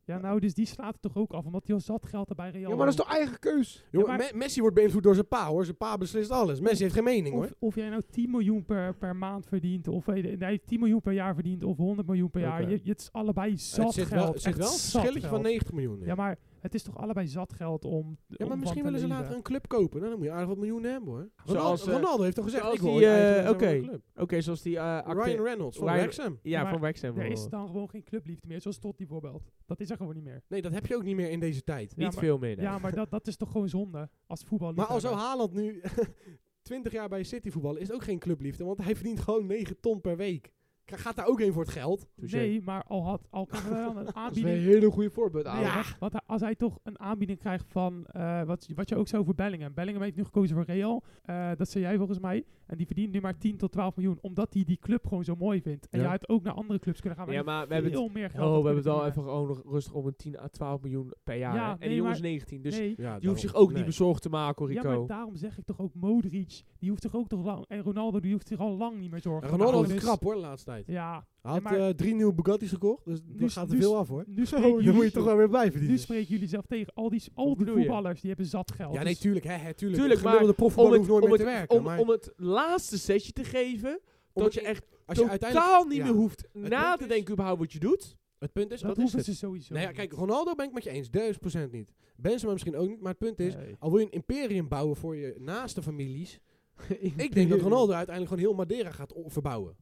Speaker 4: Ja, nou, dus die slaat het toch ook af, omdat hij al zat geld erbij Real.
Speaker 3: Ja, maar dat is toch eigen keus?
Speaker 2: Jongen,
Speaker 4: maar-
Speaker 2: Me- Messi wordt beïnvloed door zijn pa hoor. Zijn pa beslist alles. Messi heeft geen mening hoor.
Speaker 4: of, of jij nou 10 miljoen per, per maand verdient, of eh, nee, 10 miljoen per jaar verdient, of 100 miljoen per jaar.
Speaker 2: Oké.
Speaker 4: Je, je- het is allebei zat
Speaker 2: het zit
Speaker 4: geld.
Speaker 2: wel, het zit
Speaker 4: echt
Speaker 2: wel een
Speaker 4: zat
Speaker 2: verschilletje van
Speaker 4: geld.
Speaker 2: 90 miljoen. in.
Speaker 4: Ja, maar het is toch allebei zat geld om.
Speaker 2: Ja, maar misschien willen ze later een club kopen. Nou, dan moet je aardig wat miljoenen hebben hoor. Ronaldo,
Speaker 1: Zoals, eh,
Speaker 2: Ronaldo heeft toch gezegd,
Speaker 1: zoals
Speaker 2: ik wil
Speaker 1: die,
Speaker 2: ooit
Speaker 1: eh,
Speaker 2: eigenaar zijn van
Speaker 1: oké.
Speaker 2: een club.
Speaker 1: Oké, zoals die eh acte-
Speaker 2: Ryan Reynolds van
Speaker 1: Ryan-
Speaker 2: Wrexham.
Speaker 1: Ja,
Speaker 4: Maar
Speaker 1: van West Ham.
Speaker 4: Er is
Speaker 1: wel.
Speaker 4: dan gewoon geen clubliefde meer, zoals Totti bijvoorbeeld. Dat is er gewoon niet meer.
Speaker 2: Nee, dat heb je ook niet meer in deze tijd.
Speaker 4: Ja,
Speaker 1: Niet
Speaker 4: maar-
Speaker 1: veel meer. nee.
Speaker 4: Ja, maar dat, dat is toch gewoon zonde als voetbal.
Speaker 2: Maar al zou Haaland nu (laughs) 20 jaar bij City voetballen, is het ook geen clubliefde. Want hij verdient gewoon 9 ton per week. Ga- Gaat daar ook heen voor het geld?
Speaker 1: Touché.
Speaker 4: Nee, maar al had al kan
Speaker 2: (laughs)
Speaker 4: hij wel een
Speaker 3: Dat is een
Speaker 4: aanbieding.
Speaker 3: hele goede
Speaker 4: (laughs)
Speaker 3: voorbeeld,
Speaker 4: Nee,
Speaker 3: ouwe.
Speaker 4: want, want hij- als hij toch een aanbieding krijgt van eh, wat, wat je ook zou voor Bellingham. Bellingham heeft nu gekozen voor Real. Eh, dat zei jij volgens mij. En die verdient nu maar 10 tot 12 miljoen. Omdat hij die club gewoon zo mooi vindt. En
Speaker 2: Ja.
Speaker 4: jij had ook naar andere clubs kunnen gaan.
Speaker 1: Ja,
Speaker 4: maar
Speaker 1: maar we
Speaker 4: die
Speaker 1: hebben het,
Speaker 4: veel meer
Speaker 1: oh,
Speaker 4: geld.
Speaker 1: we hebben
Speaker 4: had
Speaker 1: het
Speaker 4: kunnen
Speaker 1: al even
Speaker 4: verdienen.
Speaker 1: gewoon nog rustig om een 10 à 12 miljoen per jaar.
Speaker 4: Ja,
Speaker 1: hè. en
Speaker 4: nee,
Speaker 1: die jongens
Speaker 4: maar-
Speaker 1: 19. Dus
Speaker 4: Nee.
Speaker 2: Ja,
Speaker 1: je hoeft zich ook niet bezorgd te maken, hoor,
Speaker 4: Ja,
Speaker 1: Rico.
Speaker 4: maar daarom zeg ik toch ook Modric. Die hoeft zich ook toch lang. En Ronaldo die hoeft zich al lang niet meer zorgen. te
Speaker 2: Ronaldo
Speaker 4: maken.
Speaker 2: heeft het
Speaker 4: Dus-
Speaker 2: krap hoor, de laatste tijd.
Speaker 4: Ja,
Speaker 2: Hij had
Speaker 4: Ja, maar- Oh,
Speaker 2: eh, drie nieuwe Bugattis gekocht, dus
Speaker 4: Nu
Speaker 2: nu
Speaker 4: is-
Speaker 2: gaat
Speaker 4: nu
Speaker 2: er
Speaker 4: is-
Speaker 2: veel af hoor.
Speaker 3: (laughs)
Speaker 2: dus-
Speaker 4: nu
Speaker 3: Zo,
Speaker 4: spreken jullie,
Speaker 3: dan moet je toch wel weer blijven
Speaker 4: nu
Speaker 3: die.
Speaker 4: spreken jullie zelf tegen. Al die, al
Speaker 1: Wat
Speaker 4: die
Speaker 1: bedoel je?
Speaker 4: voetballers die hebben zat geld.
Speaker 2: Ja,
Speaker 4: Dus-
Speaker 2: nee, tuurlijk, hè, hè, tuurlijk.
Speaker 1: Tuurlijk,
Speaker 2: de gemiddelde
Speaker 1: om
Speaker 2: profvoetballer
Speaker 1: het,
Speaker 2: hoeft nooit
Speaker 1: om,
Speaker 2: meer
Speaker 1: het,
Speaker 2: te werken.
Speaker 1: om,
Speaker 2: maar
Speaker 1: om het laatste setje te geven,
Speaker 2: om
Speaker 1: dat
Speaker 2: het-
Speaker 1: je echt
Speaker 2: als je uiteindelijk...
Speaker 1: totaal niet
Speaker 2: ja.
Speaker 1: meer hoeft na
Speaker 2: punt
Speaker 1: te
Speaker 2: is-
Speaker 1: denken überhaupt wat je doet.
Speaker 2: Het punt is,
Speaker 4: dat
Speaker 2: dat is
Speaker 4: hoeven
Speaker 2: het.
Speaker 4: ze sowieso.
Speaker 2: Nou ja,
Speaker 4: niet.
Speaker 2: kijk, Ronaldo ben ik met je eens, 1000% niet. Benzema misschien ook niet, maar het punt is,
Speaker 4: Nee.
Speaker 2: al wil je een imperium bouwen voor je naaste
Speaker 4: (laughs)
Speaker 2: families, ik denk dat
Speaker 3: Imperium.
Speaker 2: Ronaldo uiteindelijk gewoon heel Madeira gaat o- verbouwen.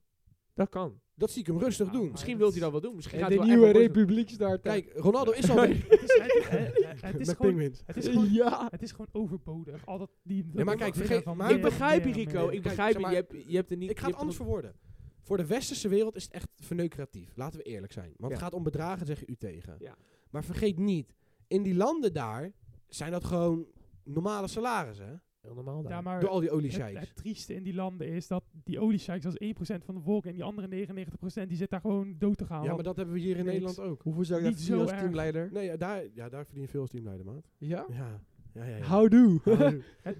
Speaker 1: Dat kan.
Speaker 2: Dat zie ik hem rustig
Speaker 4: Ja,
Speaker 2: doen.
Speaker 4: maar-
Speaker 1: Misschien wilt hij dat wel doen. Misschien
Speaker 3: En
Speaker 1: gaat
Speaker 3: de
Speaker 1: hij wel
Speaker 3: nieuwe
Speaker 1: echt wel boos-
Speaker 3: republiek start.
Speaker 2: Kijk, Ronaldo is
Speaker 4: (laughs)
Speaker 2: al...
Speaker 4: Het is- het- het-
Speaker 2: (laughs)
Speaker 4: het- Het is
Speaker 2: met
Speaker 4: gewoon-
Speaker 2: penguins.
Speaker 3: (laughs)
Speaker 4: het is gewoon
Speaker 3: Ja.
Speaker 4: Het is gewoon overbodig. Al dat die.
Speaker 2: maar
Speaker 4: dat-
Speaker 2: kijk,
Speaker 4: dat-
Speaker 2: vergeet-
Speaker 4: van
Speaker 2: maar-
Speaker 4: meer
Speaker 1: Ik
Speaker 4: en
Speaker 1: begrijp je,
Speaker 4: meer en
Speaker 1: Rico.
Speaker 4: meer.
Speaker 1: Ik
Speaker 2: Kijk,
Speaker 1: begrijp
Speaker 2: zeg
Speaker 1: je.
Speaker 2: maar,
Speaker 1: Je hebt, je hebt er niet...
Speaker 2: Ik ga
Speaker 1: je
Speaker 2: het
Speaker 1: hebt er
Speaker 2: anders
Speaker 1: nog-
Speaker 2: verwoorden. Voor de westerse wereld is het echt verneukeratief. Laten we eerlijk zijn. Want het
Speaker 1: Ja.
Speaker 2: gaat om bedragen, zeg je u tegen.
Speaker 1: Ja.
Speaker 2: Maar vergeet niet, in die landen daar zijn dat gewoon normale salarissen. hè?
Speaker 1: Heel normaal daar.
Speaker 4: Ja, maar
Speaker 2: Door al die
Speaker 4: het,
Speaker 2: oliesheiks.
Speaker 4: het trieste in die landen is dat die oliesheiks als 1% van de volk en die andere 99% die zit daar gewoon dood te gaan.
Speaker 2: Ja,
Speaker 4: want
Speaker 2: maar dat hebben we hier in
Speaker 4: niks.
Speaker 2: Nederland ook.
Speaker 3: Hoeveel zou ik daar
Speaker 4: Niet
Speaker 3: verdienen als
Speaker 4: zo erg.
Speaker 3: teamleider?
Speaker 2: Nee, ja, daar, ja, daar verdien je veel als teamleider, maat.
Speaker 3: Ja?
Speaker 2: Ja. ja, ja, ja.
Speaker 3: How do?
Speaker 4: het-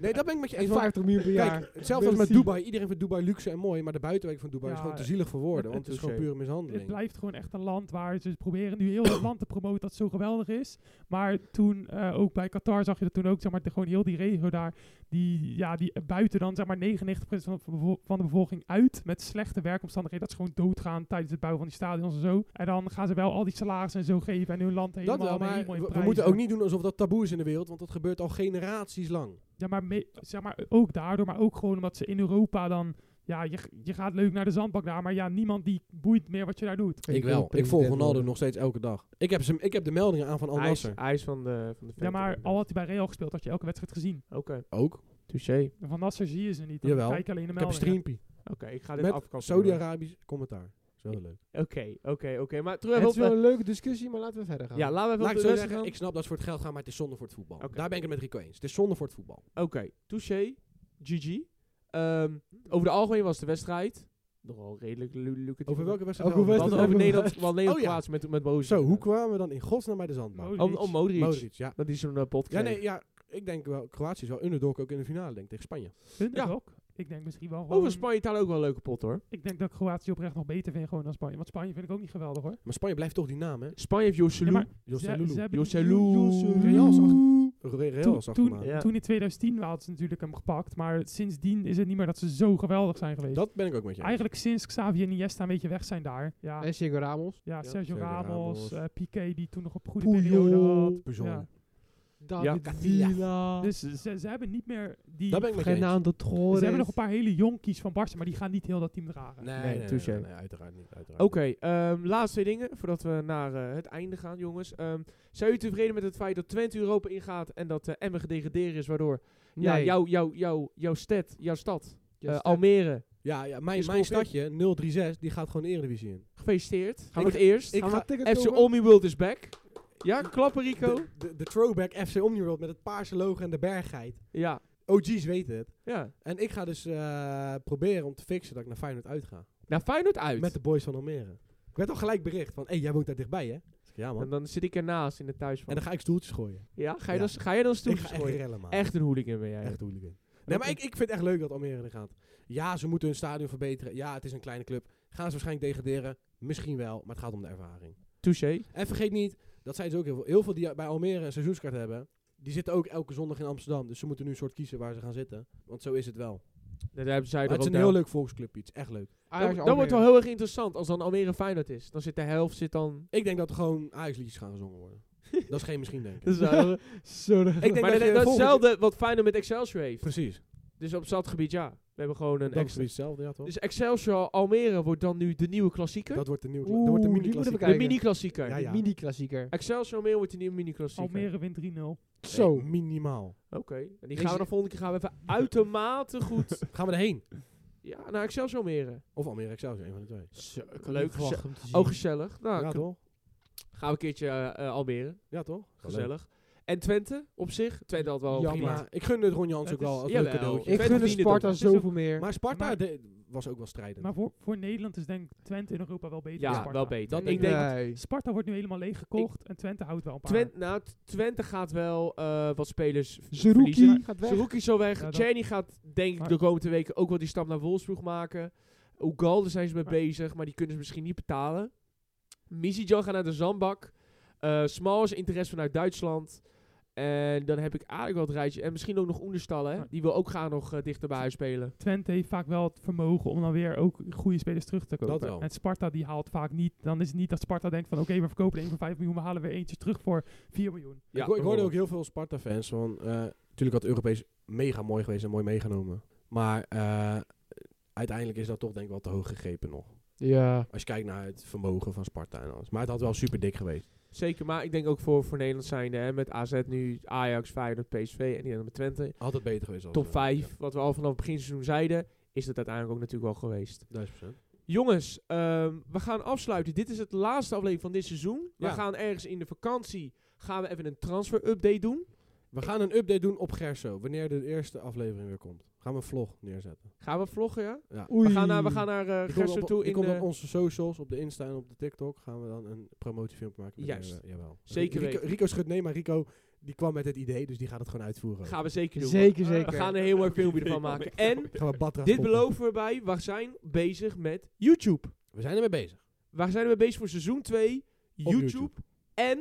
Speaker 2: (laughs) Nee, dat ben ik met je eens. want
Speaker 3: 50 miljoen per jaar.
Speaker 2: Kijk, hetzelfde als met
Speaker 3: Merci.
Speaker 2: Dubai. Iedereen vindt Dubai luxe en mooi, maar de buitenwijk van Dubai is
Speaker 4: Ja,
Speaker 2: gewoon te zielig voor woorden.
Speaker 1: het-
Speaker 2: Want het
Speaker 1: het
Speaker 2: is gewoon
Speaker 1: touché.
Speaker 2: pure
Speaker 4: het
Speaker 2: mishandeling.
Speaker 4: blijft gewoon echt een land waar ze proberen nu heel het land te promoten dat het zo geweldig is. Maar toen eh, ook bij Qatar zag je dat toen ook, zeg maar, de- gewoon heel die regio daar, die, ja, die buiten dan zeg maar 99% van de, bevo- van de bevolking uit met slechte werkomstandigheden. Dat ze gewoon doodgaan tijdens het bouwen van die stadions en zo. En dan gaan ze wel al die salarissen en zo geven en hun land helemaal
Speaker 2: Dat wel,
Speaker 4: aan de
Speaker 2: maar
Speaker 4: hemel in
Speaker 2: we, we
Speaker 4: prijzen.
Speaker 2: moeten ook niet doen alsof dat taboe is in de wereld, want dat gebeurt al generaties lang.
Speaker 4: Ja, maar, me- zeg maar ook daardoor, maar ook gewoon omdat ze in Europa dan... Ja, je, g- je gaat leuk naar de zandbak daar, maar ja, niemand die boeit meer wat je daar doet.
Speaker 2: Ik wel. Ik volg Ronaldo nog steeds elke dag. Ik heb, hem, ik heb de meldingen aan van Al
Speaker 1: Hij is,
Speaker 2: Nasser.
Speaker 1: hij is van de van de
Speaker 4: Ja,
Speaker 1: vent,
Speaker 4: maar
Speaker 1: inderdaad.
Speaker 4: al had hij bij Real gespeeld, had je elke wedstrijd gezien.
Speaker 1: Oké.
Speaker 2: Ook.
Speaker 1: Touché.
Speaker 4: En Van Nasser zie je ze niet.
Speaker 2: Jawel.
Speaker 4: Jawel. Kijk alleen de
Speaker 2: Ik heb een
Speaker 4: meldingen.
Speaker 2: streampie.
Speaker 1: Oké, ik ga dit
Speaker 2: Met
Speaker 1: afkappen.
Speaker 2: Saudi-Arabisch commentaar. Zo leuk.
Speaker 1: Oké, oké, oké. Maar terug
Speaker 3: Het is
Speaker 1: even
Speaker 3: wel
Speaker 1: op...
Speaker 3: een leuke discussie, maar laten we verder
Speaker 1: de-
Speaker 3: gaan.
Speaker 1: Ja, laten we even
Speaker 2: Laat ik
Speaker 1: op
Speaker 2: zo
Speaker 1: de
Speaker 2: zeggen,
Speaker 1: gaan.
Speaker 2: ik snap dat het voor het geld gaat, maar het is zonde voor het voetbal.
Speaker 1: Oké.
Speaker 2: Daar ben ik het met Rico eens. Het is zonde voor het voetbal.
Speaker 1: Oké, touché. GG. Ehm,
Speaker 2: Hmm.
Speaker 1: over het algemeen was de wedstrijd nogal redelijk lu- lucratief.
Speaker 2: Over welke wedstrijd?
Speaker 3: Over
Speaker 1: We
Speaker 2: hadden
Speaker 1: hadden
Speaker 2: we
Speaker 3: wedstrijd?
Speaker 1: over
Speaker 2: het?
Speaker 1: Nederland, wel Nederland
Speaker 2: Oh ja.
Speaker 1: plaats met, met Bozen.
Speaker 2: Zo, hoe kwamen we dan in godsnaam bij de zandbaan?
Speaker 4: Modric.
Speaker 1: Om, om Modric.
Speaker 2: Modric, ja.
Speaker 1: Dat die zo'n eh, pot
Speaker 2: Ja,
Speaker 1: kreeg.
Speaker 2: nee, ja. Ik denk wel, Kroatië is wel underdog ook in de finale, denk ik, tegen Spanje.
Speaker 4: Underdog. Ik denk misschien wel gewoon...
Speaker 1: Over Spanje taal ook wel een leuke pot hoor.
Speaker 4: Ik denk dat ik Kroatië oprecht nog beter vind gewoon dan Spanje. Want Spanje vind ik ook niet geweldig hoor.
Speaker 2: Maar Spanje blijft toch die naam, hè?
Speaker 1: Spanje heeft Joselu.
Speaker 4: Ja, maar
Speaker 2: Joselu.
Speaker 4: ze hebben-
Speaker 1: Joselu.
Speaker 2: Real is achter- Re-
Speaker 4: Toen,
Speaker 2: Real is
Speaker 4: toen,
Speaker 2: achtermaat.
Speaker 1: Ja.
Speaker 4: toen in 2010 hadden ze natuurlijk hem gepakt. Maar sindsdien is het niet meer dat ze zo geweldig zijn geweest.
Speaker 2: Dat ben ik ook met je eens.
Speaker 4: Eigenlijk sinds Xavi en Iniesta een beetje weg zijn daar. Ja,
Speaker 3: En Sergio Ramos.
Speaker 4: ja, Sergio
Speaker 2: Sergio
Speaker 4: Ramos,
Speaker 2: Ramos.
Speaker 4: eh Piqué die toen nog op goede periode
Speaker 3: Puyol.
Speaker 4: had.
Speaker 2: Puzol.
Speaker 4: Ja.
Speaker 3: David
Speaker 2: Ja.
Speaker 3: Villa.
Speaker 4: Dus ze, ze hebben niet meer die...
Speaker 2: Daar ben ik met je eens.
Speaker 3: Fernando Torres.
Speaker 4: ze hebben nog een paar hele jonkies van Barca, maar die gaan niet heel dat team dragen.
Speaker 2: Nee,
Speaker 1: Nee,
Speaker 2: nee, nee,
Speaker 1: touché.
Speaker 2: nee, nee, uiteraard niet. Uiteraard
Speaker 1: Oké, ehm, laatste twee dingen voordat we naar eh, het einde gaan, jongens. Ehm, zijn jullie tevreden met het feit dat Twente Europa ingaat en dat eh Emmen gedegradeerd is, waardoor
Speaker 3: Nee.
Speaker 1: ja, jouw jou, jou, jou stad, jouw stad,
Speaker 3: Jouw
Speaker 1: eh,
Speaker 3: stad.
Speaker 1: Almere,
Speaker 2: Ja, ja mijn,
Speaker 1: Is
Speaker 2: mijn
Speaker 1: geconfirmed.
Speaker 2: stadje, 036, die gaat gewoon de Eredivisie in.
Speaker 1: gefeliciteerd. Gaan
Speaker 2: Ik-
Speaker 1: we het eerst.
Speaker 2: ik
Speaker 3: Gaan we
Speaker 2: ga-
Speaker 3: een ticket
Speaker 1: FC
Speaker 3: kopen?
Speaker 1: Olmi World is back. Ja, klappen Rico.
Speaker 2: De, de, de throwback FC Omniworld met het paarse logo en de berggeit.
Speaker 1: Ja,
Speaker 2: OG's weten het.
Speaker 1: Ja.
Speaker 2: En ik ga dus eh, proberen om te fixen dat ik naar Feyenoord uitga.
Speaker 1: Nou, Feyenoord uit.
Speaker 2: Met de boys van Almere. Ik werd al gelijk bericht van, hé, hey, jij woont daar dichtbij, hè? Ik zeg, ja, man.
Speaker 1: en dan zit ik ernaast in de thuis
Speaker 2: En
Speaker 1: van.
Speaker 2: dan ga ik stoeltjes gooien.
Speaker 1: Ja, ga je,
Speaker 2: Ja.
Speaker 1: Dan, ga je dan stoeltjes
Speaker 2: ik ga echt
Speaker 1: gooien?
Speaker 2: rellen, man.
Speaker 1: Echt een hooligan ben jij.
Speaker 2: Echt hooligan. Nee, maar ik, ik vind het echt leuk dat Almere er gaat. Ja, ze moeten hun stadion verbeteren. Ja, het is een kleine club. Gaan ze waarschijnlijk degraderen? Misschien wel, maar het gaat om de ervaring.
Speaker 1: Touché.
Speaker 2: En vergeet niet, dat zijn ze ook heel veel. Heel veel die bij Almere een seizoenskaart hebben, die zitten ook elke zondag in Amsterdam. Dus ze moeten nu een soort kiezen waar ze gaan zitten. Want zo is het wel.
Speaker 1: Dat hebben zij
Speaker 2: Maar
Speaker 1: er
Speaker 2: het is
Speaker 1: ook
Speaker 2: een heel leuk volksclub iets. Echt leuk.
Speaker 3: Oh,
Speaker 1: Dan, dan wordt het wel heel erg interessant als dan Almere Feyenoord is. Dan zit de helft zit
Speaker 2: (laughs)
Speaker 1: dan...
Speaker 2: Ik denk dat er gewoon Ajax-liedjes gaan gezongen worden. dat is geen misschien denken.
Speaker 1: Dat is wel-
Speaker 3: Sorry.
Speaker 2: Ik denk
Speaker 1: maar dat,
Speaker 2: dat, je
Speaker 1: dat is
Speaker 2: volgend-
Speaker 1: hetzelfde wat Feyenoord met Excelsior heeft.
Speaker 2: Precies.
Speaker 1: Dus op dat gebied, ja. We hebben gewoon een
Speaker 2: Dat is
Speaker 1: extra.
Speaker 2: precies hetzelfde, ja toch?
Speaker 1: Dus Excelsior Almere wordt dan nu de nieuwe klassieker.
Speaker 2: dat wordt de nieuwe.
Speaker 3: Oeh,
Speaker 2: dat wordt de
Speaker 3: die
Speaker 2: mini
Speaker 3: moeten we
Speaker 1: de
Speaker 3: kijken.
Speaker 1: mini-klassieker.
Speaker 2: Ja, ja.
Speaker 3: Mini-klassieker.
Speaker 1: Excelsior Almere wordt de nieuwe mini-klassieker.
Speaker 4: Almere wint 3-0.
Speaker 2: Zo.
Speaker 3: Zo.
Speaker 2: minimaal.
Speaker 1: Oké. En die
Speaker 3: Deze-
Speaker 1: gaan we de volgende keer gaan we even uitermate goed
Speaker 2: Gaan we erheen?
Speaker 1: ja, nou, naar Excelsior Almere.
Speaker 2: Of Almere Excelsior, een van de twee.
Speaker 1: Leuk. Geze-
Speaker 3: om te zien.
Speaker 1: oh, gezellig. Nou,
Speaker 2: Ja,
Speaker 1: kun-
Speaker 2: toch?
Speaker 1: gaan we een keertje eh, eh, Almere.
Speaker 2: Ja, toch?
Speaker 1: Gezellig. En Twente op zich. Twente had wel
Speaker 3: Ja,
Speaker 2: Leuk.
Speaker 1: prima.
Speaker 2: Maar ik gun Oh, het Ron Jans
Speaker 4: Het
Speaker 2: ook wel
Speaker 4: is-
Speaker 2: als leuk
Speaker 1: jawel.
Speaker 2: cadeautje.
Speaker 1: Ik
Speaker 3: Ik
Speaker 1: weet
Speaker 3: gun
Speaker 1: het
Speaker 3: het
Speaker 1: niet, hoor.
Speaker 3: Sparta
Speaker 1: Het
Speaker 4: is
Speaker 3: zoveel meer.
Speaker 2: Maar Sparta
Speaker 4: Maar-
Speaker 2: de- was ook wel strijdend.
Speaker 4: Maar voor, voor Nederland is denk ik Twente in Europa wel beter
Speaker 1: Ja,
Speaker 4: dan Sparta.
Speaker 1: wel beter.
Speaker 2: Dan
Speaker 1: ik
Speaker 2: denk
Speaker 1: denk,
Speaker 3: nee.
Speaker 4: Sparta wordt nu helemaal leeggekocht en Twente houdt wel een paar.
Speaker 1: Twente, nou, T- Twente gaat wel eh, wat spelers v- verliezen.
Speaker 3: Zerouki gaat weg.
Speaker 1: Zerouki is al weg.
Speaker 4: Ja, dat-
Speaker 1: Cheney gaat denk ik
Speaker 4: Maar-
Speaker 1: de komende weken ook wel die stap naar Wolfsburg maken. Ugal, daar zijn ze mee
Speaker 4: Maar-
Speaker 1: bezig, maar die kunnen ze misschien niet betalen. Misijan gaat naar de Zandbak. Eh Smal is interesse vanuit Duitsland. En dan heb ik eigenlijk wel het rijtje. En misschien ook nog Oenerstal, hè.
Speaker 4: Maar-
Speaker 1: Die wil ook gaan nog eh, dichter bij huis spelen.
Speaker 4: Twente heeft vaak wel het vermogen om dan weer ook goede spelers terug te kopen.
Speaker 2: Dat wel.
Speaker 4: En Sparta die haalt vaak niet. Dan is het niet dat Sparta denkt van oké, we verkopen er één voor 5 miljoen, we halen weer eentje terug voor 4 miljoen.
Speaker 2: Ik, hoor- ik hoorde ook heel veel Sparta-fans van... eh, Natuurlijk had het Europees mega mooi geweest en mooi meegenomen. Maar eh, uiteindelijk is dat toch denk ik wel te hoog gegrepen nog.
Speaker 3: Ja.
Speaker 2: Als je kijkt naar het vermogen van Sparta en alles. Maar het had wel super dik geweest.
Speaker 1: Zeker, maar ik denk ook voor, voor Nederland zijnde, hè. Met AZ nu, Ajax, Feyenoord, PSV en die dan met Twente.
Speaker 2: Had het beter geweest. als
Speaker 1: top
Speaker 2: eh,
Speaker 1: 5, wat we al vanaf het begin seizoen zeiden, is dat uiteindelijk ook natuurlijk wel geweest.
Speaker 2: Ja, 1000%.
Speaker 1: Jongens, ehm, we gaan afsluiten. Dit is het laatste aflevering van dit seizoen. We
Speaker 2: Ja.
Speaker 1: gaan ergens in de vakantie gaan we even een transfer-update doen.
Speaker 2: We gaan een update doen op Gerso. Wanneer de eerste aflevering weer komt. Gaan we een vlog neerzetten.
Speaker 1: Gaan we vloggen, ja?
Speaker 2: Ja.
Speaker 1: We
Speaker 3: Oei.
Speaker 1: gaan naar, we gaan naar eh,
Speaker 2: Ik kom
Speaker 1: Gerso
Speaker 2: op-
Speaker 1: toe.
Speaker 2: Ik
Speaker 1: in
Speaker 2: kom
Speaker 1: de-
Speaker 2: op onze socials, op de Insta en op de TikTok, gaan we dan een promotiefilmpje maken. met
Speaker 1: Juist.
Speaker 2: de- jawel.
Speaker 1: Zeker
Speaker 2: Rico,
Speaker 1: weten.
Speaker 2: Rico schudt nee, maar Rico die kwam met het idee, dus die gaat het gewoon uitvoeren.
Speaker 1: gaan we zeker doen.
Speaker 3: Zeker,
Speaker 1: We
Speaker 3: zeker.
Speaker 1: gaan een heel mooi filmpje ervan maken. En
Speaker 2: Gaan we Batra
Speaker 1: dit
Speaker 2: foppen.
Speaker 1: beloven we bij, we zijn bezig met YouTube.
Speaker 2: We zijn ermee bezig.
Speaker 1: We zijn mee bezig voor seizoen 2, YouTube,
Speaker 2: YouTube.
Speaker 1: En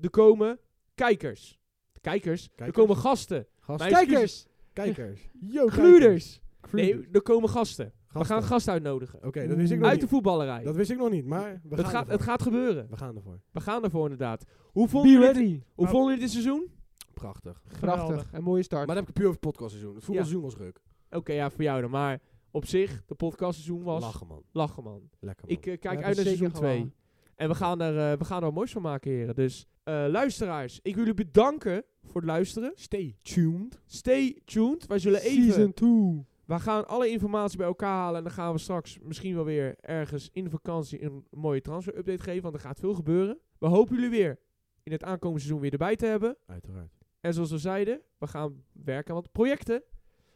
Speaker 1: er komen kijkers. Kijkers. Er
Speaker 2: Kijkers.
Speaker 1: komen gasten.
Speaker 2: Gasten.
Speaker 1: Mijn excuses.
Speaker 3: Kijkers.
Speaker 2: Kijkers. Yo,
Speaker 1: Gluurders.
Speaker 2: Gluurders.
Speaker 1: Nee, er komen gasten. We
Speaker 2: Gasten.
Speaker 1: gaan gasten uitnodigen.
Speaker 2: Oké, dat wist Dus ik nog
Speaker 1: Uit de
Speaker 2: niet.
Speaker 1: voetballerij.
Speaker 2: Dat wist ik nog niet, maar we
Speaker 1: het,
Speaker 2: gaan
Speaker 1: gaat,
Speaker 2: ervoor.
Speaker 1: het gaat gebeuren.
Speaker 2: We gaan ervoor.
Speaker 1: We gaan ervoor inderdaad. Hoe vonden,
Speaker 3: Be
Speaker 1: jullie, dit-
Speaker 3: ready.
Speaker 1: hoe vonden jullie dit seizoen?
Speaker 2: Prachtig. Maar
Speaker 4: Geweldig.
Speaker 3: Prachtig. Een mooie start.
Speaker 2: dan heb ik het puur over het podcastseizoen. Het voetbalseizoen was ruk.
Speaker 1: Oké, ja, voor jou dan. Maar op zich, de podcastseizoen was lachen,
Speaker 2: Lachen man.
Speaker 1: man.
Speaker 2: Lekker man.
Speaker 1: Ik eh, kijk
Speaker 3: hebben
Speaker 1: uit naar
Speaker 3: zeker
Speaker 1: seizoen 2.
Speaker 3: gewonnen.
Speaker 1: En we gaan, er, eh, we gaan er wat moois van maken, heren. Dus eh, luisteraars, ik wil jullie bedanken voor het luisteren.
Speaker 2: Stay tuned.
Speaker 1: Stay tuned. Wij zullen even...
Speaker 3: Season 2.
Speaker 1: We gaan alle informatie bij elkaar halen. En dan gaan we straks misschien wel weer ergens in de vakantie een mooie transfer-update geven. Want er gaat veel gebeuren. We hopen jullie weer in het aankomende seizoen weer erbij te hebben.
Speaker 2: Uiteraard.
Speaker 1: (laughs) En zoals we zeiden, we gaan werken aan wat projecten.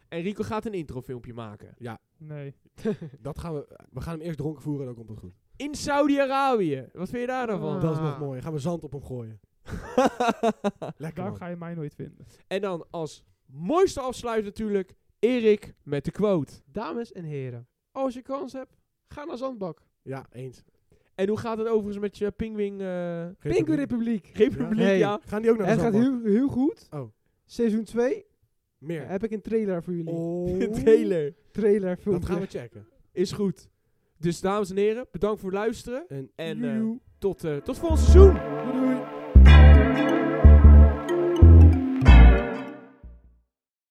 Speaker 1: En Rico gaat een introfilmpje maken.
Speaker 4: Nee.
Speaker 2: Dat gaan we, we gaan hem eerst dronken voeren en dan komt het goed.
Speaker 1: In Saudi-Araë. Wat vind je daar dan van?
Speaker 3: Ah.
Speaker 2: Dat is nog mooi. Gaan we zand op hem gooien. Lekker
Speaker 4: Daar
Speaker 2: man.
Speaker 4: ga je mij nooit vinden.
Speaker 1: en dan als mooiste afsluit natuurlijk Erik met de quote.
Speaker 3: Dames en heren, als je kans hebt, ga naar Zandbak.
Speaker 2: Ja, eens.
Speaker 1: En hoe gaat het overigens met je pingwing eh
Speaker 3: Pingu
Speaker 2: Republiek.
Speaker 3: Republiek.
Speaker 1: Republiek?
Speaker 3: Hey.
Speaker 1: Ja.
Speaker 2: Gaan die ook naar de
Speaker 3: Het gaat
Speaker 2: zandbak?
Speaker 3: heel, heel goed.
Speaker 2: Oh.
Speaker 3: Seizoen 2
Speaker 2: Meer.
Speaker 3: heb ik een trailer voor jullie.
Speaker 1: (laughs) De
Speaker 2: Oh.
Speaker 1: trailer
Speaker 3: Trailer
Speaker 2: Dat gaan
Speaker 3: filmpje.
Speaker 2: we checken.
Speaker 1: is goed. Dus dames en heren, bedankt voor het luisteren.
Speaker 2: En
Speaker 1: En eh, tot, eh tot volgend seizoen.
Speaker 3: Doei, doei.